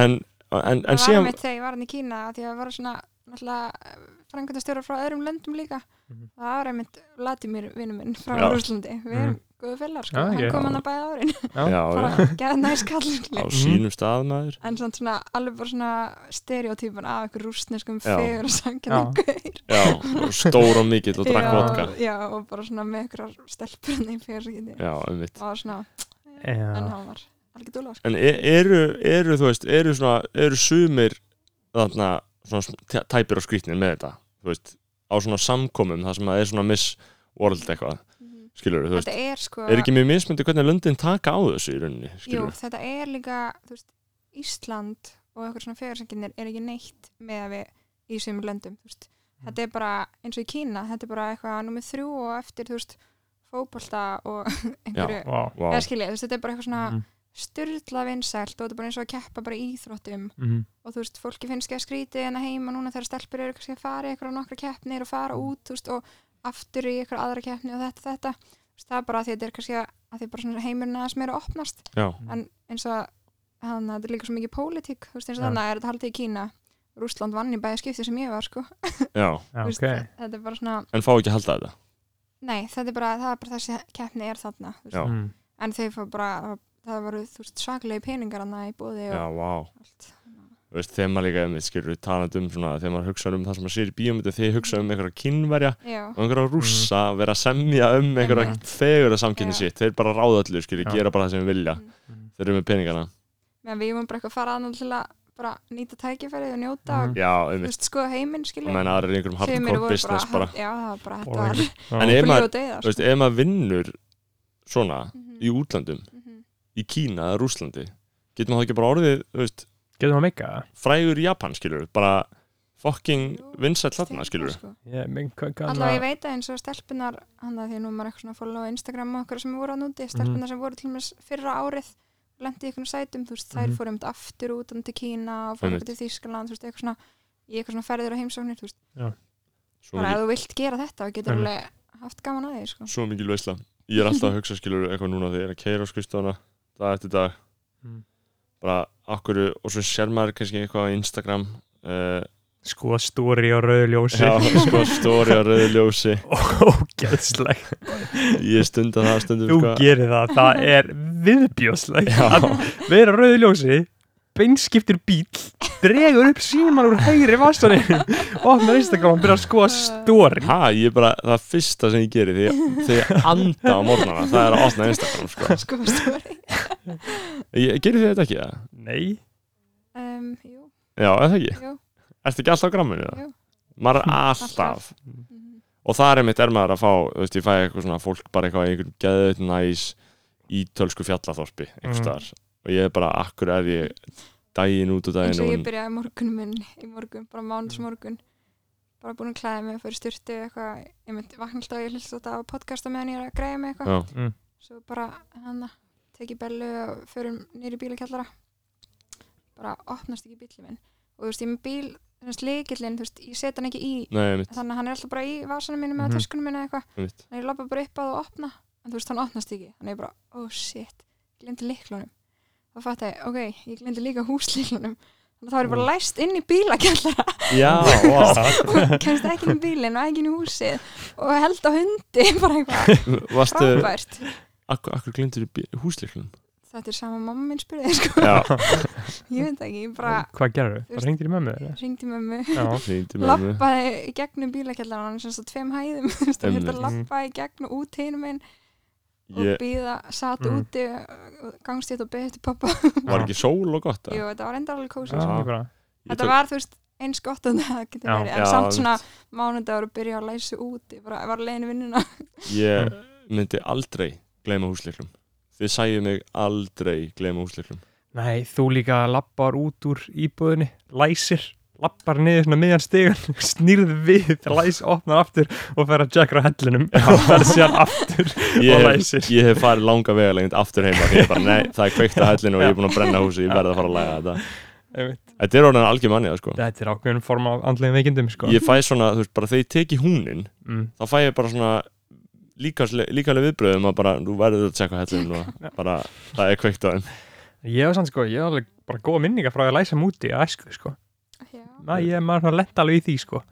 Speaker 1: en, en, en
Speaker 5: það var
Speaker 1: síðan
Speaker 5: mitt þegar ég var hann í Kína af því að það var svona náttúrulega frangöndastjóra frá öðrum löndum líka
Speaker 2: Mhm.
Speaker 5: það var einmitt Latimir vinnu minn frá
Speaker 1: Já.
Speaker 5: Rúslandi við erum góðu félagar sko,
Speaker 2: Mhm. Já,
Speaker 5: hann
Speaker 2: ég-
Speaker 5: kom hann að bæða árin
Speaker 1: já, já,
Speaker 5: bara geða næst
Speaker 1: á
Speaker 5: kallin
Speaker 1: sínum stað maður
Speaker 5: en svona, svona alveg bara svona stereotypan af einhver rúsneskum
Speaker 1: Já.
Speaker 5: fegur og sangjana gaur
Speaker 1: já, og stór og mikill og drakk
Speaker 5: Já,
Speaker 1: vodka
Speaker 5: já, og bara svona með einhverjar stelpur í fjörskiti
Speaker 1: já, um
Speaker 5: og það var svona, en
Speaker 2: já,
Speaker 5: hann var alveg dúla sko.
Speaker 1: En e- eru, eru, þú veist, eru svona, eru sumir þarna, svona sm- tæ- tæpir á skrýtnir með þetta, þú veist, á svona samkomum, það sem að er svona miss world eitthvað,
Speaker 5: Mhm.
Speaker 1: skilur þú veist,
Speaker 5: þetta er sko
Speaker 1: er ekki mjög mismyndi hvernig löndin taka á þessu í rauninni,
Speaker 5: jú,
Speaker 1: skilur
Speaker 5: þetta er líka þú veist, Ísland og einhver svona fjörsanginir er ekki neitt með að við í sömu löndum þú veist. þetta er bara eins og í Kína þetta er bara eitthvað nummið þrjú og eftir þú veist, fótbolta og einhverju
Speaker 2: Vá.
Speaker 1: Vá,
Speaker 5: eða skilja, þú veist, þetta er bara eitthvað svona
Speaker 2: Mhm.
Speaker 5: styrla vinsælt og þetta er bara eins og að keppa bara í íþróttum
Speaker 2: Mhm.
Speaker 5: og þú veist, fólki finnst ekki að skríti en að heima núna þegar stelpur eru kannski að fara í eitthvað nokkra keppnir og fara út, þú veist, og aftur í eitthvað aðra keppni og þetta, þetta Þú veist, það er bara að því að þetta er kannski að, að því bara svona heimurinn aðeins meira að opnast
Speaker 1: já,
Speaker 5: en eins og að hann, þetta er líka svo mikið pólitík, þú veist, eins og
Speaker 2: Já.
Speaker 5: þannig að er þetta haldið í Kína Rússland vann í bæði skipti sem ég var, sko
Speaker 1: já,
Speaker 2: Já,
Speaker 5: Þú
Speaker 2: ok,
Speaker 5: veist, þetta er bara svona,
Speaker 1: en fá ekki að halda þetta,
Speaker 5: nei, þetta er bara, það er bara þessi keppni er þarna, þú veist,
Speaker 1: Já.
Speaker 2: Mm.
Speaker 5: en þau fór bara það voru þú veist svaklegi peningar hann í bóði
Speaker 1: já,
Speaker 5: og
Speaker 1: vá,
Speaker 5: allt
Speaker 1: þú veist, þegar maður líka, um, skilur við, talandi um svona, þegar maður hugsa um það sem maður sér í bíómyndu, þegar hugsa um einhverja kynverja
Speaker 5: já,
Speaker 1: og einhverja rússa, vera að semja um einhverja
Speaker 5: Einmitt.
Speaker 1: fegur að samkynni
Speaker 5: Já.
Speaker 1: sitt, þeir bara ráða allir, skilur,
Speaker 2: Já.
Speaker 1: gera bara það sem þeir vilja,
Speaker 5: Mm.
Speaker 1: þeir eru með peningana.
Speaker 5: meðan við vorum bara eitthvað að fara annað til að bara nýta tækifærið og njóta
Speaker 2: Mhm.
Speaker 5: og
Speaker 1: Já, um
Speaker 5: þú veist skoða heiminn
Speaker 1: Ég
Speaker 5: skilja
Speaker 1: menn aðra er einhverjum hardcore business bara
Speaker 5: já það var bara þetta var
Speaker 2: Boring. Já.
Speaker 1: En ef
Speaker 5: blíð
Speaker 1: maður,
Speaker 5: og sko. döða
Speaker 1: þú veist, ef maður vinnur svona
Speaker 5: Mhm.
Speaker 1: í útlandum,
Speaker 5: -hmm.
Speaker 1: í Kína eða Rúslandi getur maður þá ekki bara orðið, þú veist,
Speaker 2: getur maður meika það?
Speaker 1: frægur í Japan, skilur við, bara fucking
Speaker 5: Jú,
Speaker 1: vinsætt hlatna, skilur við.
Speaker 5: sko.
Speaker 2: Ég- men hva- hvað
Speaker 5: allavega
Speaker 2: annað-
Speaker 5: ég veit að eins og stelpunar hann að því nú er maður eitthvað svona að follow á Instagram og okkur sem voru að núti, stelpunar sem voru til mér fyrra árið lendi í einhvern sætum, þú veist, þær
Speaker 2: Mhm.
Speaker 5: fórum aftur út um til Kína og fórum
Speaker 1: Einmitt.
Speaker 5: til Þýskaland, þú veist, eitthvað svona í eitthvað svona ferðir og heimsóknir, þú veist
Speaker 1: Svo
Speaker 5: bara ef
Speaker 1: mikil,
Speaker 5: þú vilt gera þetta og getur
Speaker 2: Einmitt.
Speaker 5: alveg haft gaman að því sko.
Speaker 1: svo mikil veisla. Ég er alltaf að hugsa, skilur við, eitthvað núna þegar ég er að keira á skrifstofana, dag eftir dag,
Speaker 2: Mm.
Speaker 1: bara akkur, og svo sér maður kannski eitthvað á Instagram, uh,
Speaker 2: skoða Sko, stóri og rauðu ljósi
Speaker 1: já, sko, stóri á rauðu ljósi,
Speaker 2: ógeðslegt,
Speaker 1: ég stunda það, stundum,
Speaker 2: þú
Speaker 1: sko.
Speaker 2: gerir það það er viðbjóslegt
Speaker 1: Já.
Speaker 2: að vera á rauðu ljósi beinskiptir bíl dregur upp síman úr hægri vassaninu opnar Instagram og byrjar að skoða stóri
Speaker 1: Ha, ég bara, það fyrsta sem ég geri því þegar ég anda á morgnana það er að opna Instagram, sko
Speaker 5: sko, story
Speaker 1: ég, Gerir þið þetta ekki, það?
Speaker 2: nei,
Speaker 5: um, jú,
Speaker 1: Já, eða ekki
Speaker 5: jú,
Speaker 1: Ertu ekki alltaf á gramminu, það?
Speaker 5: Jú.
Speaker 1: Maður er alltaf
Speaker 5: mhm.
Speaker 1: og þar er mitt er maður að fá þú veist, ég fæ eitthvað svona fólk bara eitthvað í einhvern geðið næs ítölsku fjallaþorpi einhvers
Speaker 2: Mhm.
Speaker 1: staðar og ég er bara akkur er ég daginn út og
Speaker 5: eins
Speaker 1: daginn
Speaker 5: og ég
Speaker 1: og
Speaker 5: byrjaði morgunum minn í morgun, bara mánus morgun bara búin að klæða mig, fyrir styrtu eitthvað, ég myndi vakna alltaf og ég hlust þetta á podcast á meðan ég er að græja mig eitthvað
Speaker 1: já,
Speaker 5: svo bara hann teki bellu og förum niður í bílakjallara bara opnast ekki bílum minn og þú veist, ég er með bíl, þannig að leikillin þú veist, ég set hann ekki í
Speaker 1: nei, mitt,
Speaker 5: þannig að hann er alltaf bara í vasanum mínum
Speaker 2: Mhm.
Speaker 5: eða töskunum minna eitthvað
Speaker 1: mitt
Speaker 5: þannig að ég lappa bara upp að og opna en þú veist, hann opnast ekki, þannig að ég bara, oh shit ég glemdi leiklunum þá fatt ég, ok, ég glemdi líka húsleiklunum þannig að þá er ég bara læst inn í bílakjallara
Speaker 1: já, wow.
Speaker 5: og kemst ekki inn í bílinn og ekki inn í húsið og held á hundi, bara eitthvað
Speaker 1: varstu,
Speaker 5: frábært
Speaker 1: akkur, akkur glindur húsleiklunum
Speaker 5: þetta er sama mamma minn spurði sko.
Speaker 1: já,
Speaker 5: ég veit ekki, ég bara
Speaker 2: Hvað gerðu? Bara
Speaker 5: veist-
Speaker 2: hringdir í mömmu? eða?
Speaker 5: ringdi með mig
Speaker 2: Já,
Speaker 1: hringdu með mig.
Speaker 5: lappaði í gegnum bílakjallarinn sem svo tveim hæðum þú veist, það
Speaker 1: Einmitt.
Speaker 5: hérna lappaði í gegn og út hinum einn og
Speaker 1: ég
Speaker 5: býða, satt
Speaker 2: Mm.
Speaker 5: úti og gangst ég þetta og beðið til pappa
Speaker 1: var ekki sól og gott eða?
Speaker 5: Jú, þetta var enda alveg kósið
Speaker 2: já,
Speaker 5: sko.
Speaker 2: ég bara
Speaker 1: Ég
Speaker 5: Þetta
Speaker 1: tók-
Speaker 5: var, þú veist, eins gott en það getur
Speaker 2: Já.
Speaker 5: verið, en
Speaker 1: Já,
Speaker 5: samt
Speaker 1: einmitt.
Speaker 5: svona mánudagur að byrja að læsa úti, bara var leiðin í vinnuna
Speaker 1: Ég myndi aldrei gleyma húsleiklum Þið sæju mig aldrei gleyma húsleiklum
Speaker 2: Nei, þú líka lappar út úr íbúðinni, læsir, lappar niður svona miðjan stegan, snýrð við, læs, opnar aftur og fer að jackra hellinum og fer síðan aftur
Speaker 1: Ég,
Speaker 2: og
Speaker 1: hef-
Speaker 2: læsir.
Speaker 1: ég hef farið langa vega lengt aftur heima Því ég bara, nei, það er kveikt að hellinu og ég er búin að brenna húsi Ég verð að fara að læga þetta
Speaker 2: Einmitt.
Speaker 1: Þetta er orðan algjör mannið, sko
Speaker 2: Þetta er ákveðin form af andlegin veikindum, sko.
Speaker 1: Ég fæ svona, þú veist, bara þegar ég teki húnin
Speaker 2: Mm.
Speaker 1: Þá fæ ég bara svona líkasle- líkaleg viðbröðum að bara, nú verður að tjekka hellinu og bara, það er kveikt að þeim
Speaker 2: Ég hef sann, sko, ég hef alveg bara góða minninga frá að læsa múti að æsku, sko.
Speaker 5: Já.
Speaker 2: Næ, ég er maður svona lent alveg í því, sko.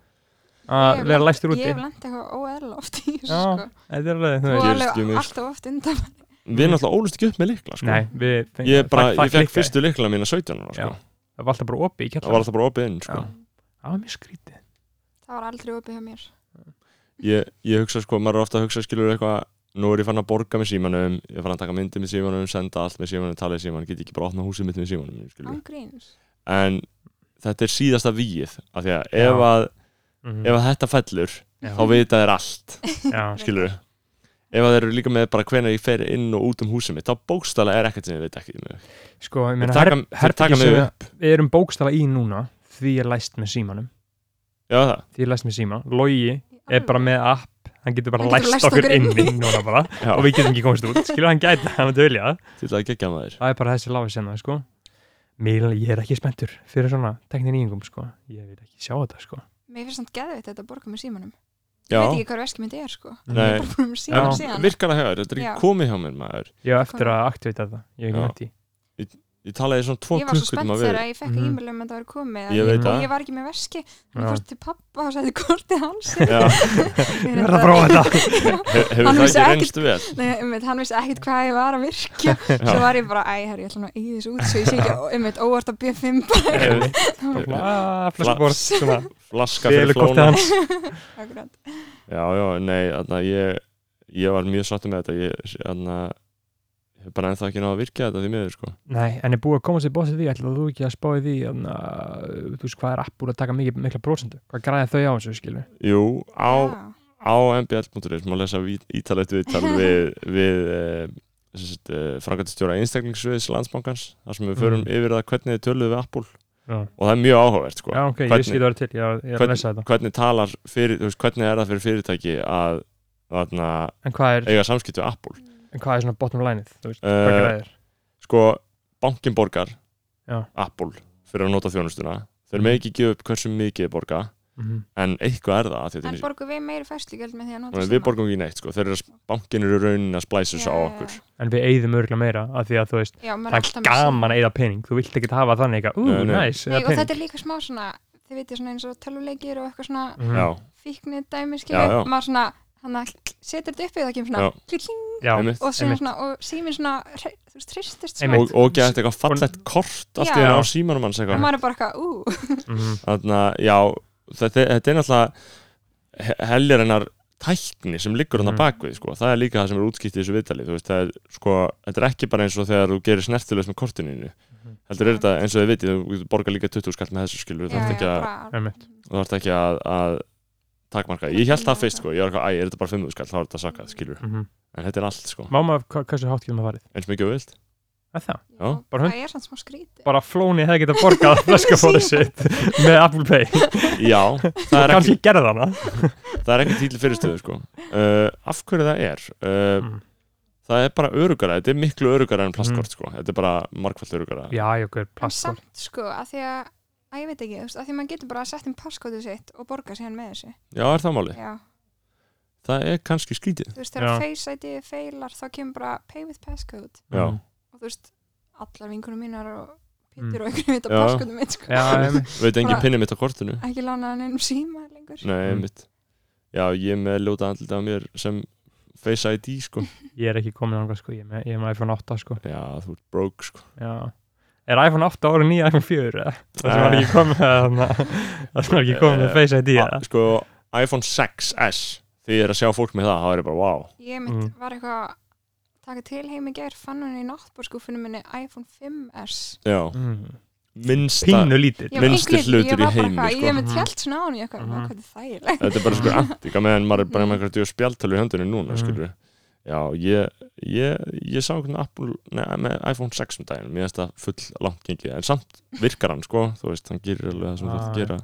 Speaker 2: Að
Speaker 5: Ég hef
Speaker 2: vera læstur
Speaker 5: Ég
Speaker 2: úti.
Speaker 5: hef lent eitthvað óeðla oft í þessu
Speaker 2: Já,
Speaker 5: sko.
Speaker 2: Þetta er alveg, þú
Speaker 5: og
Speaker 2: veist.
Speaker 5: alveg
Speaker 1: gerist, ég minnst.
Speaker 5: alltaf oft undan
Speaker 1: Við náttúrulega ólust ekki upp með likla, sko
Speaker 2: Mm. Nei, við fengum.
Speaker 1: Ég, bara,
Speaker 2: það- það
Speaker 1: ég fekk
Speaker 2: klikkaði.
Speaker 1: fyrstu likla mína 17 ára, sko
Speaker 2: Já. Það var alltaf bara opið í
Speaker 1: Það var
Speaker 2: kjallar.
Speaker 1: alltaf bara opið inn, sko
Speaker 2: Já. Það var mjög skrítið.
Speaker 5: það var aldrei opið hjá mér
Speaker 1: ég, ég hugsa sko, maður er ofta að hugsa skilur eitthvað, nú er ég fann að borga með símanum ég fann að taka myndi með símanum, senda allt með símanum tala í símanum, get ég ekki bara opna húsið mitt með símanum skilur.
Speaker 5: ángríns
Speaker 1: en þetta er síðasta víið af því að
Speaker 2: Já.
Speaker 1: ef, að,
Speaker 2: Mhm.
Speaker 1: ef að þetta fellur
Speaker 2: Já.
Speaker 1: þá vita þeir allt,
Speaker 2: Já,
Speaker 1: skilur ef að þeir eru líka með bara hvenær ég fer inn og út um húsið mitt, þá bókstala er ekkert sem ég veit ekki um.
Speaker 2: sko, ég
Speaker 1: Þeir
Speaker 2: meina
Speaker 1: taka-
Speaker 2: herb-
Speaker 1: þeir taka
Speaker 2: herbergi
Speaker 1: mig
Speaker 2: sem
Speaker 1: upp
Speaker 2: við erum bókstafa í núna því er læst með símanum
Speaker 1: já það,
Speaker 2: því er læst með síma, Logi er bara með app hann getur bara
Speaker 5: Hann
Speaker 2: læst,
Speaker 5: getur læst
Speaker 2: okkur
Speaker 5: okkur
Speaker 2: inn
Speaker 5: inni.
Speaker 2: í núna bara og
Speaker 1: já,
Speaker 2: við getum ekki komist út, skilur hann gæti hann myndi vilja það,
Speaker 1: til að gegja maður
Speaker 2: það er bara þessi láfi sem það, sko Mér, ég er ekki spenntur fyrir svona tekninýjungum, sko ég vil ekki sjá þetta, sko
Speaker 5: mér finnst þannig geðveitt þetta að borga með símanum
Speaker 1: já,
Speaker 5: ég veit ekki hvað veskið mitt er sko
Speaker 1: Nei.
Speaker 5: ég er bara búin með símanum síðan
Speaker 1: virkalega hefur, þetta er
Speaker 5: Já.
Speaker 1: ekki komið hjá mér maður
Speaker 2: ég á eftir að aktivita þetta, ég hef
Speaker 1: Já.
Speaker 2: ekki nætti
Speaker 1: ég talaði í svona tvo
Speaker 5: ég var svo
Speaker 1: klukkutum
Speaker 5: spennt
Speaker 1: að
Speaker 5: þegar
Speaker 1: við
Speaker 5: að ég fekk
Speaker 2: Mhm.
Speaker 5: e-mail um að það var komið
Speaker 1: Ég
Speaker 5: en
Speaker 1: veit
Speaker 5: og
Speaker 1: það.
Speaker 5: ég var ekki með veski
Speaker 2: Já.
Speaker 5: ég fórst til pappa og sagði kortið hans
Speaker 1: Já.
Speaker 2: ég verð að prófa þetta
Speaker 1: He- hefur
Speaker 5: Hann
Speaker 1: það
Speaker 5: vissi
Speaker 1: ekki
Speaker 5: ekkert-
Speaker 1: reynst vel
Speaker 5: Nei, um hann vissi ekkert hvað ég var að virkja svo var ég bara, æ, herri, ég ætla nú að eigi þessu út svo ég sé ekki, um eitt, óvart að B5 bara,
Speaker 2: Ah, flöskubort, svona
Speaker 1: flaska fyrir
Speaker 2: Félur kortið
Speaker 1: flóna
Speaker 2: hans
Speaker 5: akkurat
Speaker 1: já, já, nei, þarna ég ég var mjög sattur með þetta ég, þarna, ég hef bara ennþá ekki náða að virka þetta því miður, sko
Speaker 2: Nei, en er búið að koma sér bóðsett því, ætlaðu þú ekki að spáði því að þú veist hvað er app búið að taka mikið, mikla prósendu, hvað græða þau á þessu skilur
Speaker 1: jú, á,
Speaker 5: Já.
Speaker 1: á mbl.is má lesa vít- ítarlegt viðtal við, við eh, sem sagt, eh, framkvæmtastjóra einstaklingsviðs landsbankans þar sem við förum
Speaker 2: Mhm.
Speaker 1: yfir það hvernig þið töluðu við Apple
Speaker 2: Já.
Speaker 1: og það er mjög áhugavert, sko
Speaker 2: Já, ok,
Speaker 1: Hvernig?
Speaker 2: ég skil það er til, ég er, ég er að lesa þetta
Speaker 1: hvernig talar fyrir, þú veist, hvernig er það fyrir fyrirtæki að þarna,
Speaker 2: En hvað er,
Speaker 1: eiga samskiptu við Apple
Speaker 2: en hvað er svona bottom line-ið, þú veist, hvað
Speaker 1: Eh,
Speaker 2: græðir
Speaker 1: sko, bankin borgar
Speaker 2: Já.
Speaker 1: Apple fyrir að nota þjónustuna þeir með ekki gefa upp hversu mikið þeir borga
Speaker 2: Mhm.
Speaker 1: en eitthvað er það að þetta
Speaker 5: en
Speaker 1: er-
Speaker 5: borgum við meiri fæslugjöld með því að nota
Speaker 1: Þannig að við borgum ekki neitt sko, þeir eru að bankin eru raunin að splæsa þessu á okkur
Speaker 2: En við eyðum örgulega meira af því að þú veist,
Speaker 5: já, maður
Speaker 2: það er
Speaker 5: alltaf með símann.
Speaker 2: gaman að eyða pening, þú vilt ekki hafa þannig eitthvað, ú,
Speaker 1: Nei, nei.
Speaker 2: næs,
Speaker 5: Nei,
Speaker 2: eða
Speaker 5: og
Speaker 2: pening
Speaker 5: þetta er líka smá svona þið veitir svona eins og töluleikir og eitthvað svona
Speaker 2: Mhm.
Speaker 1: já,
Speaker 5: fíknið dæmi
Speaker 1: Já, já.
Speaker 5: skilur maður svona, hann að setur þetta upp í það kemur
Speaker 1: Já.
Speaker 5: svona kling,
Speaker 2: Já,
Speaker 1: einmitt.
Speaker 5: og
Speaker 2: Einmitt.
Speaker 5: síminn svona, og síminn svona hre- þú veist, hristist svona
Speaker 2: Einmitt.
Speaker 1: og, og geta eitthvað fallett kort allt í
Speaker 5: Já.
Speaker 1: hérna á símanum hans
Speaker 5: og
Speaker 1: eitthvað
Speaker 5: maður er bara eitthvað, ú,
Speaker 2: mhm,
Speaker 1: þannig að já, þetta, þetta er náttúrulega he- heljar hennar tækni sem liggur hann
Speaker 2: Mm.
Speaker 1: að bakvið sko. það er líka það sem er útskýtt í þessu viðtali þú veist, það er, sko, þetta er ekki bara eins og þegar þú gerir snertilegs með kortininu
Speaker 2: Mhm.
Speaker 1: heldur er þetta eins og þið vitið, þú getur borgað líka 20 skall með þessu skilur,
Speaker 5: já,
Speaker 1: það er
Speaker 5: já,
Speaker 1: ekki að
Speaker 5: bara
Speaker 2: einmitt.
Speaker 1: þú þarft ekki að, að takmarkað Ég held það fyrst sko, ég var eitthvað, æ, er þetta bara 500 skall þá er þetta sakað, skilur
Speaker 2: mm -hmm.
Speaker 1: En þetta er allt sko,
Speaker 2: Máma, hva, hversu hátt getur maður farið?
Speaker 1: eins mikið og vilt
Speaker 2: Er það?
Speaker 1: Já,
Speaker 2: bara
Speaker 5: bara
Speaker 2: hund-
Speaker 5: það er samt smá skríti
Speaker 2: Bara flóni hefði getað borgað flöskafóri sitt með Apple Pay
Speaker 1: Já, það er ekki,
Speaker 2: Kanski gerði hana
Speaker 1: það er ekki tíl fyrirstöðu sko uh, Af hverju það er uh,
Speaker 2: Mm.
Speaker 1: Það er bara örugara, þetta er miklu örugara en plastkort sko Þetta er bara margfald örugara
Speaker 2: Já, ég okkur
Speaker 5: en
Speaker 2: plastkort
Speaker 5: samt sko að því að að ég veit ekki, þú veist, að því að maður getur bara að setja um passkótið sitt og borga síðan með þessu
Speaker 1: Já, er það máli?
Speaker 5: já,
Speaker 1: Það er kannski skrítið
Speaker 5: þú veist, þegar
Speaker 2: Já.
Speaker 5: Face ID feilar þá kemur bara pay with passcode
Speaker 1: Já,
Speaker 2: Mhm.
Speaker 5: og þú veist, allar vinkunum mínar og
Speaker 2: Mm.
Speaker 5: Pétur og einhvern veit að
Speaker 1: Já.
Speaker 5: passkótið mitt sko
Speaker 2: Já, einmitt.
Speaker 1: veit engin
Speaker 5: Bara- Mm.
Speaker 1: pinni mitt á kortinu
Speaker 5: ekki lána hann einum síma lengur
Speaker 1: Nei,
Speaker 2: Mm.
Speaker 1: mitt Já, ég er með ljóta andlita á mér sem Face ID sko
Speaker 2: ég er ekki komin ánga sko, ég er með, ég er með iPhone 8 sko
Speaker 1: Já, þú ert broke sko
Speaker 2: Já. Er iPhone 8 árið nýja iPhone 4? eða? Það
Speaker 1: Nei.
Speaker 2: sem var ekki komið þarna- það sem var ekki komið með
Speaker 1: Eh,
Speaker 2: Face ID
Speaker 1: A-
Speaker 2: eða?
Speaker 1: Sko, iPhone 6s Því ég er að sjá fólk með það, þá er ég bara, wow
Speaker 5: ég mitt
Speaker 2: Mm.
Speaker 5: var eitthvað að taka til heim í gær, fann hann í náttbórskúfinu minni iPhone 5S
Speaker 1: Já,
Speaker 2: Mm.
Speaker 1: minnsta
Speaker 2: Pínu lítið
Speaker 5: Ég var
Speaker 1: Minnsti
Speaker 5: einhvern-
Speaker 1: hlutur í
Speaker 5: ég var bara
Speaker 1: heimi,
Speaker 5: eitthvað,
Speaker 1: sko.
Speaker 5: ég hef með
Speaker 2: Mhm.
Speaker 5: tjald svona á hann ég eitthvað,
Speaker 2: Mhm.
Speaker 5: mm. hvað er þægilegt
Speaker 1: Þetta er bara sko antika meðan maður er bara
Speaker 5: Mm.
Speaker 1: með einhverju spjaltölu í höndinu núna,
Speaker 2: Mm.
Speaker 1: skilur Já, ég, ég, ég sá einhvern Apple, neða, með iPhone 6 um daginn, mér finnst það full langt gengið, en samt virkar hann, sko, þú veist, hann gerir alveg það sem þú
Speaker 2: Ah,
Speaker 1: þarf að
Speaker 2: já.
Speaker 1: gera.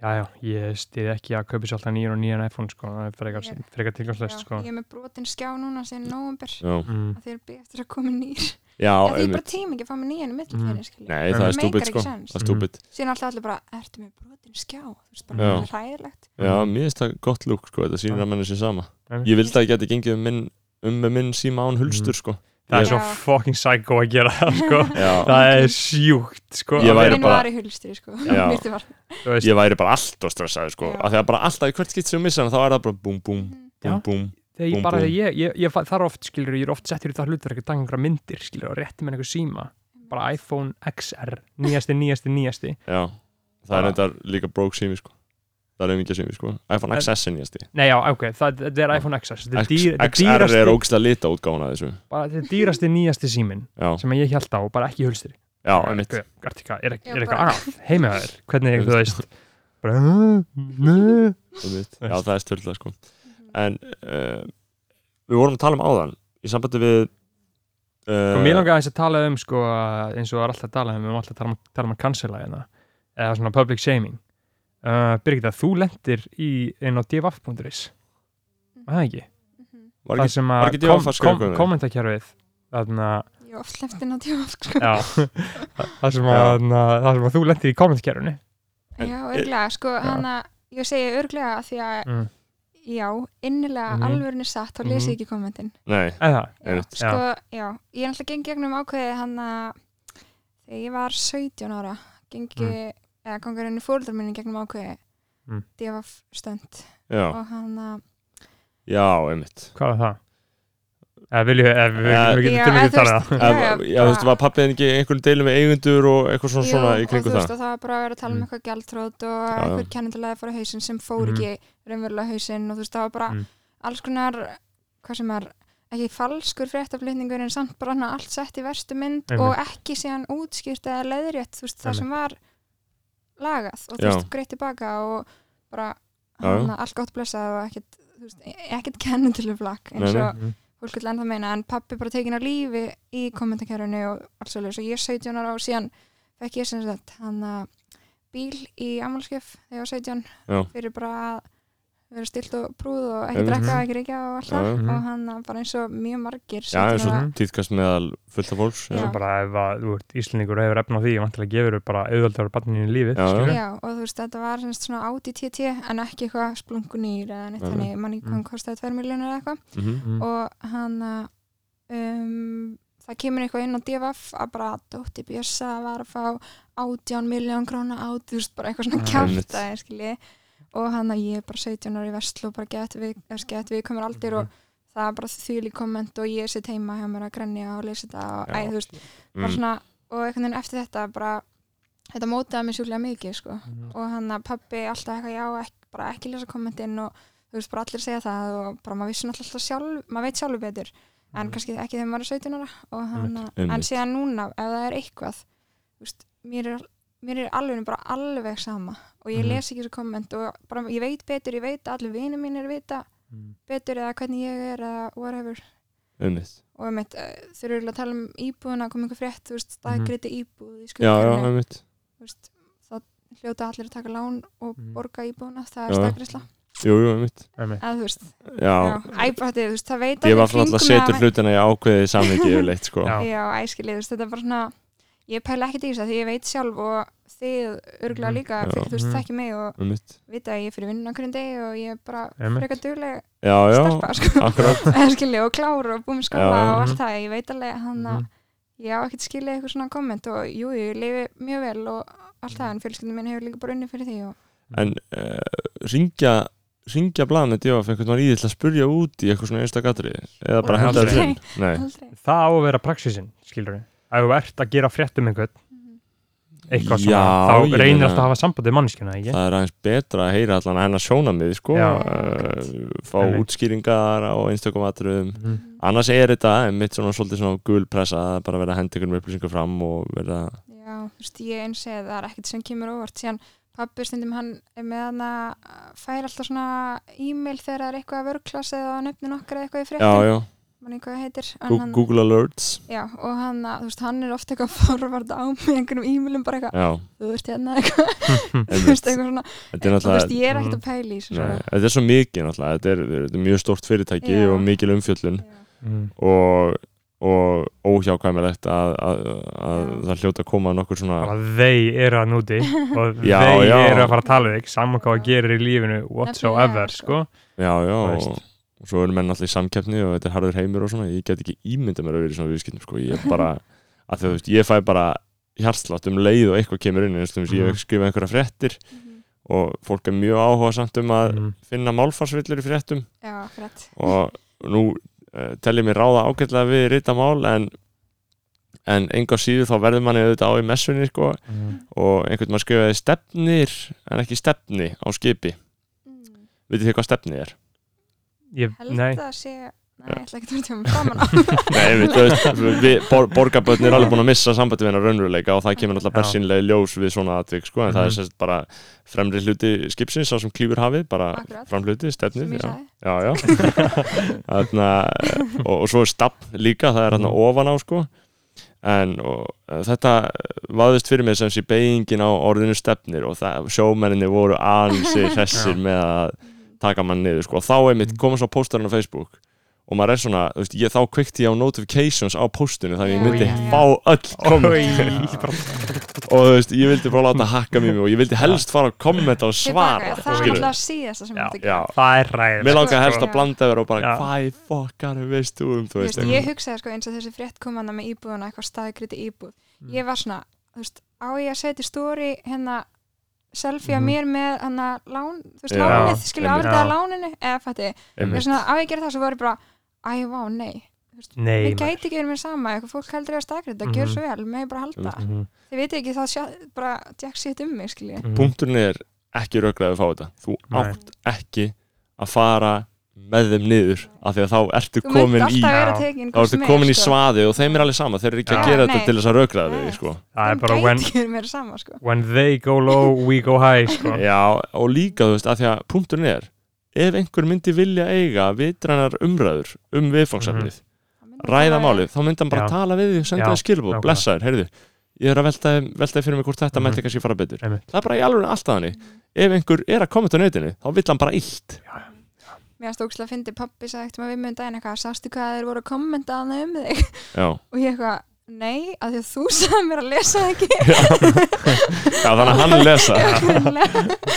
Speaker 2: Já, já, ég stýði ekki að kaupa sér alltaf nýjan og nýjan iPhone sko, það er frekar,
Speaker 5: Ég-
Speaker 2: frekar tilgangslöst sko
Speaker 5: ég hef með brotin skjá núna sem nóvumber
Speaker 1: Já,
Speaker 2: mm.
Speaker 5: að þeir byrja eftir að koma nýr
Speaker 1: já,
Speaker 5: að því ég
Speaker 1: einmitt.
Speaker 5: bara tíma ekki að fá með nýjan
Speaker 2: Mhm.
Speaker 5: mittlutæri mm.
Speaker 1: Nei, það
Speaker 2: Make
Speaker 1: er stúbit,
Speaker 5: ekki
Speaker 1: sko,
Speaker 5: sense.
Speaker 1: það er stúbit.
Speaker 5: síðan alltaf allir bara, ertu með brotin skjá þú veist bara,
Speaker 1: Já.
Speaker 5: það er ræðilegt
Speaker 1: Já, mér finnst það gott lúk, sko, þetta sýnir
Speaker 2: Já.
Speaker 1: að menna sér sama.
Speaker 2: Einmitt.
Speaker 1: Ég vildi að ég geti gengið um, minn, um með minn síma án hulstur, sko.
Speaker 2: Það er svo
Speaker 5: Já.
Speaker 2: fucking psycho að gera það sko
Speaker 1: Já,
Speaker 2: Það er sjúkt sko
Speaker 1: Ég væri
Speaker 5: minn
Speaker 1: bara-
Speaker 5: var í hulstri sko
Speaker 1: Já.
Speaker 5: Mitt var-
Speaker 2: Þú veist,
Speaker 1: ég væri bara alltaf stressaði, sko,
Speaker 5: Já.
Speaker 1: af því að bara alltaf í hvert skitt sem ég missa hann, þá er það bara búm, búm,
Speaker 5: Mhm.
Speaker 2: Já.
Speaker 1: búm, búm.
Speaker 2: þegar ég
Speaker 1: Búm,
Speaker 2: bara,
Speaker 1: búm.
Speaker 2: ég, ég, ég fa- þarf oft skilur, ég er oft settur í það hlutverk að taka einhverja myndir skilur og rétti með einhver síma bara iPhone XR, nýjasti, nýjasti, nýjasti
Speaker 1: Já, það er
Speaker 2: Bara-
Speaker 1: reyndar líka broke sími sko Það er auðvitað sími sko iPhone
Speaker 2: En-
Speaker 1: XS er nýjasti
Speaker 2: Nei, já, ok, það, þetta er iPhone XS Þetta er
Speaker 1: X-
Speaker 2: dýr- þetta er
Speaker 1: XR
Speaker 2: dýrasti,
Speaker 1: er ógst að lita útgáfuna þessu
Speaker 2: bara, þetta er dýrasti nýjasti símin
Speaker 1: Já,
Speaker 2: sem ég held á, bara ekki hulstir
Speaker 1: já, einmitt
Speaker 2: Er eitthvað- er
Speaker 5: Já,
Speaker 2: eitthvað
Speaker 5: bara-
Speaker 2: að heima þér, hvernig þú veist bara, "Huh? Huh?"
Speaker 1: einmitt. Já, það er stölda sko En uh, við vorum að tala um áðan í sambandi við
Speaker 2: Sko, mér
Speaker 1: uh,
Speaker 2: langar aðeins að tala um sko, eins og það er alltaf að tala um, við erum alltaf að tala um, tala um að cancela hérna, eða svona public shaming uh, Birgitta, þú lendir í inn á dvf.is
Speaker 5: Mhm,
Speaker 2: var það ekki?
Speaker 1: var
Speaker 2: Það
Speaker 1: ekki
Speaker 2: sem
Speaker 1: var
Speaker 2: að
Speaker 1: ekki DFF að skrifa eitthvað um það?
Speaker 2: kommentakerfið þarna,
Speaker 5: ég hef oft leftin á djóf sko
Speaker 2: já það sem að,
Speaker 1: Já.
Speaker 2: þarna, það sem að þú lendir í kommentakerfinu
Speaker 1: En-
Speaker 5: já, örglega, sko
Speaker 2: Já.
Speaker 5: hann að ég segi örglega af því að
Speaker 2: mm.
Speaker 5: já, innilega
Speaker 2: Mhm.
Speaker 5: alvörinu satt þá les ég ekki kommentin
Speaker 1: Nei,
Speaker 2: eða,
Speaker 5: Já,
Speaker 1: Einmitt.
Speaker 5: sko, já, ég er alltaf gengið gegnum ákveðið hann að þegar ég var 17 ára gengi,
Speaker 2: Mhm.
Speaker 5: eða gangur henni fóruldar minni gegnum ákveðið
Speaker 2: Mm.
Speaker 5: DFF stönd
Speaker 1: já,
Speaker 5: og hann að
Speaker 1: já, einmitt
Speaker 2: hvað var það? eða viljum eða
Speaker 1: Eh,
Speaker 2: við við
Speaker 5: Já,
Speaker 2: getum til
Speaker 5: en
Speaker 2: mikið
Speaker 5: þú
Speaker 2: tala Mhm.
Speaker 5: veist-
Speaker 2: það
Speaker 1: Já,
Speaker 5: já,
Speaker 1: já, þú veist, var pappið ekki einhvern deilum við eigendur og eitthvað svona, svona í
Speaker 5: og þú
Speaker 1: kringu það
Speaker 5: veist og það var bara að vera að tala um
Speaker 2: Mm.
Speaker 5: eitthvað gjaldrót og
Speaker 1: já.
Speaker 5: einhver kennendalega fór að hausinn sem fór
Speaker 2: Mhm.
Speaker 5: ekki raunverulega hausinn og þú veist það var bara
Speaker 2: Mm.
Speaker 5: alls konar hvað sem er ekki falskur fréttaflutningur en samt bara hann allt sett í verstu mynd
Speaker 2: Einmitt.
Speaker 5: og ekki síðan útskýrt eða leiðrétt þú veist það sem var lagað og þú
Speaker 1: Já.
Speaker 5: veist greitt tilbaka og bara
Speaker 1: Já,
Speaker 5: hana, allt gott blessað og ekkert þú veist, e-, ekkert kennendilu flakk eins
Speaker 1: Nei,
Speaker 5: og fólk vil ennþá meina en pappi bara tekin á lífi í kommentarkerfinu og allt svolítið og ég er 17 ára og síðan fekk ég sem sagt hann bíl í ammálskjöf þegar ég var 17
Speaker 1: Já.
Speaker 5: fyrir bara að vera stilt og prúð og ekki
Speaker 1: Einmitt. Mhm.
Speaker 5: drekka og ekki reykja og allt
Speaker 1: Já,
Speaker 5: það
Speaker 1: já.
Speaker 5: og hann bara eins og mjög margir
Speaker 1: Já, eins
Speaker 5: 17
Speaker 1: og
Speaker 5: ára-
Speaker 1: týðkast meðal fullt af fólks
Speaker 5: Já.
Speaker 1: Já,
Speaker 2: bara ef að, þú ert íslendingur og hefur efna á því, ég vantilega gefur þau bara auðvöldar barninu í
Speaker 1: Já,
Speaker 2: lífið,
Speaker 1: já.
Speaker 2: skilur
Speaker 5: Já, og þú veist, þetta var semst svona áti TT en ekki eitthvað splungunýr eða neitt
Speaker 1: Nei, Mhm. nei.
Speaker 5: þannig, mann ekki hvað hann kostaði 2 miljónir eða eitthvað
Speaker 1: mhm,
Speaker 2: Mm.
Speaker 5: og hann um, það kemur eitthvað inn á DFF að bara Dótti Björsa var að fá 18 miljón króna át þú veist bara eitthvað svona
Speaker 2: Já,
Speaker 1: einmitt.
Speaker 5: kjáft skilji og hann að ég er bara 17 ára í Vestló bara gett við, get við komur aldir
Speaker 1: Mhm.
Speaker 5: og það er bara þvíli komment og ég sitt heima hjá mér að grenja og lesa þetta og, æ,
Speaker 1: Já.
Speaker 5: þú veist, bara
Speaker 1: mhm,
Speaker 5: svona, og einhvern veginn eftir þetta bara þetta mótaði mig sjúklega mikið sko. og hann að pabbi alltaf eitthvað já, ekki, bara ekki lesa kommentin og þú veist bara allir segja það og bara maður vissi náttúrulega alltaf sjálf, maður veit sjálfur betur en kannski ekki þegar maður er 17 ára og hann,
Speaker 1: Mhm. Einmitt.
Speaker 5: en síðan núna ef það er eitthvað þú veist, mér er mér er alveg bara alveg sama og ég
Speaker 2: Mhm.
Speaker 5: les ekki þessu komment og bara, ég veit betur, ég veit að allir vinir mínir vita
Speaker 2: Mm.
Speaker 5: betur eða hvernig ég er eða whatever
Speaker 1: einmitt.
Speaker 5: og um eitt, þau eru örugglega að tala um íbúðuna kom einhver frétt, þú veist, það
Speaker 2: Mhm.
Speaker 5: er greiti íbúð í
Speaker 1: Já, já,
Speaker 5: skuldkerfinu,
Speaker 1: einmitt.
Speaker 5: þú veist, það hljóta allir að taka lán og
Speaker 2: Mhm.
Speaker 5: borga íbúðuna
Speaker 1: Já.
Speaker 5: það er stakrisla,
Speaker 1: Jú, jú, einmitt.
Speaker 2: Einmitt.
Speaker 5: eða þú veist já,
Speaker 1: Já,
Speaker 5: æbætti, þú veist, það veit
Speaker 1: ég
Speaker 5: allir
Speaker 1: var svona alltaf að
Speaker 5: kringum
Speaker 1: setja hlutina í ákveðið samviki yfirleitt, sko.
Speaker 2: Já.
Speaker 5: já, æskilið, þú veist, þetta er bara svona ég pæla ekkert í þessu af því ég veit sjálf og þið örgulega
Speaker 2: Mhm.
Speaker 5: líka,
Speaker 1: Já.
Speaker 5: þið, þú veist,
Speaker 2: Mhm.
Speaker 5: þekki mig og
Speaker 1: Einmitt.
Speaker 5: vita að ég er fyrir vinnu okkur en degi og ég er bara
Speaker 2: Einmitt.
Speaker 5: frekar dugleg
Speaker 1: Já, já,
Speaker 5: stelpa, sko,
Speaker 1: akkurat.
Speaker 5: æskilið og klár og búið með skóla
Speaker 1: Já, já.
Speaker 5: og allt það, ég veit alveg hann að
Speaker 2: Mhm.
Speaker 5: ég á ekkert skilið eitthvað svona komment og jú, ég lifi mjög vel og allt það, en fjölskyldum minn hefur líka bara unni fyrir því og
Speaker 1: En uh, ringja, ringja blanet, já, fyrir einhvern veginn í til að spurja út í eitthvað svona einstakatriði. Eða bara
Speaker 5: Nei,
Speaker 1: henda
Speaker 2: aldrei.
Speaker 1: þessu inn. Nei,
Speaker 5: aldrei
Speaker 2: það á að vera praxisinn, skilur við ef þú ert að gera frétt um einhvern
Speaker 5: Mhm.
Speaker 2: eitthvað svona,
Speaker 1: Já, ég
Speaker 2: þá reynir
Speaker 1: meina-
Speaker 2: alltaf að hafa sambandið manneskjuna, ekki?
Speaker 1: það er aðeins betra að heyra allan að hennar sjónamið, sko.
Speaker 2: Já.
Speaker 1: Uh, fá
Speaker 2: Einmitt.
Speaker 1: útskýringar á einstakum atriðum.
Speaker 2: Mhm.
Speaker 1: Annars er þetta einmitt svona svolítið svona gul pressa að bara vera að henda einhvern upplýsingar fram og vera
Speaker 5: já, þú veist, ég eins eða það er ekkert sem kemur óvart, síðan pabbi stundum hann er með hann að fær alltaf svona e-mail þegar það er eitthvað að vörklas eða hann öfnir nokkar eitthvað í
Speaker 1: Já,
Speaker 5: fréttum
Speaker 1: já,
Speaker 5: mann eitthvað heitir en
Speaker 1: Gú-
Speaker 5: hann,
Speaker 1: Google Alerts
Speaker 5: já, og hann, að, þú veist, hann er ofta eitthvað forvart á með einhverjum e-mailum bara eitthvað,
Speaker 1: Já,
Speaker 5: þú veist, hérna eitthvað, þú
Speaker 1: einmitt
Speaker 5: veist, eitthvað svona
Speaker 1: Þetta er
Speaker 5: þú veist,
Speaker 1: náttúrulega
Speaker 5: ég er ekkert að pæla í þessu
Speaker 1: Nei,
Speaker 5: sko.
Speaker 1: Þetta er svo mikið náttúrulega Þetta er, þetta er mjög stórt fyrirtæki
Speaker 5: Já.
Speaker 1: og mikil umfjöllun
Speaker 5: Já.
Speaker 2: Mm.
Speaker 1: Mhm. og, og óhjákvæmilegt að, að, að
Speaker 5: Já.
Speaker 1: það hljóta að koma nokkur svona
Speaker 2: bara þeir eru að núti og
Speaker 1: Já,
Speaker 2: þeir
Speaker 1: já.
Speaker 2: eru að fara að tala við þig saman hvað að gera í lífinu whatsoever
Speaker 5: Nefnilega,
Speaker 2: sko.
Speaker 5: sko.
Speaker 1: Já, já
Speaker 2: Þú
Speaker 1: og,
Speaker 2: veist.
Speaker 1: og svo erum menn alltaf í samkeppni og þetta er harður heimur og svona Ég get ekki ímynda mér að vera í svona viðskiptum sko. Ég er bara, að þú veist, ég fæ bara hjartslátt um leið og eitthvað kemur inn eins og mm.
Speaker 2: Mhm.
Speaker 1: ég skrifa einhverja fréttir
Speaker 5: Mhm.
Speaker 1: og fólk er mjög áhuga samt um að
Speaker 2: mm.
Speaker 1: finna málfarsvillur í fréttum
Speaker 5: já, akkurat
Speaker 1: og nú uh, tel ég mér ráða ágætlega við rítamál en, en enga síður þá verður manni auðvitað á í messunni sko,
Speaker 2: Mm.
Speaker 1: og einhvern maður skrifaði stefnir en ekki stefni á skipi
Speaker 5: Mm.
Speaker 1: vitið þið hvað stefni er?
Speaker 2: Ég,
Speaker 5: held
Speaker 2: nei,
Speaker 5: að sé Nei, ég ætla ekki að vera tjóma framan á
Speaker 1: Nei, við, þú veist, við bor, borgarbötn er alveg búin að missa sambandi við hennar raunveruleika og það kemur alltaf
Speaker 2: Já.
Speaker 1: bersinlega í ljós við svona atvik sko, en það er
Speaker 2: Mhm.
Speaker 1: sérst bara fremri hluti skipsins, það sem klýfur hafið bara
Speaker 5: Akkurat.
Speaker 1: framhluti, stefnið
Speaker 5: sem
Speaker 1: já.
Speaker 5: ég sagði
Speaker 1: já, já þarna, og, og svo er stafn líka það er hérna
Speaker 5: Mm.
Speaker 1: ofan á sko en og, eh, þetta vaðist fyrir mig sem sé beigingin á orðinu stefnir og það, sjómenninni voru ansi hressir með að taka mann niður sko og þá
Speaker 5: Mm.
Speaker 1: einmitt koma svo póstarinn á Facebook og maður er svona, þú veist, ég þá kveikti ég á notifications á póstinu þannig ég
Speaker 5: Já,
Speaker 1: myndi
Speaker 5: já, já.
Speaker 1: fá öll komment
Speaker 2: Oj, bara-
Speaker 1: og þú veist, ég vildi bara láta hakka mér og ég vildi helst fara að kommenta og svara
Speaker 5: Tilbaka, það er
Speaker 1: skilurðu.
Speaker 5: alltaf síðasta sem
Speaker 2: Já,
Speaker 5: þetta
Speaker 1: já,
Speaker 2: það er ræðið
Speaker 1: Mér langaði helst að
Speaker 5: Já.
Speaker 1: blanda yfir og bara
Speaker 2: Já.
Speaker 1: hvað í fokkar veist þú um þú
Speaker 5: Þú
Speaker 1: veist
Speaker 5: veist, ég hugsaði sko eins og þessi frétt kom hana með íbúðuna eitthvað staðgriti íbúð
Speaker 1: Mm.
Speaker 5: ég var svona, þú veist, á ég að setja í stóri hérna selfie af
Speaker 2: Mhm.
Speaker 5: mér með hana lán, þú veist,
Speaker 1: Já,
Speaker 5: lánið, skilja
Speaker 1: einmitt.
Speaker 5: afritaða
Speaker 2: Já.
Speaker 5: láninu eða fætti, ég
Speaker 1: Einmitt.
Speaker 5: er svona, á ég að gera það svo var ég bara, æ, vá, nei
Speaker 2: Nei,
Speaker 5: mér gæti ekki verið mér sama, eitthvað fólk heldur ég að staðgrita
Speaker 2: Mhm.
Speaker 5: gjör svo vel, með ég bara halda
Speaker 1: Einmitt.
Speaker 2: Mhm.
Speaker 5: þið veit ekki það sjá, bara, jack shit um mig, skilja
Speaker 2: Mhm.
Speaker 1: Punkturinn er ekki röglega að fá þetta Þú
Speaker 2: Nei.
Speaker 1: átt ekki að fara með þeim niður af því að þá ertu
Speaker 5: þú
Speaker 1: komin
Speaker 5: myndir
Speaker 1: í
Speaker 5: alltaf vera
Speaker 2: Já.
Speaker 5: tekin
Speaker 1: þá ertu komin í
Speaker 5: sko.
Speaker 1: svaði og þeim er alveg sama þeir eru ekki
Speaker 2: Já.
Speaker 1: að gera
Speaker 5: Nei.
Speaker 1: þetta til þess að röglega við
Speaker 5: Nei.
Speaker 1: þig, sko.
Speaker 2: það er
Speaker 5: það
Speaker 2: bara when,
Speaker 5: gæti ekki verið mér sama, sko
Speaker 2: when they go low, we go high sko.
Speaker 1: Já, og líka þú veist af því að punkturinn er ef einhver myndi vilja eiga vitrannar umræður um viðfangsefnið
Speaker 5: Það myndi
Speaker 1: ræða
Speaker 5: bara-
Speaker 1: málið, þá myndi hann bara
Speaker 2: Mhm. Já.
Speaker 1: tala við þig senda
Speaker 2: Já,
Speaker 1: þig skilbúð,
Speaker 2: nákvæmlega.
Speaker 1: blessaður, heyrðu ég er að velta, velta fyrir mig hvort þetta
Speaker 2: Mhm.
Speaker 1: mætti kannski fara betur
Speaker 2: Einmitt.
Speaker 1: það er bara í alveg alltaf hannig ef einhver er að koma til nöytinu, þá vill hann bara illt
Speaker 5: Mér varst ógslag að fyndi pappi sagði eftir maður við mjög daginn eitthvað, sástu hvað þeir voru að kommenta að það um þig
Speaker 1: já,
Speaker 5: og ég eitthvað, nei, af því að þú sagði mér að lesa það ekki
Speaker 1: já þannig að hann lesa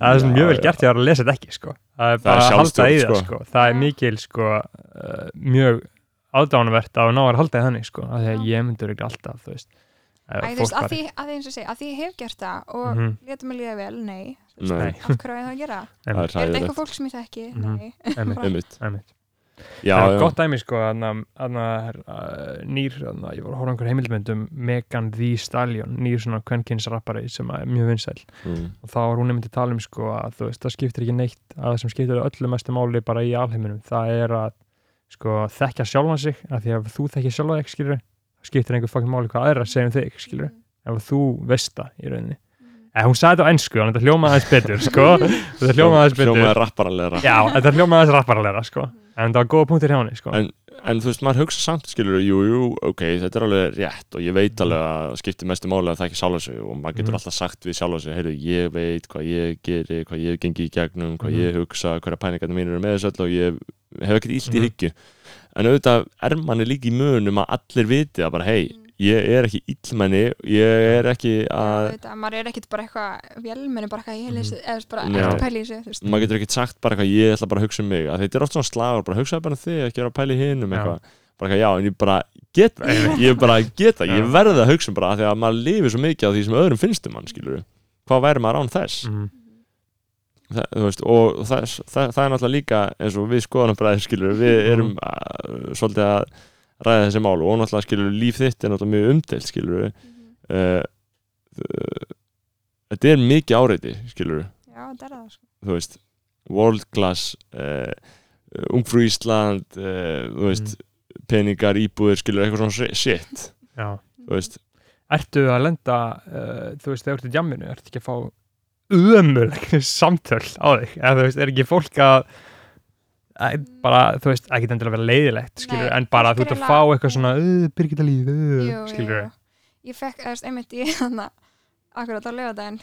Speaker 2: það er svona
Speaker 1: Já,
Speaker 2: mjög vel
Speaker 1: já.
Speaker 2: gert ég var að lesa þetta ekki sko. það er bara að halda
Speaker 1: sjálfstjórn,
Speaker 2: í það
Speaker 1: sko.
Speaker 2: sko. það er mikil sko, uh, mjög aðdánuvert að ná að halda í þannig sko. af því að
Speaker 5: Já.
Speaker 2: ég myndur ekki alltaf þú veist, ef
Speaker 5: Æ, þú
Speaker 2: fólk
Speaker 5: veist, að
Speaker 2: væri-
Speaker 5: því, að því eins og segja, að því ég hef gert það og mm
Speaker 2: Mhm.
Speaker 5: letum að líða vel, nei Þú veist,
Speaker 1: Nei,
Speaker 2: Nei.
Speaker 5: af hverju á ég það að gera?
Speaker 1: það er
Speaker 5: Er þetta
Speaker 1: ræðilegt
Speaker 5: eitthvað fólk sem ég þekki?
Speaker 2: Mhm.
Speaker 5: Nei,
Speaker 2: Einmitt,
Speaker 1: einmitt,
Speaker 2: einmitt.
Speaker 1: já,
Speaker 2: það er
Speaker 1: já,
Speaker 2: gott dæmi sko aðna, aðna, uh, nýr, aðna, ég voru að horfa á einhver heimildmynd um Megan Thee Stallion nýr svona kvenkinsrappari sem að er mjög vinsæl
Speaker 1: mm,
Speaker 2: og þá var hún einmitt að tala um sko að þú veist, það skiptir ekki neitt að það sem skiptir öllu mestu máli bara í alheiminum, það er að sko þekka sjálfan sig, af því að ef þú þekkir sjálfa þig skilur, skiptir einhver fokkin máli hvað aðra segja um þig skilur,
Speaker 5: Mhm.
Speaker 2: ef ef þú veist það í rauninni
Speaker 5: mm,
Speaker 2: en hún sagði þetta á ennsku, þannig að þetta hljómaði aðeins betur sko. þetta hljómaði aðeins betur
Speaker 1: Hljómaði rapparalegra
Speaker 2: já, þetta hljómaði aðeins rapparalegra sko. en þetta var góða punktur hjá henni sko.
Speaker 1: En- En þú veist, maður hugsa samt, skilur jú, jú, ok, þetta er alveg rétt og ég veit
Speaker 2: Mm.
Speaker 1: alveg að það skiptir mestu máli að það ekki sjálfa sig og maður getur
Speaker 2: Mhm.
Speaker 1: alltaf sagt við sjálfa sig, heyrðu, ég veit hvað ég geri, hvað ég gengi í gegnum, hvað
Speaker 2: Mhm.
Speaker 1: ég hugsa, hverja pæningarnir mínir eru með þessu öll og ég hef ekkert illt í
Speaker 2: Mhm.
Speaker 1: hyggju. En auðvitað er manni líka í munum að allir viti að bara, hei, ég er ekki illmenni, ég er ekki að,
Speaker 5: Þetta, maður er ekkert bara eitthvað vélmenni, bara eitthvað ég lýst, eða þú veist, bara
Speaker 1: Mhm. Já.
Speaker 5: ekki pæli í þessu, þú veist.
Speaker 1: maður getur ekkert sagt bara hvað ég ætla bara að hugsa um mig, að þetta er oft svona slagur, bara hugsaði bara um þig, ekki vera að pæla í hinum
Speaker 2: Já.
Speaker 1: eitthvað, bara eitthvað, já, en ég bara get það, ég bara get það, ég
Speaker 2: Já.
Speaker 1: verði að hugsa um bara, af því að maður lifir svo mikið á því sem öðrum finnst um hann, skilur hvað væri maður án þess,
Speaker 2: mm,
Speaker 5: Mhm.
Speaker 1: Þa, þú veist, og það, það, það er náttúrulega líka eins og við skoðanabræðir, skilur við
Speaker 2: Mhm.
Speaker 1: erum að, svolítið að ræða þessi mál og náttúrulega skilur líf þitt er náttúrulega mjög umdelt, skilur við, uh, þetta er mikið áreiti, skilur
Speaker 5: Já, þetta er það, sko.
Speaker 1: þú veist, world class uh, ungfrú Ísland uh, þú veist,
Speaker 2: Mm.
Speaker 1: peningar, íbúðir skilur eitthvað svona shi- shit
Speaker 2: já.
Speaker 1: þú veist,
Speaker 2: ertu að lenda uh, þú veist, þegar þú ert í jamminu, ertu ekki að fá ömuleg samtöl á þig eða þú veist, er ekki fólk að að bara, þú veist, ekki endilega að vera leiðilegt skilur,
Speaker 5: Nei,
Speaker 2: en bara þú ert
Speaker 5: fólk
Speaker 2: að
Speaker 5: er
Speaker 2: fá
Speaker 5: eiginlega-
Speaker 2: eitthvað svona uh, Birgitta líf, uh,
Speaker 5: Jú,
Speaker 2: skilur
Speaker 5: jú, jú. Ég fekk, eða einmitt ég þannig akkurat á lögadaginn,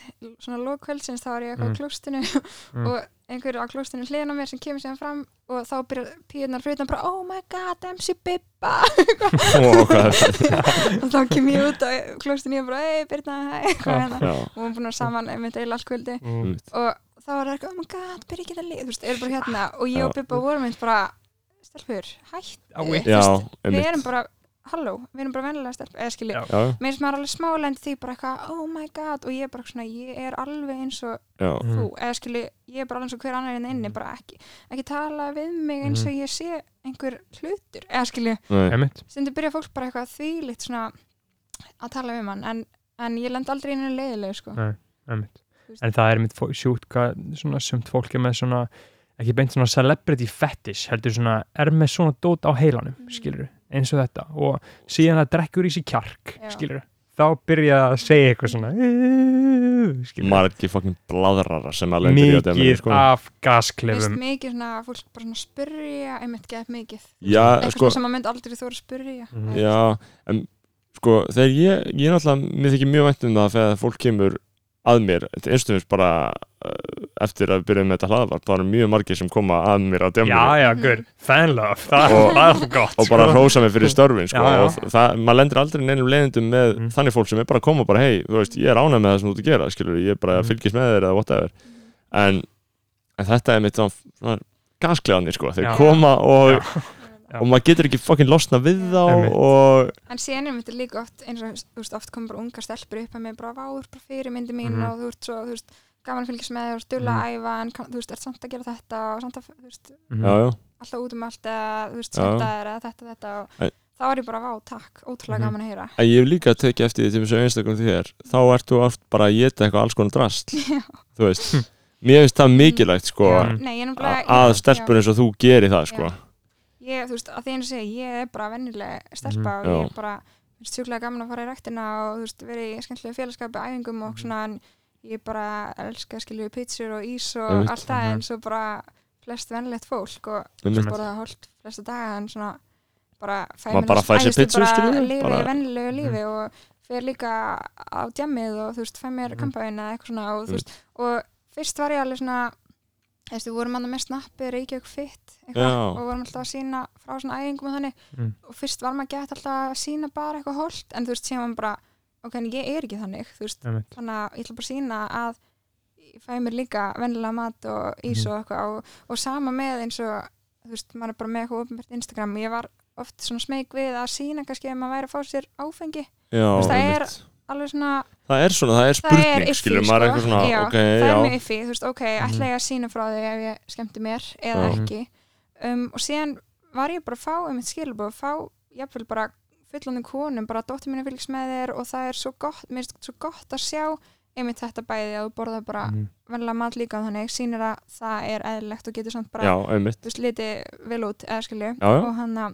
Speaker 5: svona lókvöldsins þá var ég eitthvað
Speaker 2: Mm.
Speaker 5: á klóstinu
Speaker 2: Mm.
Speaker 5: og einhverju á klóstinu hliðin á mér sem kemur síðan fram og þá byrjar píðunar frutan bara oh my god, MC Bibba
Speaker 1: og hvað er það
Speaker 5: og þá kem ég út á klóstinu og bara hey Birna, hei, hvað hérna
Speaker 1: já,
Speaker 5: og við erum búin að vera saman einmitt eil allkvöldi
Speaker 2: mm.
Speaker 5: og þá var það eitthvað, oh my god, byrja ekki það lið þú veist, er bara hérna og
Speaker 1: Já.
Speaker 5: ég og Bibba vorum eins bara stelpur, hætt
Speaker 2: Á ég.
Speaker 1: já,
Speaker 5: við
Speaker 1: einmitt
Speaker 5: erum bara, halló, við erum bara venlega stelpur, eða skilji
Speaker 2: Já.
Speaker 1: já,
Speaker 5: mér finnst maður alveg smálendi því bara eitthvað oh my god og ég er bara svona ég er alveg eins og
Speaker 1: já,
Speaker 2: Mm.
Speaker 5: þú eða skilju ég er bara alveg eins og hver annar en inni bara ekki ekki tala við mig eins og ég sé einhver hlutur eða skilju
Speaker 1: nei,
Speaker 2: Einmitt.
Speaker 5: stundu byrja fólk bara eitthvað þvílitt svona að tala við mann en, en ég lend aldrei inn í leiðilegu sko
Speaker 2: Nei. einmitt.
Speaker 5: Þú veist.
Speaker 2: en það er einmitt sjút hvað svona sumt fólk er með svona ekki beint svona celebrity fetish heldur svona, er með svona dót á heilanum mm. skilur, eins og þetta og síðan það drekkur í sig kjark
Speaker 5: Já.
Speaker 2: skilur, þá byrja það að segja eitthvað svona skilur,
Speaker 1: maður er ekki fokkin bladrara sem að lendir í að demni
Speaker 2: mikið
Speaker 1: sko.
Speaker 2: af
Speaker 5: Mér finnst
Speaker 2: gasklefum
Speaker 5: mikið svona að fólk bara svona spyrja einmitt gett mikið
Speaker 1: já,
Speaker 5: eitthvað
Speaker 1: sko, Mm.
Speaker 5: sem maður myndi aldrei þú að spyrja
Speaker 2: Mhm.
Speaker 5: Eða-
Speaker 1: já en sko, þegar ég, ég náttúrulega mér þykir mjög vænt um það þegar fólk kemur að mér, einstumins bara uh, eftir að við byrjuðum með þetta hlaðvarp það eru mjög margir sem koma að mér á demni
Speaker 2: já, já, guður, fan love það,
Speaker 1: Og-
Speaker 2: það er alltaf gott sko.
Speaker 1: og bara hrósa mig fyrir störfin sko,
Speaker 2: Já, já.
Speaker 1: og það, maður lendir aldrei neinum leiðindum með
Speaker 2: Mm.
Speaker 1: þannig fólk sem er bara að koma og bara hei, þú veist, ég er ánægð með það sem þú ert að gera skilur, ég er bara að
Speaker 2: Mm.
Speaker 1: fylgjast með þér eða whatever en, en þetta er mitt svona- svona gaskleðanir sko, þeir
Speaker 2: Já.
Speaker 1: koma og,
Speaker 2: Já. Já.
Speaker 1: og maður getur ekki fucking losna við þá
Speaker 2: Einmitt.
Speaker 1: og
Speaker 5: En síðan er mitt líka oft, eins og þú veist, oft komur bara ungar stelpur upp að mér bara váður bara fyrirmyndi mín
Speaker 2: Mhm.
Speaker 5: og þú ert svo, þú veist, gaman að fylgjast með þér og stuðla
Speaker 1: Mhm.
Speaker 5: að æfa en kann- þú veist, ert samt að gera þetta og samt að, þú veist,
Speaker 2: Mm,
Speaker 1: já, já,
Speaker 5: alltaf út um allt eða, þú veist,
Speaker 1: Já.
Speaker 5: samt að þér eða þetta, þetta og
Speaker 1: En-
Speaker 5: þá er ég bara vá, takk, ótrúlega
Speaker 2: Mhm.
Speaker 5: gaman að heyra.
Speaker 1: en ég hef líka tekið eftir því til þessu einstaklega þér, þá ert þú oft bara að geta eitthvað alls konar drast þú veist, mér finnst það mikilvægt sko,
Speaker 5: Já,
Speaker 2: Mm.
Speaker 5: Nei, ég er
Speaker 1: að,
Speaker 5: nefnilega,
Speaker 1: að
Speaker 5: ég-
Speaker 1: stelpur eins og þú geri það sko,
Speaker 5: já, ég, þú veist, að því einu segi, ég er bara vennileg stelpa
Speaker 2: Mhm.
Speaker 5: og ég
Speaker 1: Já.
Speaker 5: er bara, þú veist, sjúklega gaman að fara í ræktina og, þú veist, verið í skemmtilega félagskapi, æfingum og svona, en ég bara elska, skilju, pítsur og ís og
Speaker 1: Einmitt.
Speaker 5: allt það,
Speaker 2: Mhm.
Speaker 5: eins og bara flest vennilegt fólk og
Speaker 1: Einmitt.
Speaker 5: borða holt flesta daga, en svona, bara fæ
Speaker 1: Maður bara fær sér pizzu, skilju, bara- Mhm.
Speaker 5: lifi bara... vennilegu lífi og fer líka á djamið og, þú veist, fæ
Speaker 1: Mhm.
Speaker 5: mér mm. eða eitthvað svona og, þú
Speaker 1: Mm.
Speaker 5: veist, og fyrst var ég alveg svona, þú veist, við vorum annað með snappi, Reykjavík Fit, eitthvað,
Speaker 1: Já.
Speaker 5: og vorum alltaf að sína frá svona æfingum og þannig
Speaker 2: Mm.
Speaker 5: og fyrst var maður gett alltaf að sína bara eitthvað holt en þú veist, séum maður bara, ok, en ég er ekki þannig þú veist,
Speaker 2: Einmitt.
Speaker 5: þannig að ég ætla bara að sína að ég fæ mér líka vennilega mat og ís og eitthvað og, og sama með eins og, þú veist, maður er bara með eitthvað ofnbært Instagram, ég var oft svona smeg við að sína kannski ef maður væri að fá sér áfengi,
Speaker 1: já,
Speaker 5: veist, það er-
Speaker 1: einmitt.
Speaker 5: alveg svona
Speaker 1: Það er svona, það er
Speaker 5: það
Speaker 1: spurning,
Speaker 5: er iffy,
Speaker 1: skilur, maður er eitthvað svona,
Speaker 5: já,
Speaker 1: ok,
Speaker 5: það er mjög
Speaker 1: já,
Speaker 5: iffi, þú veist, ok, ætla ég að sína frá því ef ég skemmti mér eða
Speaker 1: Já.
Speaker 5: ekki um, og síðan var ég bara að fá um eitt skilabóð, fá jafnvel bara fullandum konum, bara dóttir mín er fylgst með þér og það er svo gott, mér finnst svo gott að sjá einmitt þetta bæði að þú borðar bara mm.
Speaker 2: Mhm.
Speaker 5: venlega mat líka þannig, sýnir að það er eðlilegt og getur samt bara,
Speaker 1: já, einmitt,
Speaker 5: þú veist, litið vel út eða
Speaker 1: já,
Speaker 5: skilju
Speaker 1: já,
Speaker 5: og hann að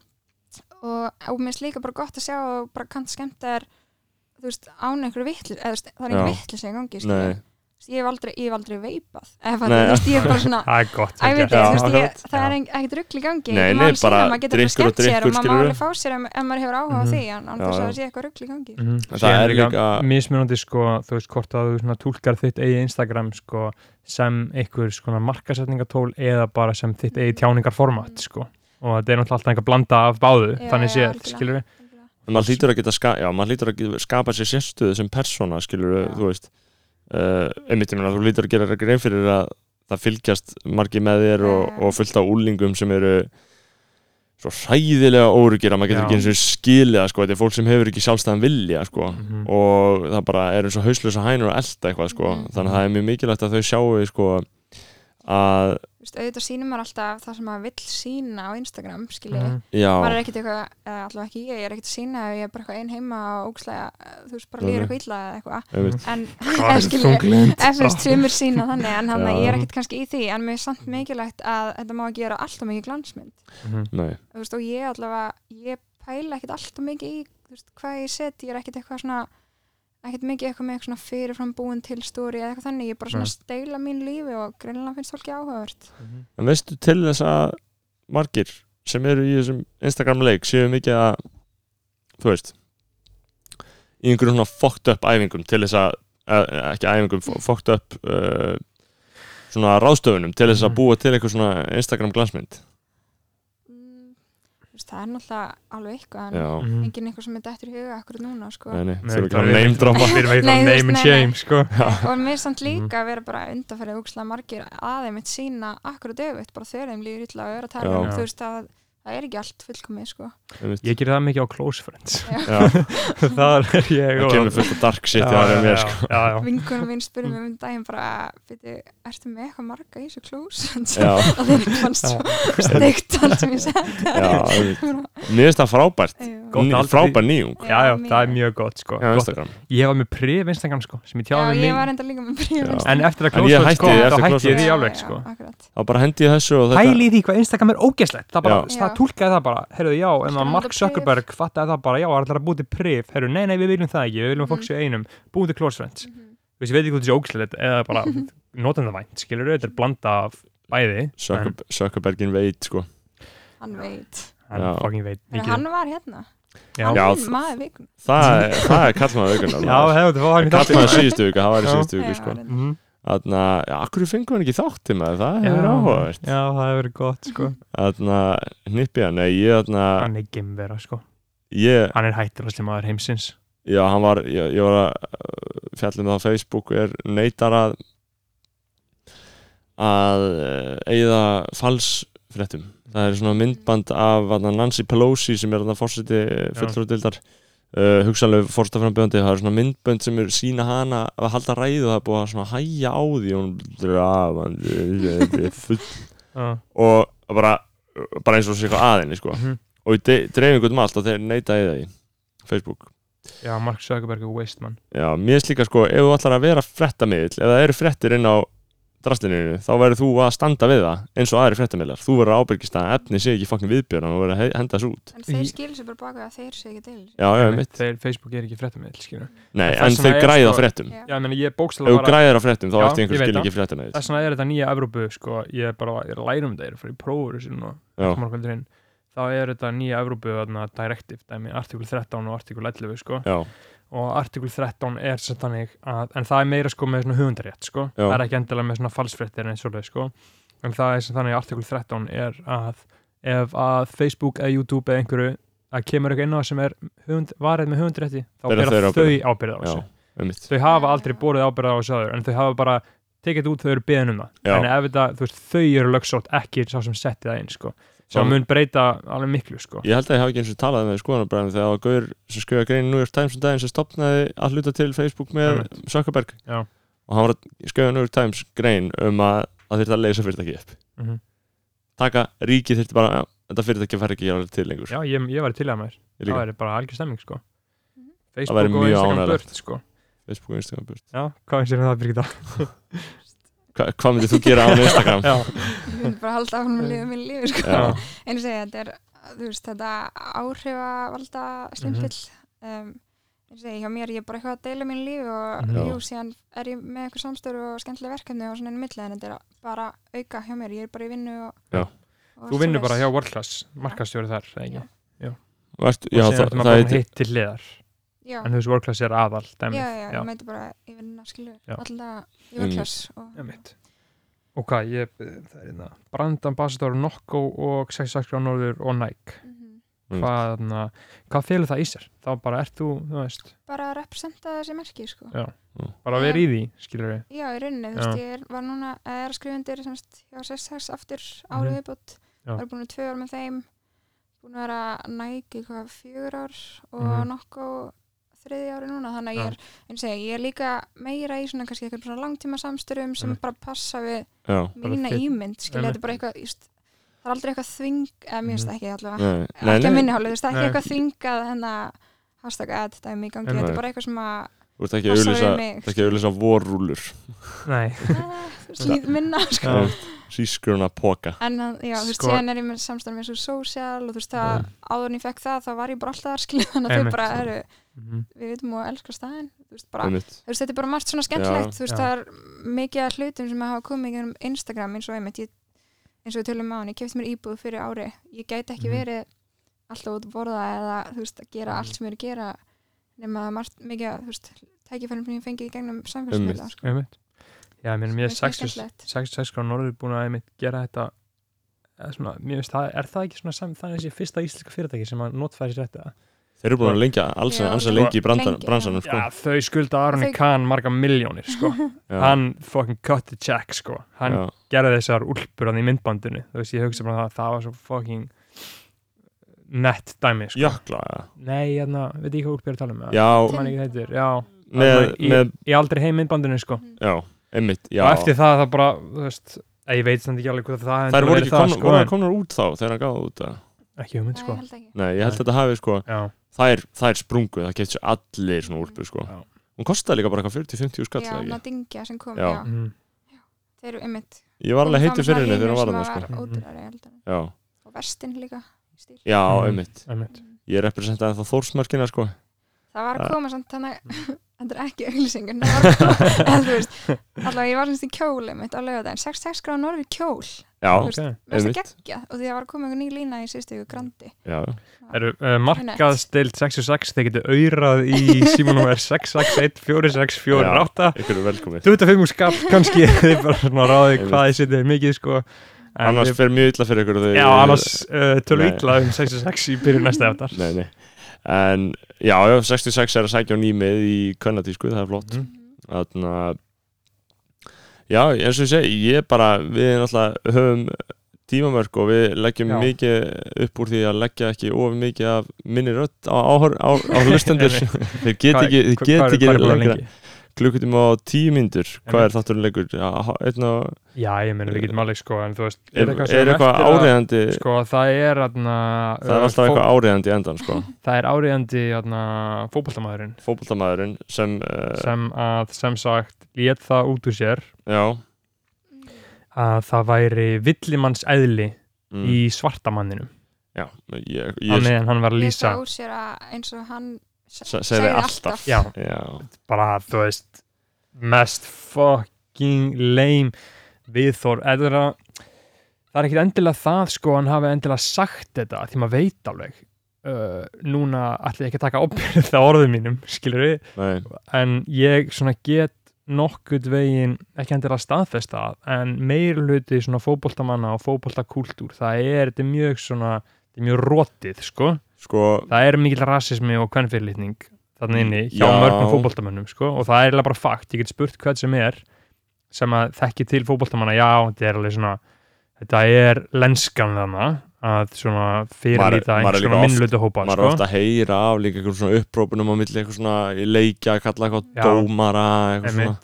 Speaker 5: og, og mér finnst líka bara gott að sjá og bara kannski skemmt þær þú veist, án einhverju vitlis eða þú veist, það er einhverju
Speaker 1: Já.
Speaker 5: vitlis í gangi skilur.
Speaker 1: Nei,
Speaker 5: Þú veist, ég hef aldrei, ég hef aldrei veipað eða
Speaker 1: Nei.
Speaker 5: fattar, þú veist, ég er bara svona
Speaker 2: það er gott
Speaker 5: Æ, ég
Speaker 1: Já,
Speaker 5: veit ekki, þú veist, ég,
Speaker 1: akkurat.
Speaker 5: það er
Speaker 2: Já.
Speaker 5: eng- ekkert rugl í gangi
Speaker 1: Nei, nei,
Speaker 5: Ég má alveg
Speaker 1: bara
Speaker 5: sýna, maður getur bara
Speaker 1: drykkur og
Speaker 5: skemmt sér
Speaker 1: drykkur,
Speaker 5: og maður má
Speaker 1: skilurðu.
Speaker 5: alveg fá sér ef, ef maður hefur áhuga á
Speaker 2: Mhm.
Speaker 5: því en án
Speaker 1: Já,
Speaker 5: þess að
Speaker 1: já. Mhm.
Speaker 5: það sé eitthvað rugl í gangi
Speaker 2: mm
Speaker 1: það
Speaker 2: Síðan
Speaker 1: er líka-
Speaker 2: mismunandi sko, þú veist hvort að þú svona, túlkar þitt eigi Instagram sko, sem einhver skona markasetningatól eða bara sem þitt
Speaker 5: Mhm.
Speaker 2: eigi tjáningarformat sko. og þetta er náttúrulega alltaf einhver blanda af báðu
Speaker 5: Já,
Speaker 2: þannig
Speaker 5: já,
Speaker 2: séð,
Speaker 5: algjörlega.
Speaker 2: skilur við
Speaker 1: maður hlýtur að geta ska, já, maður hlýtur að geta skapa sér sérstöðu sem persóna skilur
Speaker 5: Já.
Speaker 1: þú veist uh, einmitt ég meina þú hlýtur að gera grein fyrir að það fylgjast margi með þér og,
Speaker 5: Já.
Speaker 1: og fullt á úlingum sem eru svo hræðilega órugir að maður getur
Speaker 2: Já.
Speaker 1: ekki eins og skilja sko, þetta er fólk sem hefur ekki sjálfstæðan vilja sko
Speaker 2: Mhm.
Speaker 1: og það bara er eins og hauslösa hænur að elta eitthvað sko
Speaker 5: Mhm.
Speaker 1: þannig að það er mjög mikilvægt að þau sjáu sko að
Speaker 5: Þú veist, auðvitað sýnir maður alltaf það sem maður vill sína á Instagram skilji,
Speaker 2: Mhm.
Speaker 1: já,
Speaker 5: maður er ekkert eitthvað eða allavega ekki ég, ég er ekkert að sína ef ég er bara eitthvað ein heima og ógslega, þú veist, bara
Speaker 1: Nei,
Speaker 5: lýra
Speaker 1: nei.
Speaker 5: eitthvað illa eða eitthvað
Speaker 1: einmitt,
Speaker 5: en,
Speaker 2: Hvað er
Speaker 5: skilji,
Speaker 2: þunglynd?
Speaker 5: ef þú veist, sumir sína þannig en hann
Speaker 1: Já.
Speaker 5: ég er ekkert kannski í því, en mér er samt mikilvægt að þetta má ekki gera alltaf mikið glansmynd
Speaker 2: Mhm.
Speaker 1: nei,
Speaker 5: þú veist, og ég allavega, ég pæla ekkert alltaf mikið í þú veist, hvað ég set, ég er ekkert eitthvað svona ekkert mikið eitthvað með eitthvað svona fyrirfram búin til stóri eða eitthvað þannig, ég er bara svona
Speaker 2: Nei.
Speaker 5: að steila mín lífi og greinilega finnst fólki áhugavert
Speaker 2: Mhm.
Speaker 1: En veistu til þess að margir sem eru í þessum Instagram leik séu mikið að þú veist í einhverjum svona fucked up æfingum til þess að, að ekki æfingum, fo- fucked up uh, svona ráðstöfunum til þess að
Speaker 2: Mhm.
Speaker 1: búa til einhver svona Instagram glansmynd
Speaker 5: mm, þú veist, það er náttúrulega alveg eitthvað, en
Speaker 1: Já,
Speaker 2: Mhm.
Speaker 5: enginn eitthvað sem er dettur í huga akkur núna, sko
Speaker 1: neini,
Speaker 2: Nei,
Speaker 1: þau eru ekki
Speaker 2: það
Speaker 1: að
Speaker 2: er-
Speaker 1: name dropa
Speaker 2: Við erum ekki
Speaker 5: Nei,
Speaker 2: að
Speaker 5: þú veist,
Speaker 2: name and
Speaker 5: nei,
Speaker 2: shame sko.
Speaker 5: og mér samt
Speaker 1: Mhm.
Speaker 5: líka að vera bara undanfærið úkslega margir aðeim eitt sína akkur og döfitt, bara þegar þeim líður illa og er að tala um,
Speaker 2: Já.
Speaker 5: þú veist, að það er ekki allt fullkomið, sko
Speaker 1: einmitt.
Speaker 2: Ég gerir það mikið á close friends
Speaker 1: Já,
Speaker 2: Það er ég
Speaker 1: það
Speaker 2: og-
Speaker 1: kemur fullt af dark shit í aðra en mér sko.
Speaker 2: já, já.
Speaker 5: vinkunum minn spurði mig um daginn bara, veitu, ertu með eitthvað marga í þessu klús?
Speaker 1: Já,
Speaker 5: og þeir fannst
Speaker 2: Já.
Speaker 5: svo steikt allt sem ég sendi
Speaker 1: já, einmitt. mér finnst það frábært
Speaker 5: Já,
Speaker 2: Gott
Speaker 1: Ný-
Speaker 2: aldrei-
Speaker 1: frábær nýjung
Speaker 2: já, já, það er mjög gott sko.
Speaker 1: á
Speaker 2: gott.
Speaker 1: Instagram
Speaker 2: Ég var með prif Instagram sko, sem ég tjáði
Speaker 5: ég
Speaker 2: mig
Speaker 5: var enda líka með bríðum
Speaker 1: Já.
Speaker 2: En eftir að
Speaker 1: En ég
Speaker 2: close friends
Speaker 1: hætti
Speaker 2: kom,
Speaker 1: því
Speaker 2: þá
Speaker 1: eftir
Speaker 2: hætti
Speaker 1: Close
Speaker 2: ég
Speaker 1: Friends.
Speaker 2: því alveg sko.
Speaker 1: þá bara hendi ég þessu og þetta
Speaker 2: pæli í því hvað Instagram er ógeðslegt það bara,
Speaker 5: Já.
Speaker 2: það
Speaker 5: Já.
Speaker 2: tólkaði það bara, heyrðu já en að
Speaker 5: Instagram er
Speaker 2: Mark
Speaker 5: prif.
Speaker 2: Zuckerberg fattaði það bara, já, það er alltaf að búið til prif heyrðu, nei, nei, við viljum það ekki, við viljum að fólk
Speaker 5: Mhm.
Speaker 2: séu einum búið til close friends, þú veist, ég veit ekki hvað þessi ógeðslegt eða bara, notan það vænt, skilur þetta er blanda af bæði en
Speaker 1: Zucker- Zuckerbergin veit sko
Speaker 5: hann veit
Speaker 2: hann
Speaker 1: Já.
Speaker 2: fucking veit
Speaker 5: Heru,
Speaker 2: mikið um-
Speaker 5: hann var hérna,
Speaker 2: Já.
Speaker 5: hann
Speaker 1: Já,
Speaker 5: var
Speaker 1: þ-
Speaker 5: maður vikun
Speaker 1: það er, hérna, það er kallmaður vikunar
Speaker 2: já, hefur þetta fucking þátt
Speaker 1: kallmaður síðustu viku, það var í
Speaker 2: Já.
Speaker 1: síðustu viku sko.
Speaker 2: Mhm.
Speaker 1: Þannig að, já, akkur fengum hann ekki þátt til maður, það
Speaker 2: Já.
Speaker 1: hefur áhugavert
Speaker 2: já, það hefur verið gott, sko
Speaker 1: Þannig að hnippi hann, nei, ég, þannig að
Speaker 2: hann er gemvera, sko,
Speaker 1: ég,
Speaker 2: hann er hætturasli maður heimsins
Speaker 1: já, hann var, ég, ég var að uh, fjalla um það á Facebook, er neitar að að eigða falsfréttum. Það er svona myndband af þarna, Nancy Pelosi sem er hann að fórseti fulltrúdildar uh, hugsanlega fórstaframbjöndi það er svona myndbönd sem er sína hana að halda ræðu og það er búið að svona hæja á því og hún drafandi full
Speaker 2: Já.
Speaker 1: og bara, bara eins og sé eitthvað aðinni sko.
Speaker 2: Mhm.
Speaker 1: og í dreifingu um allt og þeir neita í það í Facebook
Speaker 2: já, Mark Zuckerberg er waste man
Speaker 1: Já, mér er slíka sko, ef þú ætlar að vera frettamiðl, ef það eru frettir inn á drastininu, þá verður þú að standa við það eins og aðri frettamiðlar, þú verður að ábyrgist að efni sé ekki fokkin viðbjörn og verður að he- henda þessu út
Speaker 5: en þeir
Speaker 2: Í-
Speaker 5: skilur sér bara baka að þeir sé ekki til
Speaker 1: Já, já, mitt
Speaker 2: Þeir- Facebook er ekki fréttamiðl, skilur
Speaker 1: Nei,
Speaker 2: En það
Speaker 1: en
Speaker 2: sem
Speaker 1: þeir
Speaker 2: er,
Speaker 1: græða
Speaker 2: sko,
Speaker 1: sko, frettum
Speaker 5: Já.
Speaker 2: Já, ég meina, ég
Speaker 1: Ef þú
Speaker 2: bókslega bara
Speaker 1: græðir á frettum, þá
Speaker 2: Já,
Speaker 1: ertu
Speaker 2: ég
Speaker 1: einhver
Speaker 2: veit
Speaker 1: skil
Speaker 2: það.
Speaker 1: ekki frettamiðl
Speaker 2: þess vegna er þetta nýja Evrópu sko, ég er bara, ég er að læra um þetta ég er að fara í prófur þessu núna,
Speaker 1: Já,
Speaker 2: morgundurinn þá er þetta nýja Evrópu þarna, directive, dæmi, artikul 13 og artikul 11 sko,
Speaker 1: já,
Speaker 2: og artikul 13 er sem þannig að, en það er meira sko með svona höfundarétt sko,
Speaker 1: Já.
Speaker 2: það er ekki endilega með svona falsfréttir en eins og leið sko, en það er sem þannig að artikul 13 er að ef að Facebook eða YouTube eða einhverju að kemur eitthvað inn á sem er höfund, varið með höfundarétti, þá
Speaker 1: Bera
Speaker 2: bera
Speaker 1: þeir
Speaker 2: þau ábyrða á
Speaker 1: já,
Speaker 2: þessu
Speaker 1: einmitt
Speaker 2: þau hafa aldrei borðið ábyrða á þessu aður en þau hafa bara tekið þetta út þau eru beðin um það
Speaker 1: Já.
Speaker 2: en ef þetta, þú veist, þau eru lögsótt ekki sá sem setti það inn, sko sem
Speaker 1: Þá-
Speaker 2: mun breyta alveg miklu, sko
Speaker 1: Ég held að ég hafi ekki eins og talað með skoðanabræðin þegar það var Gaur sem skrifa grein í New York Times um daginn sem stopnaði að hluta til Facebook með
Speaker 2: Einmitt.
Speaker 1: Zuckerberg
Speaker 2: Já.
Speaker 1: og hann var að skrifa í New York Times grein um að það þurfti að leysa fyrirtæki upp
Speaker 2: Mhm.
Speaker 1: taka ríkið þurfti bara já, þetta fyrirtæki fær ekki alveg til lengur
Speaker 2: já, ég, ég væri til að maður,
Speaker 1: Ég
Speaker 2: það
Speaker 1: líka,
Speaker 2: væri bara algjör stemming, sko
Speaker 5: Mhm.
Speaker 1: væri
Speaker 2: Facebook og
Speaker 1: mjög
Speaker 2: Instagram
Speaker 1: ánægjulegt.
Speaker 2: burt, sko
Speaker 1: Facebook og Instagram burt
Speaker 2: já, hvað finnst þér um það, Birgitta?
Speaker 1: Hva, Hvað myndir þú gera án Instagram?
Speaker 2: já,
Speaker 5: ég myndi bara halda áfram að lifa mín lífi sko.
Speaker 1: Já.
Speaker 5: en ég segja, þetta er þú veist, þetta áhrifavalda slimfill mm um, ég segi, hjá mér ég er bara eitthvað að deila mín lífi og
Speaker 2: Mhm. Já.
Speaker 5: jú, síðan er ég með eitthvað samstöru og skemmtileg verkefni og svona enn milli en þetta er bara auka hjá mér, ég er bara í vinnu og,
Speaker 1: Já.
Speaker 5: og
Speaker 2: Þú vinnur bara
Speaker 5: svoleiðis.
Speaker 2: hjá World Class, markastjóri þar eða ekki?
Speaker 5: Já.
Speaker 1: Vast,
Speaker 2: Já,
Speaker 1: já,
Speaker 2: og
Speaker 1: það,
Speaker 2: síðan
Speaker 1: það
Speaker 2: það er
Speaker 1: heitir-
Speaker 2: hitt til hliðar
Speaker 5: já,
Speaker 2: en þú veist World Class er aðal dæmið.
Speaker 5: já, já,
Speaker 2: já.
Speaker 5: ég mæti bara í vinnuna skilur,
Speaker 2: Já.
Speaker 5: alltaf í vörklass og
Speaker 2: Einmitt. og hvað, ég það er einna brandambassador Nokko og 66 á Norður og Nike
Speaker 5: mhm.
Speaker 1: Mm.
Speaker 2: hvað, na, hvað félur það í sér? þá bara ert þú, þú veist
Speaker 5: bara að representa þessi merki sko.
Speaker 2: Já. bara að vera í því, skilur við
Speaker 5: Já, í rauninni, þú
Speaker 2: Já.
Speaker 5: veist, ég er, var núna er að skrifa undir semst, hjá SSX aftur árið
Speaker 2: Mhm.
Speaker 5: mm. viðbútt,
Speaker 2: Já.
Speaker 5: var búin að tvö ár með þeim búin að vera næg eitthvað fjögur ár og
Speaker 2: Mhm.
Speaker 5: mm. nokkuð þriði ári núna, þannig að ég
Speaker 2: Já.
Speaker 5: er eins og ég, ég er líka meira í svona kannski eitthvað svona langtíma samstörum sem
Speaker 2: Einmitt.
Speaker 5: bara passa við
Speaker 1: já,
Speaker 2: Bara
Speaker 5: mína
Speaker 2: fit-
Speaker 5: ímynd, skilja, þetta
Speaker 2: Einmitt.
Speaker 5: er bara eitthvað just, það er aldrei eitthvað þving, eða mér
Speaker 2: Mhm.
Speaker 5: finnst það ekki allavega
Speaker 1: nei, nei,
Speaker 5: Ah, ekki að
Speaker 1: nei,
Speaker 5: minni hálfu, þú veist, það er
Speaker 2: Nei.
Speaker 5: ekki eitthvað þvingað hennar hashtag ad dæmi í gangi,
Speaker 2: Einmitt.
Speaker 5: þetta er bara eitthvað sem að
Speaker 1: þú ert ekki að auðlýsa
Speaker 5: passa við mig
Speaker 1: það er ekki að auðlýsa vorrúlur
Speaker 2: nei,
Speaker 5: slíð minna sko.
Speaker 2: Já.
Speaker 1: sískuruna poka
Speaker 5: en hann- já, þú veist,
Speaker 2: Sko- Mm.
Speaker 5: síðan er ég með samstæðan með svo social og þú veist, það, áður en ég fekk það þá var ég bara alltaf þar, skilja, þannig að
Speaker 2: Einmitt.
Speaker 5: þau bara heru,
Speaker 2: Mhm.
Speaker 5: við vitum að elska staðinn þú veist, bara,
Speaker 1: einmitt,
Speaker 5: þú veist, þetta er bara margt svona skemmtilegt þú
Speaker 2: Já.
Speaker 5: veist, það er mikið af hlutum sem hafa komið í gegnum Instagram eins og einmitt ég, eins og við tölum á hann, ég kefti mér íbúð fyrir ári ég gæti ekki
Speaker 2: Mhm.
Speaker 5: verið alltaf út að borða eða, þú veist, að gera
Speaker 2: Mm.
Speaker 5: allt sem ég er að gera nema að margt mikið, af, þú veist, tækifærum sem ég fengið í gegnum samfélagsmiðla, sko.
Speaker 2: einmitt já, ég meina, mér er
Speaker 5: Sem er
Speaker 2: 66
Speaker 5: skemmtilegt.
Speaker 2: 66 á Norður búin að einmitt gera þetta eða svona, mér veist, það, er það ekki svona sam, það er þessi fyrsta íslenska fyrirtæki sem að notfæri sér þetta
Speaker 1: þeir eru búin að lengja alls
Speaker 5: Já,
Speaker 1: ansa
Speaker 5: já.
Speaker 1: lengi í brandan-
Speaker 5: Lengi, já.
Speaker 1: bransanum sko.
Speaker 2: já, þau skulda Aroni
Speaker 5: Þau-
Speaker 2: Kahn marga miljónir, sko
Speaker 1: Já,
Speaker 2: hann fucking cut the check, sko hann
Speaker 1: já,
Speaker 2: gerði þessar úlpur hann í myndbandinu þú veist, ég hugsa bara það að það var svo fucking nett dæmi sko.
Speaker 1: jökla
Speaker 2: nei, hérna, veit ég hvað úlpur ég er að tala um eða?
Speaker 1: já,
Speaker 2: Ég man ekki hvað heitir, já,
Speaker 1: með,
Speaker 2: í-
Speaker 1: með
Speaker 2: ég aldrei heim myndbandinu sko.
Speaker 5: Mm.
Speaker 1: já, einmitt, já
Speaker 2: og eftir það það bara, þú veist að ég veit samt ekki alveg hvað það
Speaker 1: þær
Speaker 2: hefur
Speaker 1: voru
Speaker 2: verið
Speaker 1: ekki konar,
Speaker 2: sko,
Speaker 1: voru
Speaker 2: en-
Speaker 1: þær komnar út þá þegar hann gáði út að
Speaker 2: ekki hugmynd
Speaker 5: Nei,
Speaker 2: sko
Speaker 5: ég held ekki.
Speaker 1: nei, ég held
Speaker 2: Nei.
Speaker 1: þetta hafi sko
Speaker 2: já,
Speaker 1: þær, þær sprungu, það getur sér allir svona úlpu sko
Speaker 2: Já.
Speaker 1: hún kostaði líka bara eitthvað 40-50 skall
Speaker 5: Já,
Speaker 1: eða
Speaker 5: hann
Speaker 1: ekki
Speaker 5: að dingja sem kom,
Speaker 1: Já.
Speaker 5: já.
Speaker 2: mm,
Speaker 5: Þeir eru ymmit.
Speaker 1: ég var alveg heitur fyrir henni þegar hún var þarna sko
Speaker 5: Sem var ódýrari heldur en.
Speaker 1: já,
Speaker 5: Og vestin líka. í stíl. Mm.
Speaker 1: já,
Speaker 2: Mhm.
Speaker 1: einmitt
Speaker 2: einmitt.
Speaker 1: ég representaði það þórsmörkina sko
Speaker 5: Það var
Speaker 1: Ja.
Speaker 5: að koma samt þannig Þetta er ekki auglýsingun, það var að koma, en þú veist, allavega ég var semst í kjól einmitt á lögadaginn, 66 gráð norfi kjól,
Speaker 1: já,
Speaker 2: ok,
Speaker 5: Þú mest að
Speaker 1: Einmitt.
Speaker 5: gegja, og því það var að koma einhver ný lína í síðustu ykkur grandi.
Speaker 1: já,
Speaker 2: eru uh, markaðstild 66 þeir getur auðrað í símanum er 661 4648
Speaker 1: ykkur er velkomið
Speaker 2: 25 skall kannski þið bara svona ráðið hvað þið setjið mikið sko En
Speaker 1: annars
Speaker 2: við-
Speaker 1: fer mjög illa fyrir ykkur þegar-
Speaker 2: já, annars uh, tölum
Speaker 1: Nei.
Speaker 2: við illa um 66 í byrjun næsta eftar
Speaker 1: nei, nei en, já, já, 66 er að sækja á nýmið í kvennadísku, það er flott
Speaker 2: Mhm.
Speaker 1: Þarna, já, eins og ég segi, ég bara, við náttúrulega höfum tímamörk og við leggjum
Speaker 2: Já.
Speaker 1: mikið upp úr því að leggja ekki of mikið af minni rödd á, á, á, á hlustendur. þeir get ekki, þeir get ekki lengra klukkutíma á tíu myndur. Hvað
Speaker 2: Einmitt.
Speaker 1: er þátturinn leikur? Já, há- einn og,
Speaker 2: já, ég meina við getum alveg sko en þú veist,
Speaker 1: er,
Speaker 2: sem
Speaker 1: er eitthvað
Speaker 2: eftir að-
Speaker 1: áriðandi,
Speaker 2: sko, uh, það er atna,
Speaker 1: Eh, það er alltaf eitthvað áriðandi endan, sko.
Speaker 2: það er áriðandi atna, fótboltamaðurinn
Speaker 1: Fótboltamaðurinn sem, uh,
Speaker 2: sem að, sem sagt, lét það út úr sér
Speaker 1: já,
Speaker 2: að það væri villimanns eðli
Speaker 1: mm,
Speaker 2: í svartamanninum
Speaker 1: já, ég,
Speaker 2: á
Speaker 1: ég,
Speaker 2: meðan hann var að
Speaker 5: Lýsa
Speaker 2: lýsa
Speaker 5: úr sér að eins og hann se-
Speaker 1: Se- segði alltaf.
Speaker 2: já,
Speaker 1: já,
Speaker 2: bara, þú veist mest fucking lame viðþór eða það er- það er ekkit endilega það sko hann hafi endilega sagt þetta því maður veit alveg uh, núna ætla ég ekki að taka opbyrð það orðum mínum skilur við,
Speaker 1: nei,
Speaker 2: en ég svona get nokkuð vegin ekki endilega staðfest það, en meir hluti svona fótboltamanna og fótboltakúltúr það er, þetta er mjög svona þetta er mjög rótið sko
Speaker 1: sko,
Speaker 2: það er mikil rasismi og kvennfyrirlitning þarna inni hjá
Speaker 1: Já.
Speaker 2: mörgum fótboltamönnum sko, og það er eiginlega bara fakt, ég get spurt hvern sem er sem að þekki til fótboltamanna já, þetta er alveg svona þetta er lenskan þarna að svona fyrirlita
Speaker 1: Maður- maður er
Speaker 2: einhvers
Speaker 1: líka
Speaker 2: konar
Speaker 1: oft-
Speaker 2: minnlutu hópa
Speaker 1: maður
Speaker 2: sko.
Speaker 1: er ofta að heyra af líka eitthvað svona upprópunum á milli eitthvað svona í leikja, kalla eitthvað
Speaker 2: Já.
Speaker 1: dómara eitthvað svona
Speaker 2: einmitt,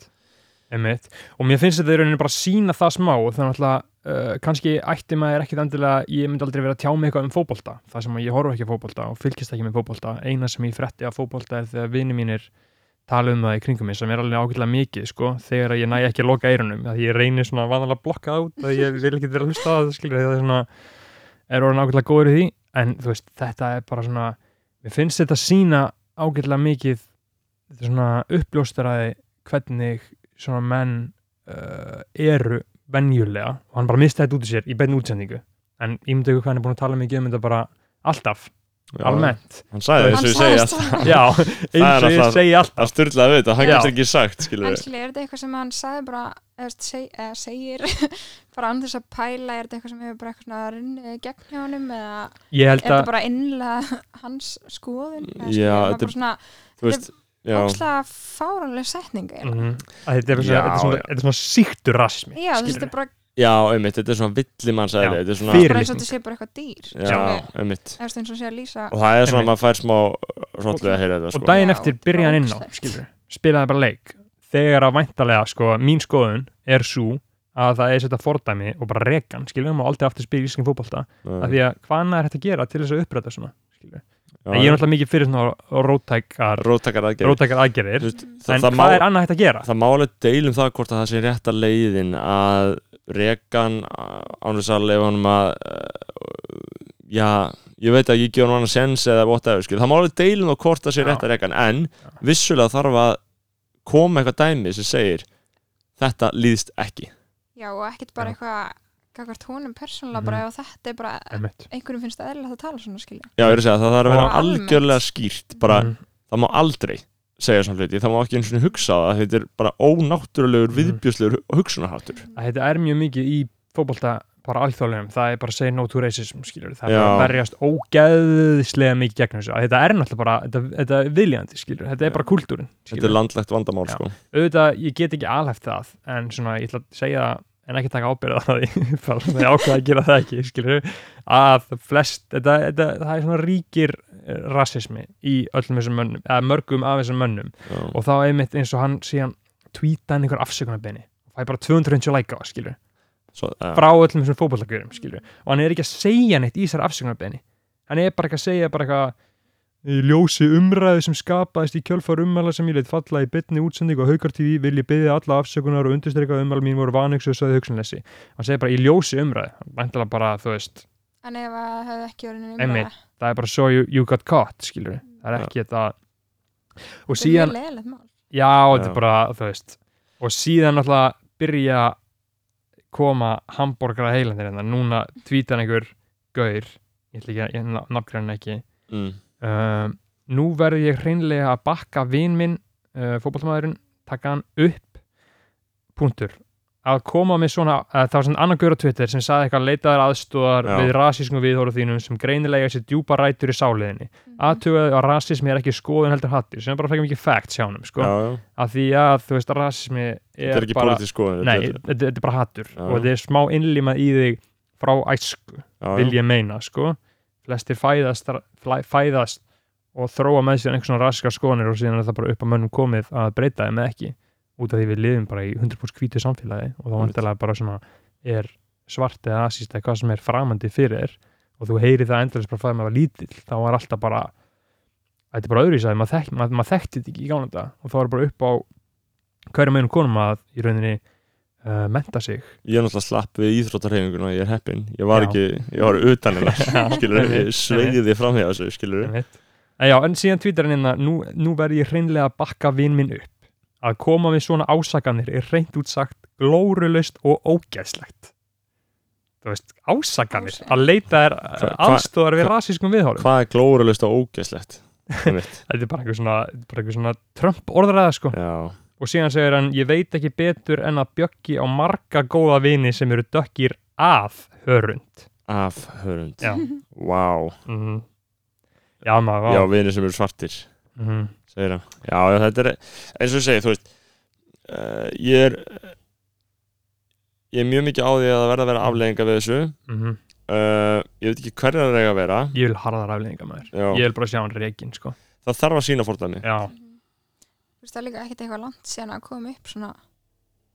Speaker 2: einmitt. og mér finnst þetta í rauninni bara sína það smá þannig að uh, kannski ætti maður ekkit endilega ég myndi aldrei vera að tjá mig eitthvað um fótbolta það sem að ég horfa ekki á fótbolta og fylgist ekki með fótbolta eina sem ég fretti af fótbolta er þegar vini mínir tala um það í kringum mig sem er alveg ágætlega mikið sko, þegar að ég næ ekki að loka eirunum að ég reyni svona vanlega að blokka það út að ég vil ekki vera að hlusta á það skilur það er svona, er orðin ágætlega góður í því en þú veist, þetta er bara svona mér finnst þetta sína ágætlega mikið þetta er svona uppljóstaraði hvernig svona menn uh, eru venjulega og hann bara misti þetta út í sér í benn útsendingu en ég myndi ykkur hvað hann er búin að tala mikið um þetta bara alltaf, almennt
Speaker 1: Hann sagði
Speaker 5: Hann
Speaker 1: þess að ég segi
Speaker 5: sagðist
Speaker 1: alltaf
Speaker 5: það.
Speaker 2: já, eins og
Speaker 1: alltaf-
Speaker 2: ég segi alltaf
Speaker 1: Það styrlaði við þetta, hann
Speaker 2: Já.
Speaker 1: getur ekki sagt, skilur
Speaker 5: En
Speaker 1: við
Speaker 5: skilja, er þetta eitthvað sem hann sagði bara eða seg, eða segir bara án þess að pæla, er þetta eitthvað sem hefur bara eitthvað svona runnið í gegn hjá honum eða
Speaker 2: ég
Speaker 5: er
Speaker 2: held
Speaker 5: þetta
Speaker 2: að,
Speaker 5: bara innlega hans skoðun
Speaker 1: Já,
Speaker 5: eða skilur, var
Speaker 1: þetta er-
Speaker 5: bara svona
Speaker 1: Þú veist, já
Speaker 5: ákslega fáranlega setning eiginlega.
Speaker 2: mm, að þetta er
Speaker 1: Já,
Speaker 2: svona, þetta er svona,
Speaker 1: já.
Speaker 2: þetta er svona síktur rasmi
Speaker 5: Já, þú veist, þetta er bara,
Speaker 1: Já, einmitt, þetta er svona villimannseðli
Speaker 2: Já,
Speaker 1: Þetta er svona
Speaker 2: fyrir-
Speaker 5: bara eins
Speaker 2: Fyrirlitning.
Speaker 5: og þetta sé bara eitthvað dýr
Speaker 1: Já, einmitt
Speaker 5: eða eins og sé að lýsa
Speaker 1: Og það er svona
Speaker 2: Einmitt.
Speaker 1: að maður fær smá Rótlega að heyra þetta,
Speaker 2: og
Speaker 1: sko
Speaker 2: daginn
Speaker 5: Já,
Speaker 2: eftir byrja hann inn á
Speaker 5: ógeðslegt.
Speaker 2: skilur, spilaði bara leik þegar að væntalega, sko, mín skoðun er svo að það er setja fordæmi og bara rekan, skilur, maður aldrei aftur spila íslenskin fótbolta,
Speaker 1: Já,
Speaker 2: af því að hvað annað er hægt að gera til þess að uppræta svona, skilur
Speaker 1: já,
Speaker 2: en ég er náttúrulega mikið fyrir svona róttækar
Speaker 1: Róttakar aðgerð
Speaker 2: róttækar aðgerðir, en
Speaker 1: það,
Speaker 2: hvað
Speaker 1: má,
Speaker 2: er annað hægt að gera?
Speaker 1: það má alveg deilum það hvort að það sé rétta leiðin að rekan ánvegs að leifa honum að uh, já, ég veit að ég gef hann annað sens eða whatever, skil, það má alveg deilum það hvort það sé
Speaker 2: Já.
Speaker 1: rétta rekan, en vissulega þarf að koma eitthvað dæmi sem segir þetta líðst ekki
Speaker 5: Já, og ekkert
Speaker 2: Já.
Speaker 5: bara
Speaker 2: Mhm.
Speaker 5: eitthvað gagvart honum persónulega bara ef þetta er bara
Speaker 2: Einmitt.
Speaker 5: einhverjum finnst það eðlilegt að tala svona skilja
Speaker 1: já, ég er að segja, það þarf að vera
Speaker 5: Bara almennt.
Speaker 1: algjörlega skýrt bara,
Speaker 2: Mhm.
Speaker 1: það má aldrei segja svona hluti, það má ekki eins og hugsa á það þetta er bara
Speaker 2: Mm.
Speaker 1: ónáttúrulegur, viðbjörslegur hugsunarháttur
Speaker 2: að þetta er mjög mikið í fótbolta bara alþjóðlegum, það er bara say no to racism skilur, það
Speaker 1: Já.
Speaker 2: er bara að verjast ógeðslega mikið gegn þessu, að þetta er náttúrulega bara þetta, þetta er viljandi skilur, þetta er bara kultúrin
Speaker 1: þetta er landlegt vandamál
Speaker 2: Já.
Speaker 1: sko.
Speaker 2: auðvitað, ég get ekki alhæft það en svona, ég ætla að segja það en ekki taka ábyrða það í upphafi, það er ákveða að gera það ekki, skilur að flest, þetta, þetta, það er svona ríkir eh, rasismi í öllum þessum mönnum, eða mörgum af þessum mönnum
Speaker 1: Já.
Speaker 2: og þá einmitt eins og hann síðan tweeta hann einhver afsökunarbeini og fæ bara 250 like á, það, skilur
Speaker 1: Svo, já.
Speaker 2: frá öllum þessum fótballagjörum skilju og hann er ekki að segja neitt í þessar afsökunarbeini hann er bara ekki að segja bara eitthvað í ljósi umræðu sem skapaðist í kjölfar ummæla sem ég leitt falla í bytni útsendingu og haukar TV vil ég byggja alla afsökunar og undirstreika að ummæla mín voru vanöksu og saði hugsunleysi hann segir bara í ljósi umræðu hann væntalega bara þú veist
Speaker 5: en ef að það hefði ekki verið neina
Speaker 2: Einmitt. það er bara so you, you got caught skilju það er ekki þetta og
Speaker 5: það er
Speaker 2: síðan
Speaker 5: mjög leðilegt mál
Speaker 2: Já, þetta
Speaker 1: Já.
Speaker 2: er bara, þú veist og síðan náttúrulega byrja að koma hambúrgara heilandir hérna, núna tvítan einhver gaur, ég ætla ekki að ég nafngræna ekki
Speaker 1: Mm.
Speaker 2: um, nú verð ég hreinlega að bakka vin minn, uh, fótballtamaðurinn taka hann upp punktur, að koma með svona að það var svona annar gaur á Twitter sem saði eitthvað leitaðar aðstóðar
Speaker 1: Já.
Speaker 2: við rasískum viðhóru þínum sem greinilega eiga sér djúpa rætur í sáliðinni
Speaker 5: Mhm.
Speaker 2: aðtugaðu að rasismi er ekki skoðun heldur hattur sem er bara frekar mikið fact hjá honum sko
Speaker 1: Já, já.
Speaker 2: að því að þú veist að rasismi er,
Speaker 1: þetta er ekki
Speaker 2: bara,
Speaker 1: pólitísk skoðun
Speaker 2: nei,
Speaker 1: þetta er-
Speaker 2: þetta, þetta er bara hattur
Speaker 1: Já.
Speaker 2: og þetta er smá innlimað í þig frá æsku,
Speaker 1: já,
Speaker 2: vil ég meina sko. flestir fæðast, flæ- fæðast og þróa með sér einhvers svona rasiska skoðanir og síðan er það bara upp að mönnum komið að breyta þeim eða ekki, út af því við lifum bara í 100% hvítu samfélagi og þá
Speaker 1: Einmitt.
Speaker 2: vantilega bara svona er svart eða rasist eða hvað sem er framandi fyrir þér og þú heyri það endurins bara fæði maður var lítill þá var alltaf bara þetta er bara öðru í sæði, maður, þekkt, maður, maður þekkti þetta ekki í gána þetta og þá var bara upp á hverjum einum konum að í rauninni uh, menta sig
Speaker 1: ég er náttúrulega slapp við íþróttarhefinguna ég er heppin, ég var
Speaker 2: Já.
Speaker 1: ekki, ég var utan hennar skilur, ég
Speaker 2: Einmitt,
Speaker 1: sveiði því framhjá þessu skilur,
Speaker 2: Einmitt. en já, en síðan tvítar hann hérna nú, nú verð ég hreinlega að bakka vin minn upp að koma við svona ásakanir er hreint út sagt glórulaust og ógæslegt þú veist, ásakanir
Speaker 5: Ásakanir.
Speaker 2: að leita er
Speaker 1: Hva- hva-
Speaker 2: aðstóðar við rasískum viðhórum
Speaker 1: hvað er glóralust og ógeðslegt Einmitt.
Speaker 2: þetta er bara einhver svona, bara einhver svona Trump orðræða sko
Speaker 1: já,
Speaker 2: og síðan segir hann ég veit ekki betur en að bjöggi á marga góða vini sem eru dökkir af hörund
Speaker 1: afhörund
Speaker 2: já,
Speaker 1: wow.
Speaker 2: mm. já maður vá.
Speaker 1: já, vinir sem eru svartir
Speaker 2: Mhm.
Speaker 1: segir hann, já, já, þetta er eins og ég segi, þú veist uh, ég er ég er mjög mikið á því að það verða að vera aflegginga við þessu
Speaker 2: Mhm.
Speaker 1: uh, ég veit ekki hverjar það eiga að vera
Speaker 2: ég vil harðar afleðinga maður
Speaker 1: já,
Speaker 2: ég vil bara sjá hann reikin sko
Speaker 1: það þarf að sína fórtæmi
Speaker 2: já,
Speaker 5: Mhm. þú veist það er líka ekkert eitthvað langt síðan að koma upp svona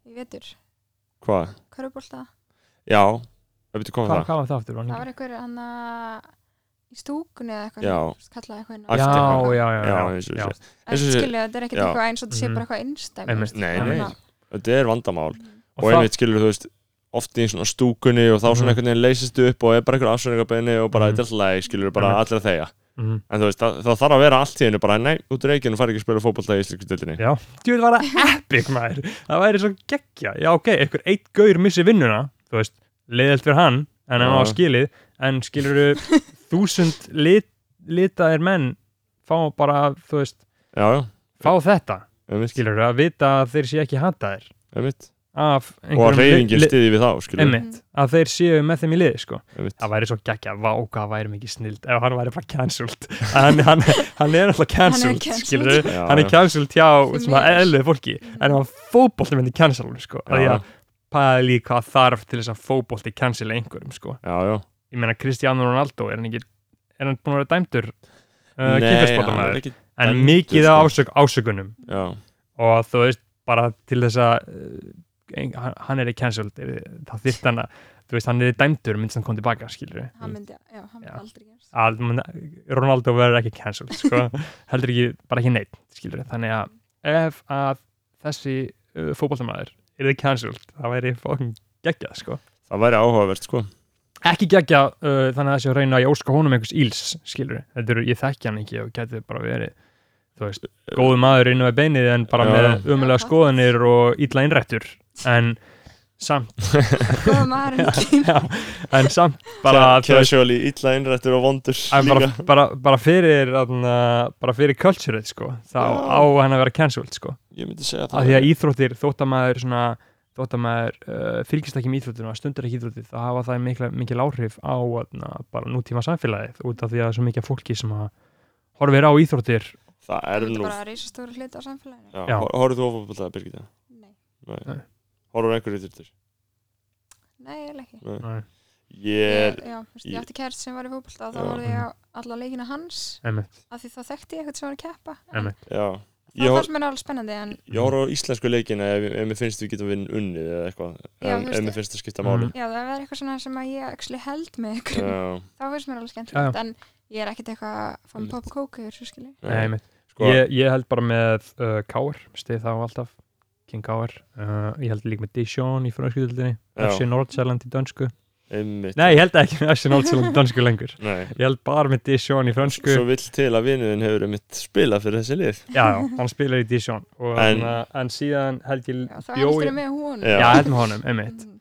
Speaker 5: í vetur,
Speaker 1: hvað,
Speaker 5: körubólta
Speaker 1: já, það betur
Speaker 2: hvað,
Speaker 1: koma það
Speaker 2: hvað var það aftur? Var hann
Speaker 5: það var
Speaker 2: ekki-
Speaker 5: einhver hann að í stúkunni eða eitthvað
Speaker 1: Já.
Speaker 5: þú veist, kallaði eitthvað inn á-
Speaker 1: Ætli
Speaker 2: já,
Speaker 1: eitthvað.
Speaker 2: já, já,
Speaker 1: Já,
Speaker 2: já,
Speaker 1: eins og ég
Speaker 2: já.
Speaker 1: segi.
Speaker 5: en
Speaker 1: eins og sé-
Speaker 5: skilja þetta er ekkert
Speaker 1: Já.
Speaker 5: eitthvað eins og þetta sé
Speaker 2: Mhm.
Speaker 5: bara eitthvað Mm. einstæmi
Speaker 2: Einmitt.
Speaker 1: Nei,
Speaker 2: Þannig
Speaker 1: nei,
Speaker 2: að-
Speaker 1: þetta er vandamál og
Speaker 2: Og það-
Speaker 1: einmitt skilur þú veist oft í svona stúkunni og þá svona
Speaker 2: Mhm.
Speaker 1: einhvern veginn leysistu upp og er bara einhver afsvöringarbeini og bara
Speaker 2: Mhm.
Speaker 1: þetta er alltaf læg skilur bara
Speaker 2: Einmitt.
Speaker 1: allir að þegja
Speaker 2: mm.
Speaker 1: en þú veist, það, það þarf að vera allt í einu bara, nei, út í reikinu fari ekki að spila fótbolta í Íslensku dildinni
Speaker 2: Já, djúvel var það epic maður Það væri svo geggja, já ok, einhver eitt gaur missi vinnuna, þú veist leiðelt fyrir hann, en hann á
Speaker 1: Já.
Speaker 2: skilið en skilur þú þúsund lit, litaðir menn fá bara, þú veist,
Speaker 1: já, já,
Speaker 2: fá þetta
Speaker 1: einmitt,
Speaker 2: skilur þú, að vita að þeir sé ekki hataðir
Speaker 1: einmitt
Speaker 2: af
Speaker 1: og að
Speaker 2: einhverjum
Speaker 1: reyfingin stiði við þá, skilur við,
Speaker 2: einmitt, að þeir séu með þeim í liði sko.
Speaker 1: einmitt
Speaker 2: það væri svo geggja, vá hvað væri mikið snild ef hann væri bara cancelled hann, hann, hann er alltaf cancelled,
Speaker 5: cancelled.
Speaker 1: Já,
Speaker 2: skilur
Speaker 1: já.
Speaker 2: hann er cancelled hjá
Speaker 5: Því
Speaker 2: svona
Speaker 5: miður.
Speaker 2: eðlið fólki en hann fótbolti myndi cancel hann sko. að því
Speaker 1: Já.
Speaker 2: að pæli hvað þarf til þess að fótbolti cancel einhverjum sko.
Speaker 1: já, já,
Speaker 2: ég meina Cristiano Ronaldo er hann ekki er hann búin að vera dæmdur uh,
Speaker 1: hann er
Speaker 2: kynferðsbrotamæður
Speaker 1: ekki
Speaker 2: en
Speaker 1: dæmdur,
Speaker 2: mikið af
Speaker 1: sko.
Speaker 2: ásök, ásökunum
Speaker 1: já,
Speaker 2: og þú veist bara til þess að uh, ein- hann hann er í cancelled er- þá þyrft hann að þú veist hann er dæmdur myndst hann kom tilbaka skilur við
Speaker 5: hann myndi, já, hann myndi
Speaker 2: Já.
Speaker 5: aldrei gerst
Speaker 2: að man, Ronaldo verður ekki cancelled sko. heldur ekki, bara ekki neitt skilur þannig að ef að þessi uh, fótboltamæður er þið cancelled, það væri fókin geggjað sko.
Speaker 1: það væri áhugavert, sko
Speaker 2: ekki geggjað uh, þannig að þessi að reyna að ég óska honum einhvers íls, skilur þetta eru, ég þekki hann ekki og geti bara verið þú veist, góðu maður inn á beinið en bara
Speaker 1: Já.
Speaker 2: með umulega skoðanir og illa innrættur en samt,
Speaker 5: góða maður en ekki
Speaker 2: já, en samt bara, þú veist,
Speaker 1: casually, illa innrættur og vondur
Speaker 2: En bara,
Speaker 1: líka,
Speaker 2: bara, bara fyrir þarna, bara fyrir culture-ið sko, þá
Speaker 1: Já.
Speaker 2: á hann að vera cancelled sko,
Speaker 1: ég myndi segja
Speaker 2: af
Speaker 1: það
Speaker 2: því að íþróttir þóttamæður svona, þóttamæður uh, fylgist ekki með íþróttir og stundar ekki íþróttir þá hafa það mikla, mikil áhrif á na, bara nútíma samfélagið út af því að það er svo mikið af fólki sem að horfir á íþróttir
Speaker 1: það
Speaker 5: það
Speaker 1: er
Speaker 5: er
Speaker 1: nú
Speaker 5: bara að reysa stóra hluti á samfélaginu
Speaker 1: Já,
Speaker 2: Já.
Speaker 1: hor- horfðu þú á fótbolta, Birgitta?
Speaker 5: nei,
Speaker 1: Nei
Speaker 2: Nei.
Speaker 1: Horfðu á einhverju þurftur?
Speaker 5: nei, eiginlega ekki
Speaker 1: Ég
Speaker 5: ég, já, þú veist, ég
Speaker 1: ég-
Speaker 5: átti kært sem var í fókbalta og þá
Speaker 1: Já.
Speaker 5: voru ég á alla leikina hans
Speaker 2: Einmitt.
Speaker 5: af því þá þekkti ég eitthvað sem var að keppa en
Speaker 2: Einmitt.
Speaker 1: er Já Ég
Speaker 5: það
Speaker 1: hor-
Speaker 5: fannst mér alveg spennandi en
Speaker 1: ég horfðu á íslensku leikina ef, ef mér finnst við getum vinn unnið eða eitthvað
Speaker 5: Já,
Speaker 1: ef,
Speaker 5: þú
Speaker 1: ef
Speaker 5: veist-
Speaker 1: mér finnst það skipta
Speaker 2: Mm.
Speaker 1: máli
Speaker 5: já, það verður eitthvað svona sem að ég actually held með ykkur
Speaker 1: Já,
Speaker 5: þá finnst mér alveg
Speaker 2: Já,
Speaker 5: skemmtilegt en ég er ekkert eitthvað að fá með pop og kók yfir svo skilji
Speaker 1: já.
Speaker 2: Nei, einmitt.
Speaker 1: Sko,
Speaker 2: ég, ég held bara með uh, Káar, stið þá alltaf King Káar, uh, ég held líka með Dijon í franskuðildinni,
Speaker 1: Já.
Speaker 2: FC Nordsjælland í dönsku,
Speaker 1: einmitt
Speaker 2: nei ég held ekki með FC Nordsjælland í dönsku lengur
Speaker 1: Nei.
Speaker 2: Ég held bara með Dijon í fransku
Speaker 1: Svo vill til að vinnuðin hefur einmitt spilað fyrir þessi lið
Speaker 2: Já, já, hann spilar í Dijon og,
Speaker 1: En-
Speaker 2: en, uh, en síðan held ég
Speaker 5: Já, það
Speaker 2: bjó
Speaker 5: heldur
Speaker 2: í-
Speaker 5: með hún
Speaker 1: Já.
Speaker 2: Já, ég held með honum, einmitt
Speaker 5: Mm.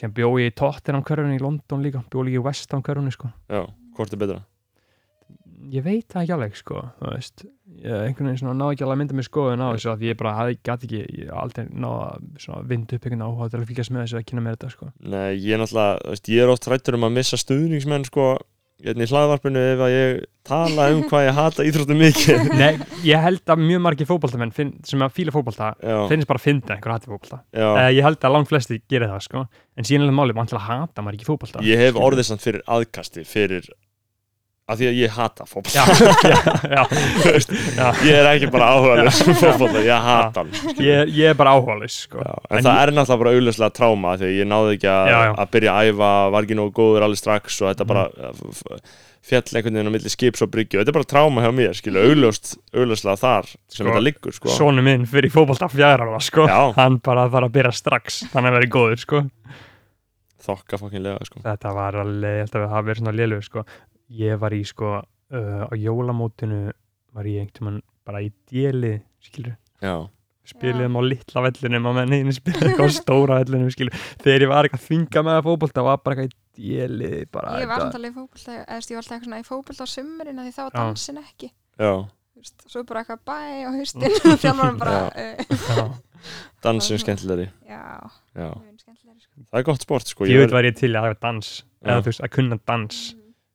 Speaker 2: Sem bjó ég í Tottenham körfunni í London líka Bjó líka í West Ham körfunni, sko
Speaker 1: Já, hvort er betra?
Speaker 2: Ég veit það ekki alveg, sko Þú veist, ég, einhvern veginn svona náði ekki alveg að mynda mér skoðun á þessu að ég bara hafði, gæti ekki ég aldrei náða svona vind upp einhvern áhuga til að fylgjast með þessu að kynna mér þetta, sko
Speaker 1: Nei, ég er náttúrulega, þú veist, ég er oft rættur um að missa stuðningsmenn sko hérna í hlaðvarpinu ef að ég tala um hvað ég hata íþróttum mikið
Speaker 2: Nei, ég held að mjög margir fótboltamenn finn, sem að fíla fótbolta
Speaker 1: Já,
Speaker 2: finnst bara að finna einhver hatið fótbolta
Speaker 1: já
Speaker 2: Eh, Ég held að langt flesti gerir það, sko En síðan er það málið, maður ætla að hata maður ekki fótbolta
Speaker 1: Ég hef
Speaker 2: skilurðu.
Speaker 1: orðið samt fyrir aðkasti fyrir að því að ég hata fótbolta
Speaker 2: já, já, já, veist, já.
Speaker 1: ég er ekki bara áhugaðis um fótbolta, ég hata hann
Speaker 2: Ég, ég er bara áhugaðis sko.
Speaker 1: Já, en,
Speaker 2: En
Speaker 1: það
Speaker 2: ég-
Speaker 1: er náttúrulega bara auðvitað tráma því að ég náði ekki að,
Speaker 2: Já, já. Mhm.
Speaker 1: að byrja að æfa var ekki nógu góður alveg strax og þetta bara eh, f- f- fjall einhvern veginn á milli skips og bryggju þetta er bara tráma hjá mér, skilu, auðljóst auðljóslega þar sem
Speaker 2: Sko,
Speaker 1: þetta liggur sko.
Speaker 2: Sónu minn fyrir fótbolta fjara ára sko.
Speaker 1: Já.
Speaker 2: Hann bara þarf að byrja strax Þannig að vera góður sko.
Speaker 1: þokka fokkinlega sko.
Speaker 2: Þetta var alveg, ég held að það verið svona lélugur sko. Ég var í sko, uh, á jólamótinu var ég einhvern veginn bara í djeli skilur
Speaker 1: já,
Speaker 2: spiliðum á litla vellinum og menn einu spilaði eitthvað á stóra vellinum skilur. þegar ég var eitthvað þvinga með að fótbolta var bara eitthvað í djeli bara
Speaker 5: ég var
Speaker 2: eitthvað-
Speaker 5: samt alveg í fókbalta eða þú veist, ég var alltaf eitthvað svona í fókbalta á sumurinn af því þá var
Speaker 2: Já.
Speaker 5: dansin ekki
Speaker 1: já,
Speaker 5: þú veist, svo bara eitthvað bæ á haustin og þjálfarum bara uh,
Speaker 2: Já. Ah.
Speaker 1: dansin skemmtilegri
Speaker 5: já,
Speaker 1: já.
Speaker 5: það er skemmtilega sko.
Speaker 1: það er gott sport sko.
Speaker 2: Ég
Speaker 1: ég
Speaker 2: veit
Speaker 1: verði
Speaker 2: var ég til í að hafa dans eða þú veist að kunna dans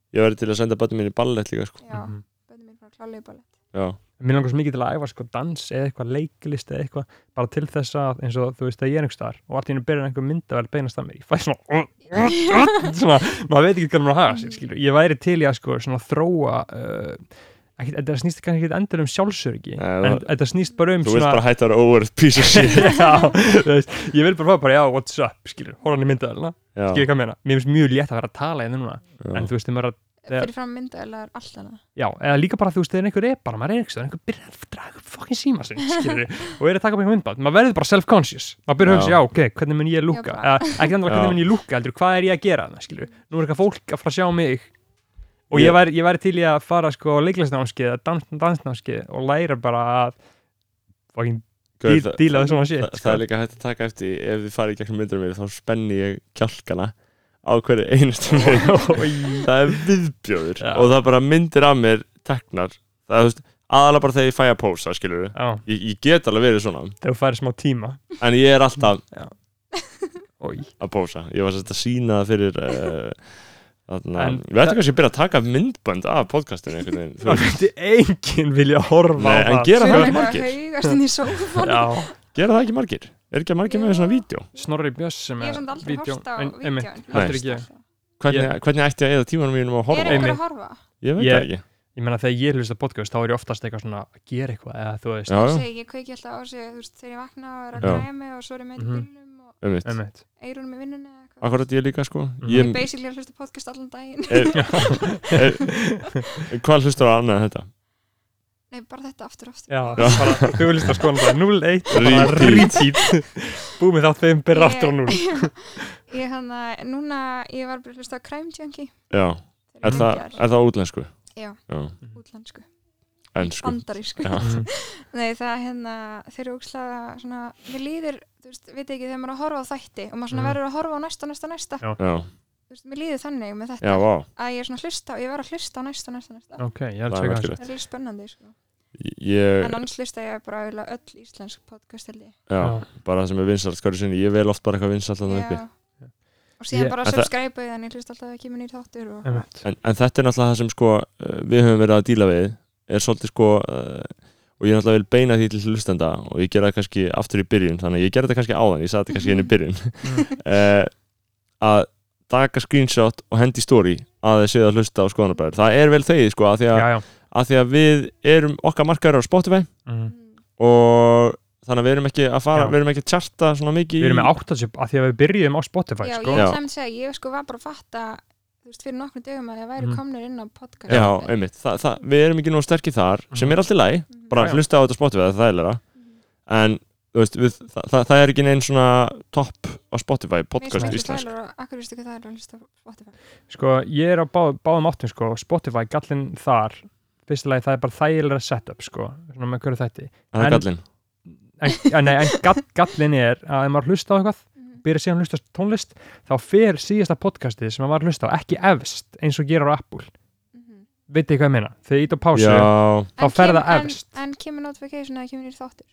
Speaker 1: ver til að senda bönnum mín í ballett líka sko.
Speaker 5: Mm, já,
Speaker 2: Mhm.
Speaker 5: bönnum mér frá klálega bara
Speaker 1: já,
Speaker 2: Mér langar svo mikið til að æfa sko dans eða eitthvað leiklist eða eitthvað bara til þess að eins og þú veist að ég er einhver staðar og allt í hennu byrjar einhver myndavel beinast að mér ég fæ svona, uh, svona maður veit ekki hvað maður á að hafa sér skilur ég væri til í að sko svona þróa uh, ekki, þetta snýst kannski ekki endur um sjálfsörgi
Speaker 1: Nei,
Speaker 2: en
Speaker 1: það-
Speaker 2: þetta snýst bara um
Speaker 1: þú vilt bara hætta að vera over piece of shit
Speaker 2: já, þú veist, ég vil bara fá bara já, what's up skilur, horfa hann í myndavelna
Speaker 1: já,
Speaker 2: skilur hvað ég meina, mér finnst mjög létt að vera að tala hérna núna
Speaker 1: já.
Speaker 2: en þú veist, þegar maður er að Þegar-
Speaker 5: fyrir fram mynda eða allt annað
Speaker 2: Já, eða líka bara þú veist, þegar einhver er bara, maður er einhverstað, einhver byrjar að draga upp fokkin síma sinn, skilur og er að taka upp einhver myndband, maður verður bara self-conscious, maður byrjar að hugsa,
Speaker 1: Já.
Speaker 2: já, ok, hvernig mun ég lúka,
Speaker 5: Já,
Speaker 2: eða ekki þannig
Speaker 1: Já.
Speaker 2: hvernig mun ég lúka, heldur, hvað er ég að gera þarna, skilur, nú er eitthvað fólk að fara að sjá mig, og ég væri, ég væri til í að fara sko á leiklæsnámskið eða dans, dansnámskið og læra bara að fucking
Speaker 1: Gaur,
Speaker 2: dí-
Speaker 1: það-
Speaker 2: díla við svona shit
Speaker 1: það, það er líka hægt að taka eftir ef þið farið í gegnum myndur mér þá spenni ég kjálkana á hverju einastum mig
Speaker 2: sko.
Speaker 1: það er viðbjóður
Speaker 2: Já.
Speaker 1: og það bara myndir af mér teknar það er þú veist, aðalega bara þegar ég fæ að pósa skilur við,
Speaker 2: Já,
Speaker 1: ég, ég get alveg verið svona
Speaker 2: þegar þú færi smá tíma
Speaker 1: en ég er alltaf
Speaker 2: Oj.
Speaker 1: að pósa ég var sérst að sína það fyrir uh, þarna,
Speaker 2: En-
Speaker 1: við ættum kannski að byrja að taka myndbönd af podcastinu einhvern veginn þú
Speaker 2: Það
Speaker 1: veist.
Speaker 2: myndi enginn vilja horfa
Speaker 1: Nei,
Speaker 2: á
Speaker 1: en
Speaker 2: það
Speaker 1: gera
Speaker 5: Svo
Speaker 1: það
Speaker 5: er bara
Speaker 1: margir
Speaker 5: haugast inn í sófan
Speaker 2: Já,
Speaker 1: gera það ekki margir, er ekki margir með svona vídeo
Speaker 2: Snorri Björns sem
Speaker 5: Ég
Speaker 2: er
Speaker 5: hef samt aldrei
Speaker 2: vídeó-
Speaker 5: horft á
Speaker 2: en- einmitt,
Speaker 5: vídjón
Speaker 2: heldur ekki ég.
Speaker 1: hvernig, hvernig ætti ég að eða tímanum mínum að
Speaker 5: Er
Speaker 1: horfa á?
Speaker 5: einhver
Speaker 2: Einmitt.
Speaker 5: að horfa?
Speaker 1: ég veit
Speaker 2: Ég-
Speaker 1: það ekki
Speaker 2: Ég meina þegar ég hlusta á podcast þá er ég oftast eitthvað svona að gera eitthvað eða þú veist
Speaker 1: Já, já,
Speaker 5: Segi, ég kveiki alltaf á sig, þú veist, þegar ég vakna og er að
Speaker 1: Já.
Speaker 5: græja mig og svo er ég með í
Speaker 2: Mhm.
Speaker 5: bílnum og
Speaker 1: um
Speaker 2: einmitt.
Speaker 5: eirunum í vinnunni eða eitthvað.
Speaker 1: Akkurat ég líka sko
Speaker 2: Mhm.
Speaker 5: Ég er
Speaker 1: ég,
Speaker 5: basically að hlusta á podcast allan daginn.
Speaker 1: er, Hvað hlustur á annað en þetta?
Speaker 5: Nei, bara þetta aftur og aftur.
Speaker 2: Já, bara, þú hlusta sko bara 0-1 og bara
Speaker 1: Repeat.
Speaker 2: repeat Búið með þátt þeim byrja aftur á 0
Speaker 5: Ég hann að, núna, ég var bara að hlusta á Crime Junkie.
Speaker 1: Já,
Speaker 5: Þeir
Speaker 1: er,
Speaker 5: eru
Speaker 1: það,
Speaker 5: geggjaðir.
Speaker 1: er það útlensku?
Speaker 5: Já.
Speaker 1: Já,
Speaker 5: Útlandsku.
Speaker 1: ennsku
Speaker 5: Bandarísku.
Speaker 1: Já.
Speaker 2: Mm,
Speaker 5: Nei, það hérna, þeir eru úkslega svona, mér líður, þú veist, veit ekki, þegar maður er að horfa á þætti og maður svona
Speaker 2: Mhm.
Speaker 5: verður að horfa á næsta, næsta, næsta.
Speaker 2: Já.
Speaker 1: Já,
Speaker 5: Þú veist, mér líður þannig með þetta
Speaker 1: já, vá
Speaker 5: að ég er svona að hlusta og ég verð að hlusta á næsta, næsta, næsta.
Speaker 2: Ok,
Speaker 1: Það
Speaker 2: ég er að
Speaker 1: er
Speaker 2: tjekka
Speaker 1: merkilegt
Speaker 5: Það er líka spennandi, sko.
Speaker 1: Ég,
Speaker 5: En annars hlusta ég bara eiginlega öll íslensk podcast, held ég.
Speaker 1: já,
Speaker 2: Já.
Speaker 1: bara það sem er vinsalt hverju sinni Ég vel oft bara eitthvað vinsalt þannig uppi
Speaker 5: Já. og síðan
Speaker 2: Ég-
Speaker 5: bara
Speaker 1: En það-
Speaker 5: subscribe en ég hlust alltaf að kemur nýr þáttur og
Speaker 2: þessu
Speaker 1: en, en þetta er náttúrulega það sem sko eh, Við höfum verið að díla við Er svolítið sko eh, Og ég náttúrulega vil beina því til hlustenda Og ég gera það kannski aftur í byrjun Þannig að ég gera þetta kannski áðan Ég sagði þetta kannski inn í byrjun uh, að taka screenshot og hendi í story að þið séu að hlusta á skoðanabæður það er vel þegið sko að því að,
Speaker 2: Já, já
Speaker 1: að, því að við erum okkar markaður á Spotify
Speaker 2: Mm.
Speaker 1: og þannig að við erum ekki að fara
Speaker 2: Já.
Speaker 1: við erum ekki að charta svona mikið
Speaker 2: Við
Speaker 1: í-
Speaker 2: erum með 80 að því að við byrjuðum á Spotify
Speaker 5: já,
Speaker 2: sko.
Speaker 5: ég
Speaker 1: Já.
Speaker 5: ætlaði að segja, ég sko var bara að fatta þú veist, fyrir nokkrum dögum að ég væri
Speaker 2: Mhm.
Speaker 5: komnir inn á podcast Mm-hmm.
Speaker 1: Já, einmitt, Þa, það, við erum ekki nú sterkir þar sem er allt í læg,
Speaker 5: Mhm.
Speaker 1: bara
Speaker 2: Já, já.
Speaker 1: hlusta á þetta á Spotify það er leira,
Speaker 5: Mm-hmm.
Speaker 1: en þú veist, við, það, það, það er ekki neinn svona topp á Spotify, podcast íslensk
Speaker 5: og akkur veistu hvað það er að hlusta á Spotify
Speaker 2: sko, ég er á bá, báðum áttum sko. Spotify, gallin þar Fyrsta lagi, það er bara þægilega setup sko. Svona með hverju þætti
Speaker 1: það er
Speaker 2: En-
Speaker 1: gallin,
Speaker 2: En, já, nei, en gall, gallin er að ef maður hlusta á eitthvað
Speaker 5: Mhm.
Speaker 2: byrja síðan að hlusta á tónlist þá fer síðasta podcastið sem maður var að hlusta á ekki efst eins og gerir á Apple
Speaker 5: Mhm.
Speaker 2: veit þið hvað ég meina, þegar ég ít á
Speaker 1: já,
Speaker 2: pásu Þá
Speaker 5: En
Speaker 2: fer
Speaker 5: kem-
Speaker 2: það
Speaker 5: en-
Speaker 2: efst.
Speaker 5: en kemur notification að það kemur nýr þáttur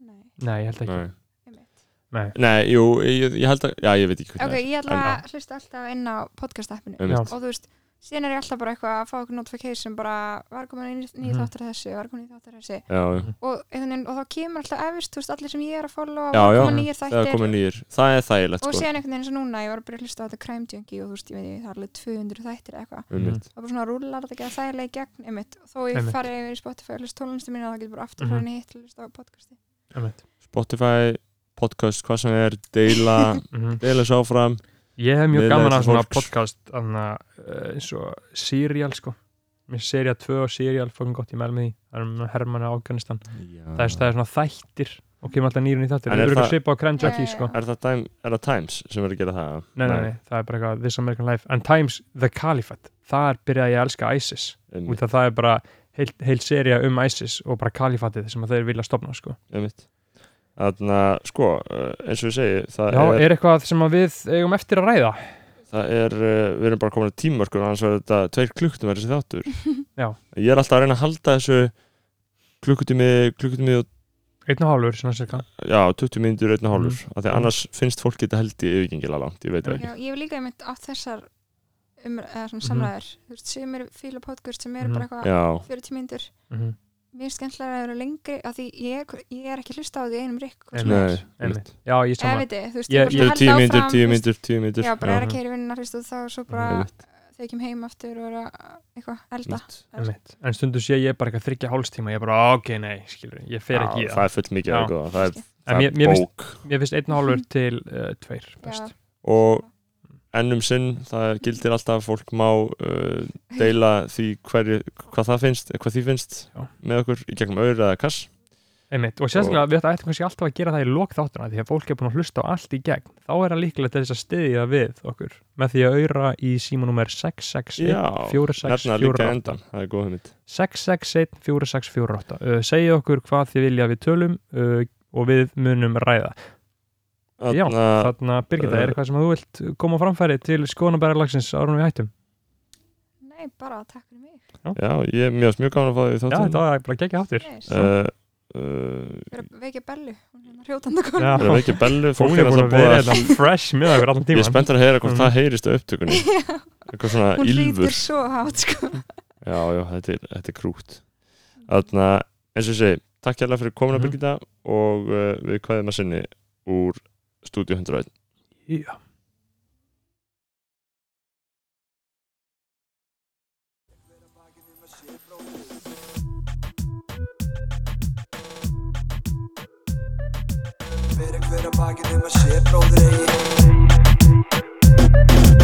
Speaker 5: Nei,
Speaker 2: nei, ég held ekki
Speaker 1: nei.
Speaker 5: einmitt.
Speaker 2: nei.
Speaker 1: nei, jú, ég, ég held að já, ég veit ekki hvernig
Speaker 5: ok, ég ætla
Speaker 1: En-
Speaker 5: að hlusta alltaf inn á podcast appinu
Speaker 1: Einmitt.
Speaker 5: og þú veist, síðan er ég alltaf bara eitthvað að fá okkur notification bara var komin nýr nýr
Speaker 2: Mhm.
Speaker 5: þáttur af þessu, var komin nýr þáttur af þessu
Speaker 1: Já, já.
Speaker 5: og, einhvern veginn- og þá kemur alltaf efist, þú veist, allir sem ég er að followa
Speaker 1: Já,
Speaker 5: og
Speaker 1: já,
Speaker 5: koma nýjir
Speaker 1: það er
Speaker 5: þættir
Speaker 1: komið nýjur það er þægilegt
Speaker 5: og
Speaker 1: sko
Speaker 5: síðan einhvern veginn eins og núna, ég var að byrja að hlusta á þetta crime junkie og þú veist, ég veit, ég, það er alveg 200 þættir eða eitthvað,
Speaker 1: um
Speaker 2: Mm.
Speaker 1: mitt
Speaker 5: það er bara svona rúlar þetta ekki að þægilega í gegn, einmitt, og þó ég
Speaker 2: Einmitt.
Speaker 5: fari yfir í Spotify og hlusta tónlistu mína, þá getur bara aftur
Speaker 2: Mhm.
Speaker 5: mm -hmm. hitt til að hlusta á podcasti
Speaker 2: Einmitt.
Speaker 1: Spotify, podcast, hvað sem er deila,
Speaker 2: Mhm.
Speaker 1: deila svo áfram
Speaker 2: ég hef mjög
Speaker 1: Við
Speaker 2: gaman að
Speaker 1: leiðist
Speaker 2: svona
Speaker 1: fólks.
Speaker 2: podcast anna, uh, eins og serial sko mér finnst serial 2 og serial fókum gott ég mæl með því, það er með Hermann á Afganistan það er, það er svona þættir og kemur alltaf nýrun í þættir,
Speaker 1: En
Speaker 2: það
Speaker 1: er
Speaker 2: er eitthvað
Speaker 1: það-
Speaker 2: svipa á Crime
Speaker 5: Já,
Speaker 2: Junkie
Speaker 5: já,
Speaker 2: sko
Speaker 5: já.
Speaker 1: Er það, time, er það Times sem er að gera það?
Speaker 2: nei, nei, nei, það er bara eitthvað This American Life and Times The Caliphate þar byrjaði ég að elska ISIS
Speaker 1: Um
Speaker 2: út af það er bara heil, heil seria um ISIS og bara kalifatið sem að þeir vilja stopna sko.
Speaker 1: mitt Þannig að, sko, eh, eins og ég segi það
Speaker 2: Já,
Speaker 1: er,
Speaker 2: er eitthvað sem að við eigum eftir að ræða
Speaker 1: það er, eh, við erum bara komin að tímörkur annars verður þetta tveir klukktum er þessi þáttur
Speaker 2: Já.
Speaker 1: Ég er alltaf að reyna að halda þessu klukkutími, klukkutími og,
Speaker 2: einn og hálfur svona cirka
Speaker 1: já, 20 mínútur einn og hálfur,
Speaker 2: Mm.
Speaker 1: af því að annars finnst fólk þetta held í yfirgengilega langt, ég veit það
Speaker 5: Já,
Speaker 1: ekki
Speaker 5: ég hef líka einmitt átt þessar um, eða svona
Speaker 2: Mhm.
Speaker 5: samræður, þú veist, sem er fíla podcast sem eru
Speaker 2: Mhm.
Speaker 5: bara eitthvað
Speaker 1: Já,
Speaker 5: 40 myndur,
Speaker 2: mm -hmm.
Speaker 5: mér er skemmtilega að það eru lengri, af því ég er- ég er ekki að hlusta á því í einum rykk, hvort sem
Speaker 2: Einmitt.
Speaker 5: er.
Speaker 1: nei, einmitt.
Speaker 2: Já, ég
Speaker 5: Eða,
Speaker 2: saman
Speaker 5: veit ég, þú veist,
Speaker 2: Ég-
Speaker 5: ég bara
Speaker 1: Þetta
Speaker 5: svona
Speaker 1: er tíu
Speaker 5: held
Speaker 1: myndur,
Speaker 5: áfram,
Speaker 1: tíu
Speaker 5: þú veist,
Speaker 1: myndur, tíu myndur
Speaker 5: Já, bara er
Speaker 2: Mhm.
Speaker 5: að keira vinnina fyrst og þá og svo bara þegar ég kem heim aftur og er að eitthvað elda
Speaker 2: Einmitt. en stundu sé ég bara eitthvað þryggja hálstíma ég er bara ok, nei, skilur, ég fer
Speaker 1: Já,
Speaker 2: ekki í
Speaker 1: Það
Speaker 2: það
Speaker 1: er full mikið
Speaker 2: Já.
Speaker 1: að góða Það er,
Speaker 2: En
Speaker 1: það
Speaker 2: mér-
Speaker 1: er
Speaker 2: mér finnst-
Speaker 1: bók
Speaker 2: ég finnst einn og hálfur til uh, tveir best
Speaker 1: Og ennum um sinn, það gildir alltaf fólk má uh, deila því hverju, hvað það finnst, hvað því finnst
Speaker 2: Já.
Speaker 1: með okkur í gegnum auður eða kass
Speaker 2: Einmitt. og sérstaklega við ættum kannski alltaf að gera það í lokþáttuna því að fólk er búin að hlusta á allt í gegn þá er það líkilegt til þess að styðja við okkur með því að auðra í símanúmer
Speaker 1: Já,
Speaker 2: 661
Speaker 1: nefna líka endan, það er góð hugmynd
Speaker 2: 661-4648 uh, segja okkur hvað þið vilja að við tölum uh, og við munum ræða Já,
Speaker 1: Þarna-
Speaker 2: þarna Birgitta, er eitthvað sem þú vilt koma á framfæri til skoðanabæralagsins árunum við hættum
Speaker 5: Nei, bara takk fyrir mig.
Speaker 1: Já, ég mér finnst mjög gaman að fá því
Speaker 2: Já,
Speaker 1: þáttum
Speaker 2: þetta var bara geggja áttir
Speaker 5: Yes.
Speaker 1: uh, uh,
Speaker 5: Ég er að vekja bellu, hún er hérna hrjótandi konu.
Speaker 2: Já.
Speaker 1: Það er ekki bellu
Speaker 2: Fólk er búin að vera hérna fresh með okkur allan
Speaker 1: Ég er
Speaker 2: tíma
Speaker 1: spenntur að heyra hvort
Speaker 2: Mm.
Speaker 1: það heyrist á upptökunni Eitthvað svona
Speaker 5: hún
Speaker 1: ylfur
Speaker 5: hlýtir svo hátt, sko.
Speaker 1: Já, já, þetta er, þetta er krútt Þannig að, eins og ég segi, takk hérlega fyrir komuna
Speaker 2: Mhm.
Speaker 1: Birgitta og uh, við kvæðum að sinni úr Studio 101
Speaker 2: Já.
Speaker 3: Fyrir hver að bakið um að sé bróður eigi